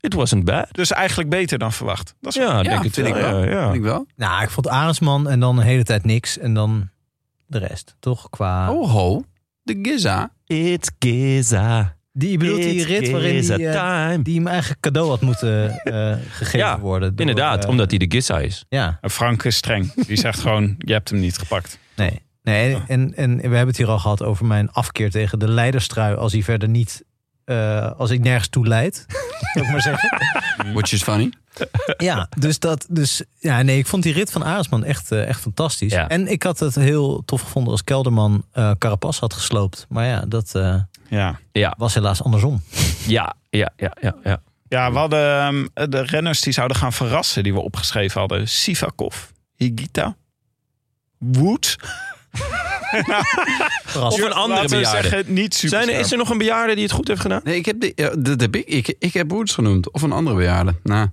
It wasn't bad. dus eigenlijk beter dan verwacht. Dat is Ja, ja, denk het vind, wel. ik wel, Ja, ja. vind ik wel. Nou, ik vond Arendsman en dan de hele tijd niks. En dan de rest, toch? Qua... Oh ho, de Giza. It's Giza. die, je bedoelt die rit waarin die, eh, time. die hem eigenlijk cadeau had moeten eh, gegeven Ja, worden. door, Inderdaad, eh, omdat hij de Giza is. Ja, Frank is streng. Die zegt gewoon, je hebt hem niet gepakt. nee. nee Ah. en, en we hebben het hier al gehad over mijn afkeer tegen de leiderstrui. Als hij verder niet... eh, als ik nergens toe leid, zou ik maar zeggen. Which is funny. Ja, dus dat. Dus ja, nee, ik vond die rit van Aresman echt, eh, echt fantastisch. Ja. En ik had het heel tof gevonden als Kelderman eh Carapas had gesloopt. Maar ja, dat eh, Ja. was helaas andersom. Ja, ja, ja, ja. ja. Ja, we hadden ehm, de renners die zouden gaan verrassen die we opgeschreven hadden. Sivakov, Higita, Wood. Of een andere Laten we bejaarde. zeggen, niet super. Zijn er, is er nog een bejaarde die het goed heeft gedaan? Nee, ik heb, de, ja, dat heb ik, ik, ik heb Woods genoemd. Of een andere bejaarde. Nou,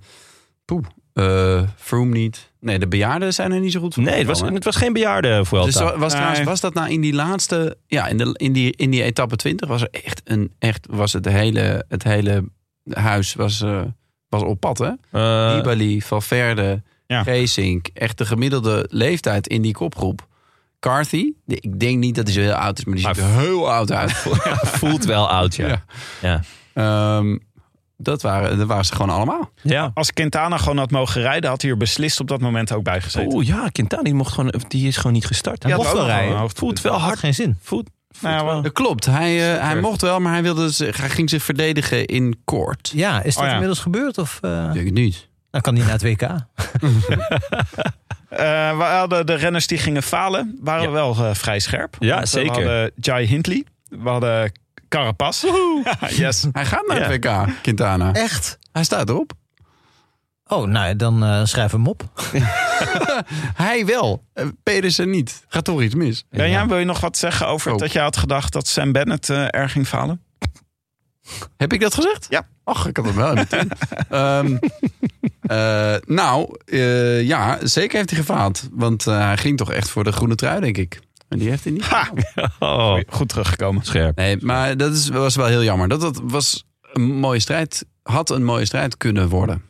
poeh. Eh, Froome niet. Nee, de bejaarden zijn er niet zo goed voor. Nee, het was, gekomen, hè? het was geen bejaarde Vuelta. Dus wa- was, Nee. trouwens, was dat nou in die laatste, ja, in, de, in, die, in die etappe 20 was er echt een, echt was het hele, het hele huis was, eh, was op pad, hè? Eh, Nibali, Valverde, Ja. Geesink, echt de gemiddelde leeftijd in die kopgroep. Carthy, die- ik denk niet dat hij zo heel oud is, maar die Maar ziet er heel oud uit. voelt wel oud, ja. Ja. ja. ja. Ehm, dat, waren, dat waren ze gewoon allemaal. Als Quintana gewoon had mogen rijden, had hij er beslist op dat moment ook bij gezeten. Oeh, ja, Quintana die mocht gewoon, die is gewoon niet gestart. Hij had mocht ook wel nog rijden. een hoofd- voelt wel Had hard. geen zin. Voelt, voelt Nou, wel. Dat klopt, hij, eh, hij mocht wel, maar hij, wilde zich, hij ging zich verdedigen in koord. Ja, is dat Oh ja. inmiddels gebeurd? Of eh Ik denk het niet. dan kan hij naar het WK? Eh, we hadden de renners die gingen falen, waren Ja. wel eh, vrij scherp. Ja, Want, eh, zeker. We hadden Jai Hindley, we hadden Carapaz. yes. Hij gaat naar het WK, Quintana. Echt? Hij staat erop. Oh, nou ja, dan eh, schrijf hem op. Hij wel, eh, Pedersen niet. Gaat toch iets mis? Benja, wil je nog wat zeggen over Oh. dat jij had gedacht dat Sam Bennett eh, er ging falen? Heb ik dat gezegd? Ja. Ach, ik had hem wel meteen. Ehm eh, nou, eh, ja, zeker heeft hij gefaald. Want eh, hij ging toch echt voor de groene trui, denk ik. Maar die heeft hij niet. Ha! Oh, Goed teruggekomen. scherp. Nee, maar dat is, was wel heel jammer. Dat, dat was een mooie strijd. Had een mooie strijd kunnen worden,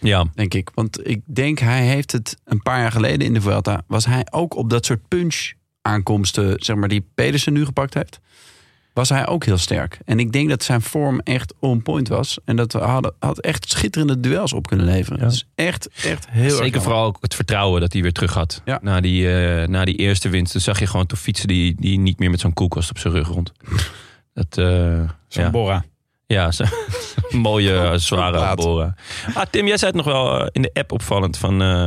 Ja, denk ik. Want ik denk, hij heeft het een paar jaar geleden in de Vuelta... was hij ook op dat soort punch-aankomsten, zeg maar, die Pedersen nu gepakt heeft... was hij ook heel sterk. En ik denk dat zijn vorm echt on point was. En dat we hadden, had echt schitterende duels op kunnen leveren. Ja. Dat is echt, echt heel erg zeker jammer. vooral ook het vertrouwen dat hij weer terug had. Ja. Na, die, eh, na die eerste winst toen zag je gewoon toen fietsen die, die niet meer met zo'n koelkast op zijn rug rond. Dat, eh, ja. Borra. Ja, ze, mooie, eh, zware Plaat. boren. Ah, Tim, jij zei het nog wel eh, in de app opvallend van eh,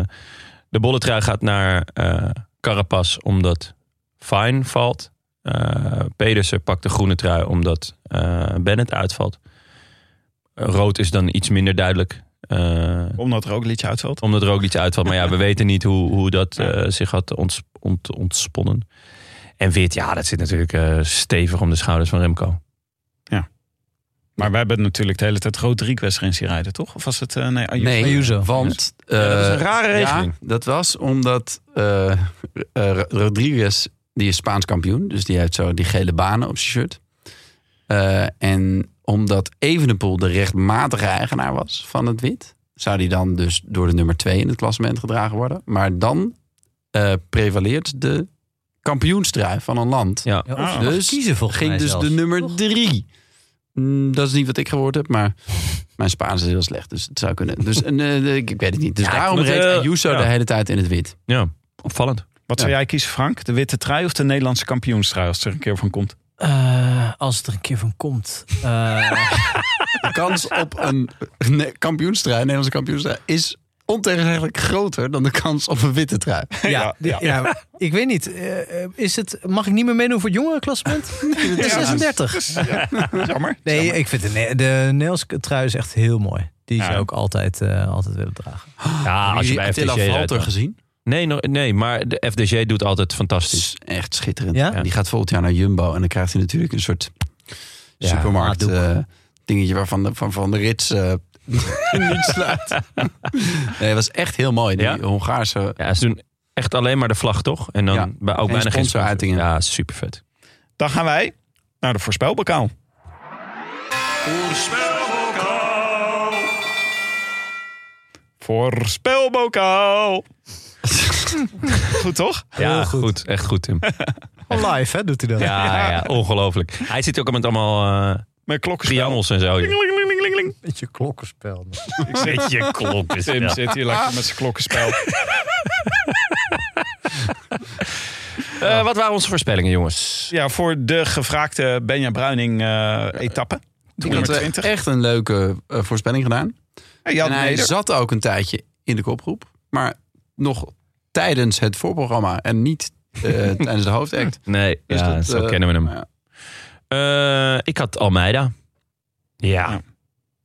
de bolletrui gaat naar eh Carapaz omdat Fine valt. Eh, Pedersen pakt de groene trui omdat eh, Bennett uitvalt. Eh, Rood is dan iets minder duidelijk. eh, Omdat er ook een liedje uitvalt. omdat er ook iets uitvalt. Maar ja, we weten niet hoe, hoe dat eh, zich had onts- ont- ontsponnen. En wit, ja, dat zit natuurlijk eh, stevig om de schouders van Remco. Maar wij hebben natuurlijk de hele tijd Rodriguez erin zien rijden, toch? Of was het... eh, nee, Ayuso. Nee, Ayuso. want... Ja, dat is een eh, rare regeling. Ja, dat was omdat eh, eh, Rodriguez, die is Spaans kampioen. Dus die heeft zo die gele banen op zijn shirt. Eh, en omdat Evenepoel de rechtmatige eigenaar was van het wit... zou die dan dus door de nummer twee in het klassement gedragen worden. Maar dan eh, prevaleert de kampioenstrui van een land. Ja. Ja, Ah. of dus Dus kiezen volgens Ging mij dus zelfs. de nummer drie. Mm, dat is niet wat ik gehoord heb, maar mijn Spaans is heel slecht. Dus het zou kunnen. Dus een, eh, ik, ik weet het niet. Dus Ja, ik daarom vond het, reed eh, Ayuso ja. de hele tijd in het wit. Ja, opvallend. Wat zou jij kiezen, Frank? De witte trui of de Nederlandse kampioenstrui als het er een keer van komt? Eh, als het er een keer van komt. Eh, De kans op een ne- kampioenstrui, Nederlandse kampioenstrui, is ontegenzeggelijk groter dan de kans op een witte trui. Nou, ja, ja. ik weet niet. Eh, eh, is het, mag ik niet meer meedoen voor het jongerenklassement? Het is 36. Jammer. Nee, ik vind de, ne- de Nederlandse trui is echt heel mooi. Die Ja. zou ik altijd, eh, altijd willen dragen. Ja, als je bij Attila FDG rijdt. Valter dan. gezien? Nee, no- nee, maar de FDG doet altijd fantastisch. Is echt schitterend. Ja? En Die gaat volgend jaar naar Jumbo en dan krijgt hij natuurlijk een soort Ja, supermarkt laatdoek. eh, dingetje waarvan de, van, van de rits eh, niet sluit. nee, het was echt heel mooi. Die Ja? Hongaarse Ja, ze doen echt alleen maar de vlag, toch? En dan Ja. bij ook Geen bijna geen sponsoruitingen. Ja, super vet. Dan gaan wij naar de voorspelbokaal. Voorspelbokaal. Voorspelbokaal. Goed toch? Ja, goed. goed. Echt goed, Tim. Live, hè, doet hij dat? Ja, ja ongelooflijk. Hij zit ook met allemaal eh Met klokkenspel. triangels en zo. joh. Klingelingelingeling. Beetje klokkenspel. Ik zit Je klok is Tim ja. zit hier lekker met zijn klokkenspel. Eh, Wat waren onze voorspellingen, jongens? Ja, voor de gevraagde Benja Bruining eh etappe. Ik had Nummer eh, 20. echt een leuke eh, voorspelling gedaan. Ja, Jan en hij Neder. zat ook een tijdje in de kopgroep. Maar nog tijdens het voorprogramma en niet eh, tijdens de hoofdact. Nee, Dus ja, dat, zo eh, kennen we hem. ja. Eh, ik had Almeida. Ja.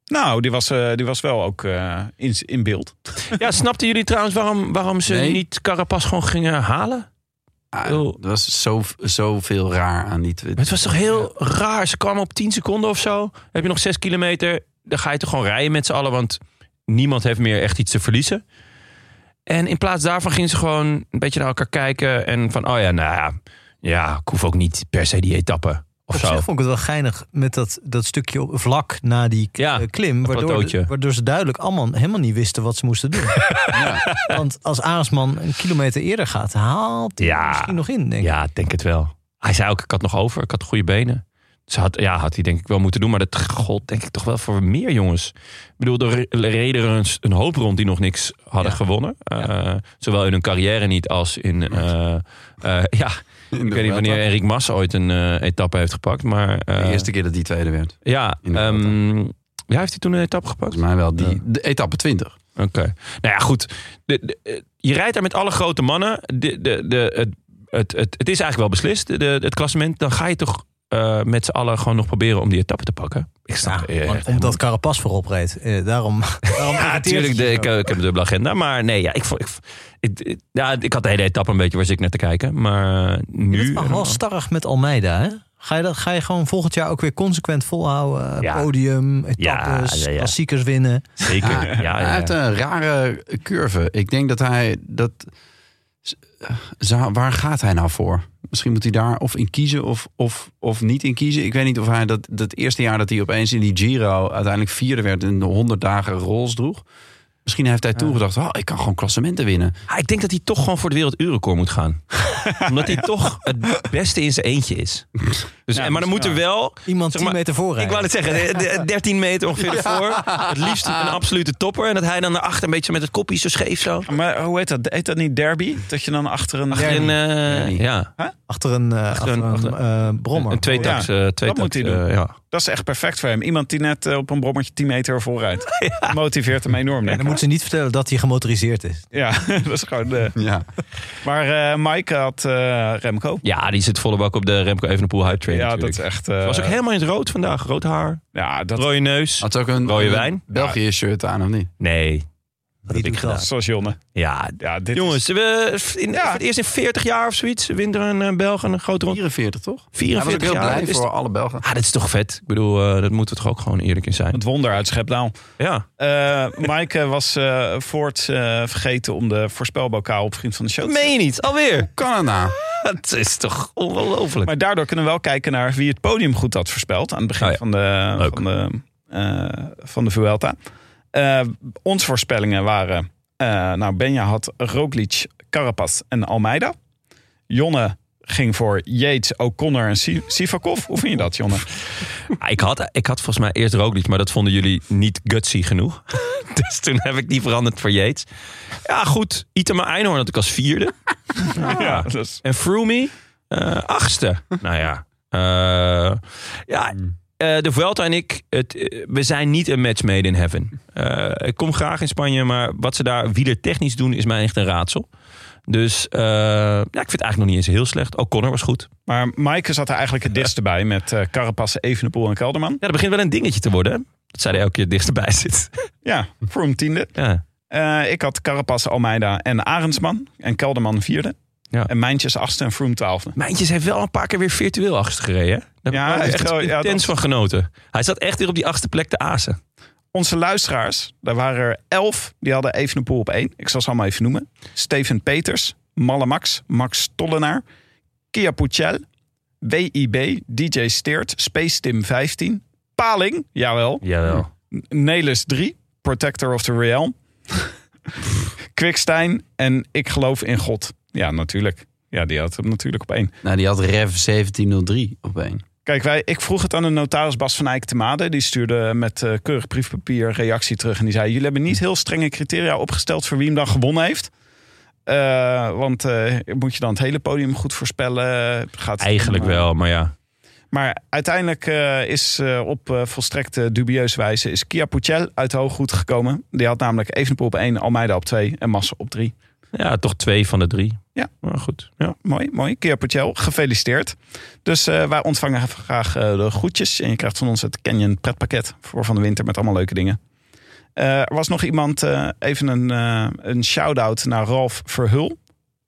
Nou, die was, eh, die was wel ook eh, in, in beeld. ja, snapten jullie trouwens waarom, waarom ze Nee. niet Carapaz gewoon gingen halen? Ah, Heel- er was zo- zoveel raar aan die tweet. Maar het was toch heel raar. Ze kwamen op 10 seconden of zo. Dan Heb je nog 6 kilometer. Dan ga je toch gewoon rijden met z'n allen. Want niemand heeft meer echt iets te verliezen. En in plaats daarvan gingen ze gewoon een beetje naar elkaar kijken. En van, oh ja, nou ja. Ja, ik hoef ook niet per se die etappe. Of Op zo. zich vond ik het wel geinig met dat, dat stukje op- vlak na die k- Ja, eh, klim. Waardoor, plateautje. waardoor ze duidelijk allemaal helemaal niet wisten wat ze moesten doen. Want als Aresman een kilometer eerder gaat, haalt hij Ja. misschien nog in, denk ik. Ja, ik denk het wel. Hij zei ook, ik had nog over. Ik had goede benen. Dus had, ja, had hij denk ik wel moeten doen. Maar dat gold denk ik toch wel voor meer jongens. Ik bedoel, er re- reden er een, s- een hoop rond die nog niks hadden gewonnen. Eh, Zowel in hun carrière niet als in... eh, eh, ja, ik weet niet wanneer Erik Mas ooit een eh, etappe heeft gepakt. Maar eh, De eerste keer dat die tweede werd. ja, in de ehm, Vuelta. ja, heeft hij toen een etappe gepakt? Volgens mij wel die, de etappe 20. Oké. Nou ja, goed. De, de- eh, je rijdt daar met alle grote mannen. De, de, de, het, het, het, het is eigenlijk wel beslist, de, de- het klassement. Dan ga je toch eh, met z'n allen gewoon nog proberen om die etappe te pakken. Ik snap Ja, eh, want- omdat Carapas voorop reed. Eh, daarom. daarom Ja, natuurlijk. de- Ik, eh, ik heb een dubbele agenda. Maar nee, ja, ik, vond- ik, ik, ik- ja, ik had de hele etappe een beetje waar ik naar te kijken. Maar Nu. nu... Mag wel starrig met Almeida, hè? Ga je, dat, ga je gewoon volgend jaar ook weer consequent volhouden? Eh, Ja. Podium, etappes, ja, ja. klassiekers winnen. Zeker. Ja, ja, ja. Hij heeft een rare curve. Ik denk dat hij dat. Z- eh, zou- Waar eh, gaat hij nou voor? Misschien moet hij daar of in kiezen of, of, of niet in kiezen. Ik weet niet of hij dat, dat eerste jaar dat hij opeens in die Giro uiteindelijk vierde werd en de 100 dagen rols droeg. Misschien heeft hij toen gedacht, oh, ik kan gewoon klassementen winnen. Ah, ik denk dat hij toch gewoon voor de werelduurrecord moet gaan. Omdat hij toch het beste in zijn eentje is. Dus, en- maar dan moet er wel... Iemand zeg 10 maar, meter voorrijden. Ik wou het zeggen, de- de- 13 meter ongeveer voor. Het liefst een absolute topper. En dat hij dan daarachter een beetje met het kopje zo scheef zo. Maar eh, hoe heet dat? Heet dat niet derby? Dat je dan achter een... Achter een, eh, Derby. ja, Achter een, eh, achter een- een, achter- eh, brommer. een tweetaks. Ja, eh, tweetaks, moet hij eh, doen. ja. Dat is echt perfect voor hem. Iemand die net eh, op een brommertje 10 meter vooruit. Motiveert hem enorm. En denk dan ik. moeten ze niet vertellen dat hij gemotoriseerd is. Ja, dat is gewoon... eh, Ja. Maar eh, Mike had eh, Remco. ja, die zit volle bak op de Remco Evenepoel Hype Train Ja, dat natuurlijk. is echt... eh, was ook helemaal in het rood vandaag. Rood haar, Ja, dat Ah, rode neus. Had ze ook een Rode wijn? België shirt aan of niet? Nee. Dat heb ik gedaan. zoals Jonne. Ja, Ja, dit Jongens, we, in, Ja. voor het eerst in 40 jaar of zoiets wint er een eh, Belg een grote ronde. 44 toch? Hij was ook 44 heel jaar. blij dat is voor alle Belgen. toch- ah, dat is toch vet. Ik bedoel, eh, dat moeten we toch ook gewoon eerlijk in zijn. Het wonder uit Schepdaal. Ja. Eh Mike eh, was eh voorts eh, vergeten om de voorspelbokaal op Vriend van de Show Dat te meen je niet. Alweer. Canada. Dat is toch ongelooflijk. Maar daardoor kunnen we wel kijken naar wie het podium goed had voorspeld. Aan het begin Oh ja. van, de, Leuk. van, de, eh, van de Vuelta. Eh onze voorspellingen waren... eh, nou, Benja had Roglic, Carapaz en Almeida. Jonne ging voor Yates, O'Connor en Si- Sivakov. Hoe vind je dat, Jonne? Ah, Ik had, ik had volgens mij eerst Roglic, maar dat vonden jullie niet gutsy genoeg. dus toen heb ik die veranderd voor Yates. Ja, goed. Itema Einhorn had ik als vierde. Ja, dat is- En Froome, eh, achtste. nou ja. eh, ja, Hmm. eh, de Vuelta en ik, het, eh, we zijn niet een match made in heaven. Eh, ik kom graag in Spanje, maar wat ze daar wielertechnisch doen is mij echt een raadsel. Dus eh, ja, ik vind het eigenlijk nog niet eens heel slecht. O'Connor was goed. Maar Maaike zat er eigenlijk het diste bij met eh Carapaz, Evenepoel en Kelderman. Ja, dat begint wel een dingetje te worden. hè? Dat zij er elke keer dichterbij zit. Ja, Froome tiende. ja. Eh, ik had Carapaz, Almeida en Arendsman. En Kelderman vierde. Ja. En Mijntjes achtste en Froome twaalfde. Mijntjes heeft wel een paar keer weer virtueel achter gereden. hè? Daar Ja, heb ik wel echt echt wel, ja, intens dat- van genoten. Hij zat echt weer op die achtste plek te azen. Onze luisteraars, daar waren er elf, die hadden Evenepoel op één. Ik zal ze allemaal even noemen. Steven Peters, Malle Max, Max Tollenaar, Kia Pucel, WIB, DJ Steert, Space Tim 15, Paling, jawel, Jawel. Nelis 3, Protector of the Realm, Quickstein en Ik geloof in God. Ja, natuurlijk. Ja, die had hem natuurlijk op één. Nou, die had Rev 1703 op één. Kijk, wij, ik vroeg het aan de notaris Bas van Eyck te Made. Die stuurde met eh, keurig briefpapier reactie terug. En die zei, jullie hebben niet heel strenge criteria opgesteld... voor wie hem dan gewonnen heeft. Eh, want eh, moet je dan het hele podium goed voorspellen? Gaat het Eigenlijk om, eh, wel, maar ja. Maar uiteindelijk eh, is eh, op eh, volstrekt eh, dubieuze wijze... is Kia Pucel uit de hooggoed gekomen. Die had namelijk Evenepoel op 1, Almeida op 2 en Massa op 3. Ja, toch twee van de drie. Ja. Maar goed. Ja. Mooi, mooi. Kia Pucel, gefeliciteerd. Dus eh, wij ontvangen graag eh, de groetjes. En je krijgt van ons het Canyon pretpakket voor van de winter met allemaal leuke dingen. Eh, er was nog iemand, eh, even een, eh, een shout-out naar Ralf Verhul.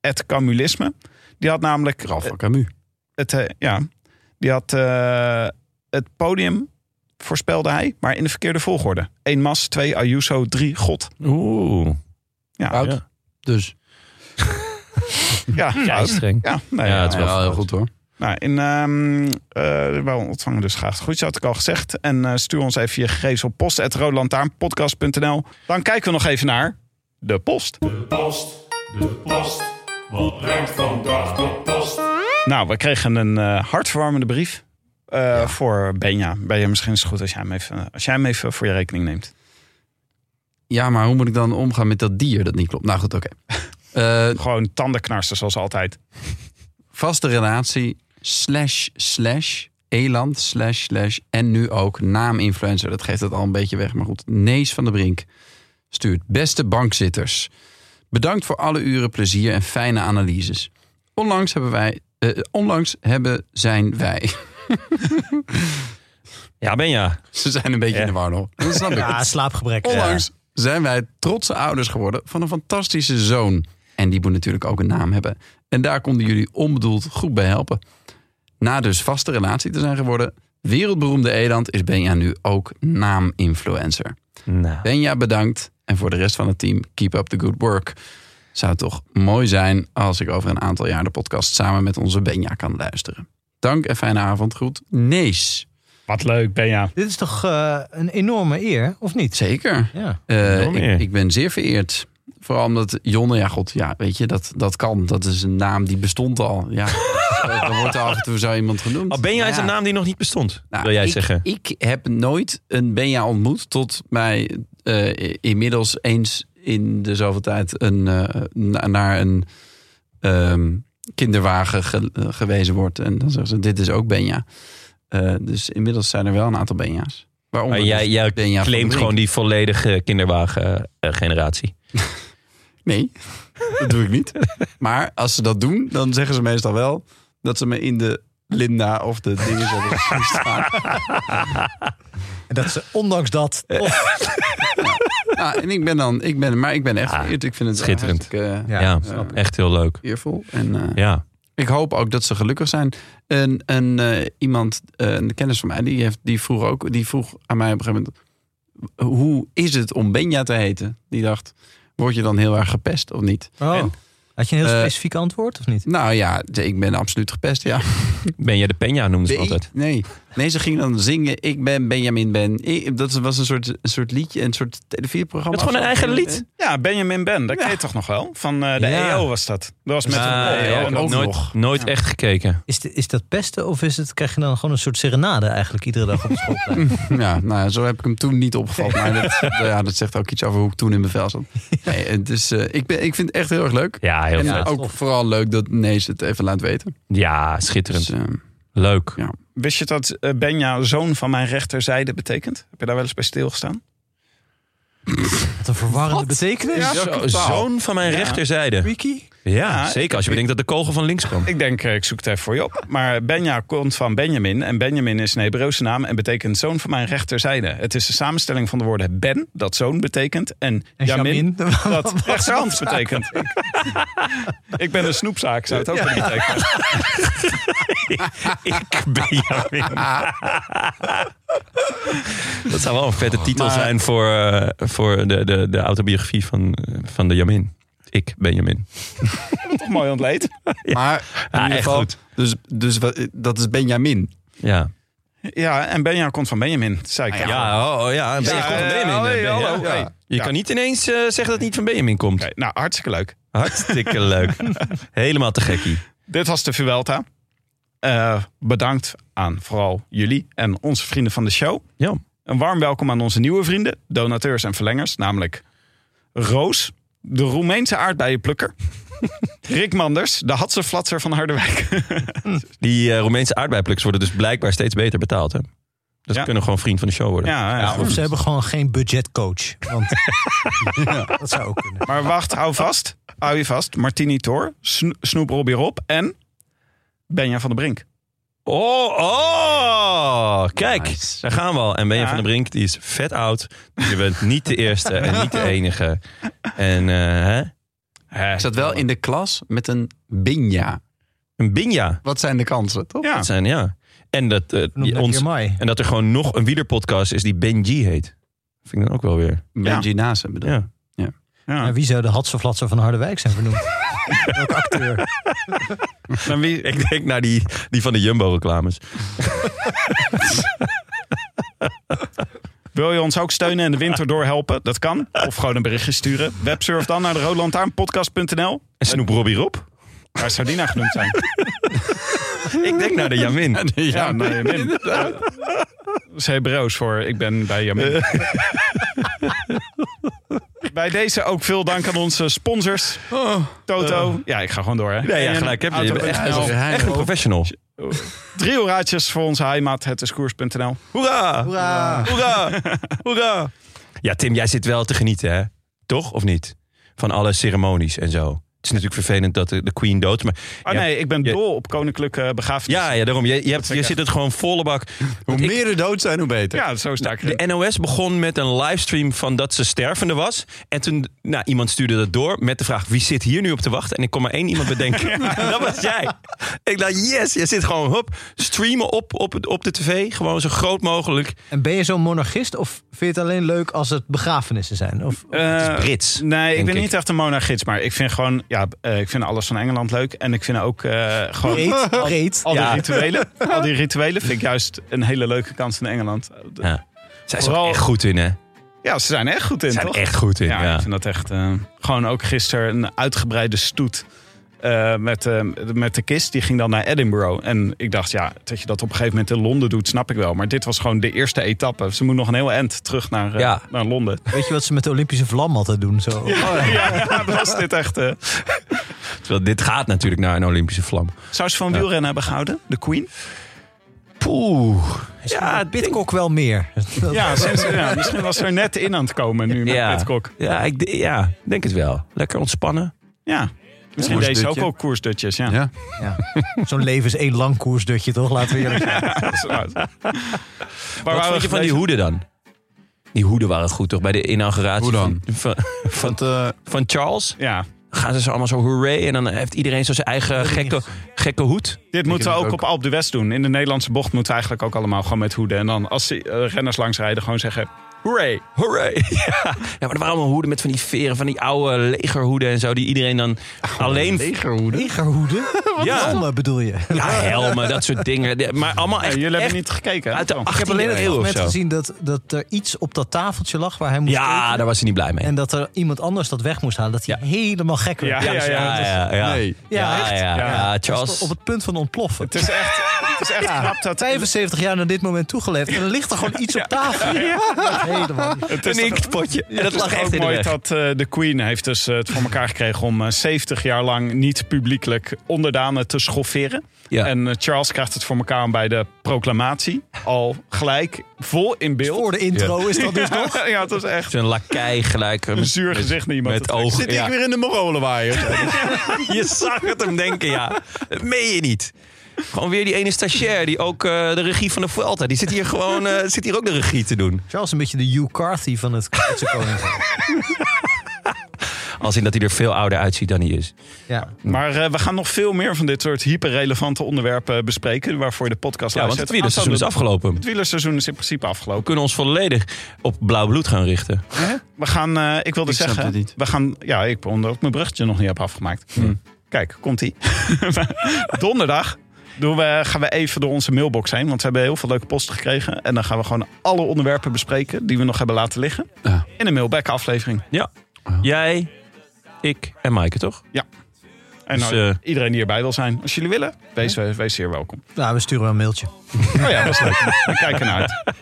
Het Camulisme. Die had namelijk... Ralf van Camus. Het, eh, ja, die had eh, het podium, voorspelde hij, maar in de verkeerde volgorde. 1 Mas, 2 Ayuso, 3 God. Oeh. Ja, Oud. Dus. ja, Ja, fout. streng. ja, nou Ja, ja, het is wel heel goed hoor. Nou, in, ehm eh, wij ontvangen dus graag goed, had ik al gezegd. En eh, stuur ons even je gegevens op post.roodlantaarnpodcast.nl. Dan kijken we nog even naar de post. post, de post. Wat brengt vandaag de post? Nou, we kregen een eh, hartverwarmende brief eh, voor Benja. Benja, misschien is het goed als jij, hem even, als jij hem even voor je rekening neemt. Ja, maar hoe moet ik dan omgaan met dat dier dat niet klopt? Nou goed, oké. Eh, Gewoon tandenknarsen zoals altijd. vaste relatie, slash, slash, eland, slash, slash, en nu ook naaminfluencer. Dat geeft het al een beetje weg, maar goed. Nees van de Brink stuurt. Beste bankzitters, bedankt voor alle uren plezier en fijne analyses. Onlangs hebben wij, eh, onlangs hebben zijn wij. Ja, ben je. Ze zijn een beetje in de war nog. Dat snap ik. Ja, slaapgebrek. Onlangs zijn wij trotse ouders geworden van een fantastische zoon. En die moet natuurlijk ook een naam hebben. En daar konden jullie onbedoeld goed bij helpen. Na dus vaste relatie te zijn geworden, wereldberoemde Eland is Benja nu ook naaminfluencer. Nou. Benja bedankt en voor de rest van het team, keep up the good work. zou het toch mooi zijn als ik over een aantal jaar de podcast samen met onze Benja kan luisteren. Dank en fijne avond. Goed. Nees. Wat leuk, Benja. Dit is toch eh, een enorme eer, of niet? Zeker. Ja. Eh, Enorm eer. ik, ik ben zeer vereerd. Vooral omdat Jonne, ja god, ja, weet je, dat, dat kan. Dat is een naam die bestond al. Ja, dan wordt er af en toe zo iemand genoemd. Al Oh, Benja is Ja. een naam die nog niet bestond, Nou, wil jij ik, zeggen. Ik heb nooit een Benja ontmoet tot mij eh, i- inmiddels eens in de zoveel tijd een, eh, na- naar een ehm, kinderwagen ge- eh, gewezen wordt. En dan zeggen ze, dit is ook Benja. Eh, dus inmiddels zijn er wel een aantal Benja's. Waaronder Maar jij, dus jij Benja van claimt Brink. gewoon die volledige kinderwagen-generatie. Nee, dat doe ik niet. Maar als ze dat doen, dan zeggen ze meestal wel dat ze me in de Linda of de dingen zetten staan. En dat ze ondanks dat Oh. toch- Ja, Nou, en ik ben dan, ik ben, maar ik ben echt Ah, vereerd. Ik vind het schitterend. hartstikke, eh, Ja, ja, snap ik. echt heel leuk. eervol. En eh, Ja. ik hoop ook dat ze gelukkig zijn. En, en eh, iemand, eh, een kennis van mij, die, heeft, die, vroeg ook, die vroeg aan mij op een gegeven moment... Hoe is het om Benja te heten? Die dacht, word je dan heel erg gepest of niet? Oh. Had je een heel Eh, specifiek antwoord, of niet? Nou ja, ik ben absoluut gepest, ja. Ben jij de Penja noemde ze Nee, altijd. nee. nee, ze ging dan zingen Ik ben Benjamin Ben. Ik- dat was een soort, een soort liedje, een soort televisieprogramma. Het is gewoon of een zo. eigen lied. Ja, Benjamin Ben, dat Ja. ken je toch nog wel? Van eh, de Ja. EO was dat. Dat was met Ah, een ja, EO. ik en heb dat- nooit, nooit echt gekeken. Is, dit- is dat pesten of is het, krijg je dan gewoon een soort serenade eigenlijk iedere dag op de schoolplein? Ja, nou ja, zo heb ik hem toen niet opgevat. Maar dat, ja, dat zegt ook iets over hoe ik toen in mijn vel zat. Nee, het is, eh, ik, ben, ik vind het echt heel erg leuk. Ja, heel en eh, vet. ook vooral leuk dat Nees het even laat weten. Ja, Dus, schitterend. eh, Leuk. Ja. Wist je dat eh, Benja zoon van mijn rechterzijde betekent? Heb je daar wel eens bij stilgestaan? Wat een verwarrende betekenis. Ja, Zo- totaal. zoon van mijn Ja. rechterzijde. Freaky. Ja, zeker. Als je bedenkt dat de kogel van links kwam. Ik denk, eh, ik zoek het even voor je op. Maar Benja komt van Benjamin. En Benjamin is een Hebreeuwse naam en betekent zoon van mijn rechterzijde. Het is de samenstelling van de woorden Ben, dat zoon betekent. En, En Jamin. dat rechterhand betekent. ik ben een snoepzaak, zou het ook kunnen betekenen. Ik ben jou Dat zou wel een vette titel zijn voor, eh, voor de, de, de autobiografie van, eh, van de Jamin. Ik, Benjamin. Toch mooi ontleed. Maar in Ja, ieder echt geval, goed. dus, dus wat- dat is Benjamin. Ja. Ja, en Benja komt van Benjamin, zei ik. Ja, oh, oh, ja. Ben je Ja, komt van eh, Benjamin, hoi, eh, Ben je? hallo, hey. Je Ja. kan niet ineens eh, zeggen dat het niet van Benjamin komt. Oké, nou, hartstikke leuk. Hartstikke leuk. Helemaal te gekkie. Dit was de Vuelta. Eh, bedankt aan vooral jullie en onze vrienden van de show. Ja. Een warm welkom aan onze nieuwe vrienden, donateurs en verlengers. Namelijk Roos, de Roemeense aardbeienplukker. Rick Manders, de Hatse Flatser van Harderwijk. Die eh, Roemeense aardbeienplukkers worden dus blijkbaar steeds beter betaald. Hè? Dat Ja. kunnen gewoon vriend van de show worden. ja, ja. Of ze hebben gewoon geen budgetcoach. Want Ja, dat zou ook kunnen. Maar wacht, hou vast. Hou je vast. Martini Tor, Sno- Snoep Robbie Rob en Benja van der Brink. Oh, oh! Kijk, Nice. daar gaan we al. En Benja Ja. van der Brink, die is vet oud. Dus Je bent niet de eerste en niet de enige. En eh, hè? Ik zat wel in de klas met een Benja. een Binja. Wat zijn de kansen, toch? Ja. Dat zijn, ja. En dat, eh, die- Noem dat ons, weer mij. en dat er gewoon nog een wielerpodcast is die Benji heet. Vind ik dan ook wel weer. Benji Nase bedoel ik. Ja. Maar Ja. wie zou de Hatsenflatser van Harderwijk zijn vernoemd? Welke acteur? Dan wie, Ik denk naar die, die van de Jumbo-reclames. Wil je ons ook steunen en de winter doorhelpen? Dat kan. Of gewoon een berichtje sturen. Websurf dan naar de roodlantaarnpodcast.nl. En Snoep Robbie Rob? Waar zou die nou genoemd zijn? Ik denk naar de Jamin. Ja, nee, Min. Dat is Hebreeuws voor ik ben bij Eh. Jamin. Bij deze ook veel dank aan onze sponsors. Toto. ja, ik ga gewoon door. Hè. Nee, Oh. Eh. ja, En gelijk heb je. Je Auto bent echt, NL. geheim. Nou, echt een professional. Drie hoeraatjes voor onze heimat. Het is koers.nl. Hoera! Hoera! Hoera! Hoera! Ah, Ja, Tim, jij zit wel te genieten, hè? Toch of niet? Van alle ceremonies en zo. Het is natuurlijk vervelend dat de, de Queen dood is, maar... Oh ja, nee, ik ben Ja. dol op koninklijke begrafenis. ja, ja, daarom. Je, je, hebt, vind ik je echt- zit het gewoon volle bak. Hoe Ik- meer er dood zijn, hoe beter. ja zo sta ik erin. De NOS begon met een livestream van dat ze stervende was. En toen, nou, iemand stuurde dat door met de vraag... wie zit hier nu op te wachten? En ik kon maar één iemand bedenken. Dat was jij. Ik dacht, yes, je zit gewoon, hup, streamen op, op, het- op de tv. Gewoon zo groot mogelijk. En ben je zo'n monarchist of vind je het alleen leuk als het begrafenissen zijn? Of, Het Eh, is Brits. Nee, ik denk ben ik. niet echt een monarchist, maar ik vind gewoon, ja, eh, ik vind alles van Engeland leuk. En ik vind ook eh, gewoon Breed, al, breed. al die Ja. rituelen. Al die rituelen vind ik juist een hele leuke kans in Engeland. Zij zijn Vooral- er echt goed in, hè? Ja, ze zijn er echt goed in, Ze zijn toch? er echt goed in, ja, ja. ik vind dat echt. eh, gewoon ook gisteren een uitgebreide stoet. eh, met, eh, met de kist, die ging dan naar Edinburgh. En ik dacht, ja, dat je dat op een gegeven moment in Londen doet, snap ik wel. Maar dit was gewoon de eerste etappe. Ze moet nog een heel end terug naar, eh, Ja. naar Londen. weet je wat ze met de Olympische vlam altijd doen? Zo. Oh, Ja, dat was dit echt. eh. Terwijl dit gaat natuurlijk naar een Olympische vlam. Zou ze van wielrennen hebben gehouden? De Queen? Poeh. Ja, Bitcock wel meer. Dat- Ja, sinds, ja, misschien was ze er net in aan het komen nu met Ja. Pitcock. Ja, ik de- ja, denk het wel. Lekker ontspannen. Ja, misschien Koersdutje. deed ze ook wel koersdutjes. Ja. Ja. Ja. Zo'n leven is één lang koersdutje, toch? Laten we eerlijk zijn. Dat is- nou, Waar Wat waren vond we je van die hoeden dan? Die hoeden waren goed, toch? Bij de inauguratie Hoe dan? Van, van, van, Want, eh, van Charles Ja, gaan ze zo allemaal zo hooray. En dan heeft iedereen zo zijn eigen gekke, gekke hoed. Dit moeten we het ook, ook. op Alp de West doen. In de Nederlandse bocht moeten we eigenlijk ook allemaal gewoon met hoeden. En dan als de renners langsrijden gewoon zeggen... Hooray! Hooray! Ja. ja, maar er waren allemaal hoeden met van die veren, van die oude legerhoeden en zo. Die iedereen dan alleen... legerhoeden. Legerhoeden? Ja. Helmen bedoel je? Ja, helmen, dat soort dingen. De- Maar allemaal Ja, echt, jullie echt hebben niet gekeken. hè? uit de Oh. 18e eeuw of Net zo. gezien dat, dat er iets op dat tafeltje lag waar hij moest Ja, tekenen. daar was hij niet blij mee. En dat er iemand anders dat weg moest halen. Dat hij Ja. helemaal gek werd. Ja, ja, ja, ja. ja, ja. Nee. Ja, Ja, echt? ja, Ja. ja, Dat is Charles. op het punt van ontploffen. Het is echt, het is echt knap dat... 75 jaar naar dit moment toegeleefd. En er ligt er gewoon iets op tafel. Helemaal niet. Het Een toch- inktpotje. En dat het is lag toch echt ook in de mooi weg. dat eh, de Queen heeft dus eh, het voor elkaar gekregen om eh, 70 jaar lang niet publiekelijk onderdanen te schofferen. Ja. En eh, Charles krijgt het voor elkaar om bij de proclamatie al gelijk vol in beeld. Voor de intro is dat dus nog. ja, het was echt Zo'n lakij gelijk. een zuur gezicht naar iemand. met te trekken. ogen. Zit Ja. ik weer in de Mongolenwaaier? Je zag het hem denken, ja. Dat meen je niet. Gewoon weer die ene stagiair die ook eh, de regie van de Vuelta... die zit hier gewoon eh, zit hier ook de regie te doen. Charles een beetje de Hugh Carthy van het Britse koninkrijk. Als in dat hij er veel ouder uitziet dan hij is. Ja. Maar eh, we gaan nog veel meer van dit soort hyperrelevante onderwerpen eh, bespreken. Waarvoor je de podcast Ja, want luistert. het wielerseizoen is Aanstaande- afgelopen. Het We wielerseizoen is in principe afgelopen. kunnen ons volledig op blauw bloed gaan richten. We gaan, eh, ik wilde Ik snap zeggen, dit niet. we gaan, ja, ik omdat ik mijn bruggetje nog niet heb afgemaakt. Hm. Kijk, komt ie. Donderdag doen we, gaan we even door onze mailbox heen, want we hebben heel veel leuke posten gekregen. En dan gaan we gewoon alle onderwerpen bespreken die we nog hebben laten liggen Ja. in een mailback aflevering. Ja. Jij, ik en Maaike, toch? En Dus, nou, eh, iedereen die erbij wil zijn, als jullie willen, wees, wees zeer welkom. Nou, we sturen wel een mailtje. Oh ja, dat is leuk. We kijken naar uit.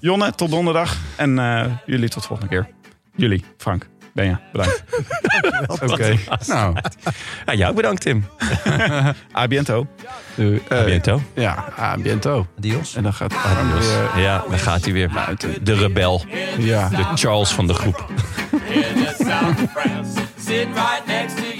Jonne, tot donderdag. En eh, jullie tot volgende keer. Jullie, Frank, Benja, bedankt. Oké. Nou, Ja, Ah, jou bedankt, Tim. A biento. doei. Eh, Biento. ja, ah, biento. Adios. En dan gaat Arno weer Ja, daar gaat hij weer. buiten. De rebel. Ja. De Charles van de groep. in the South of France. Sit right next to you.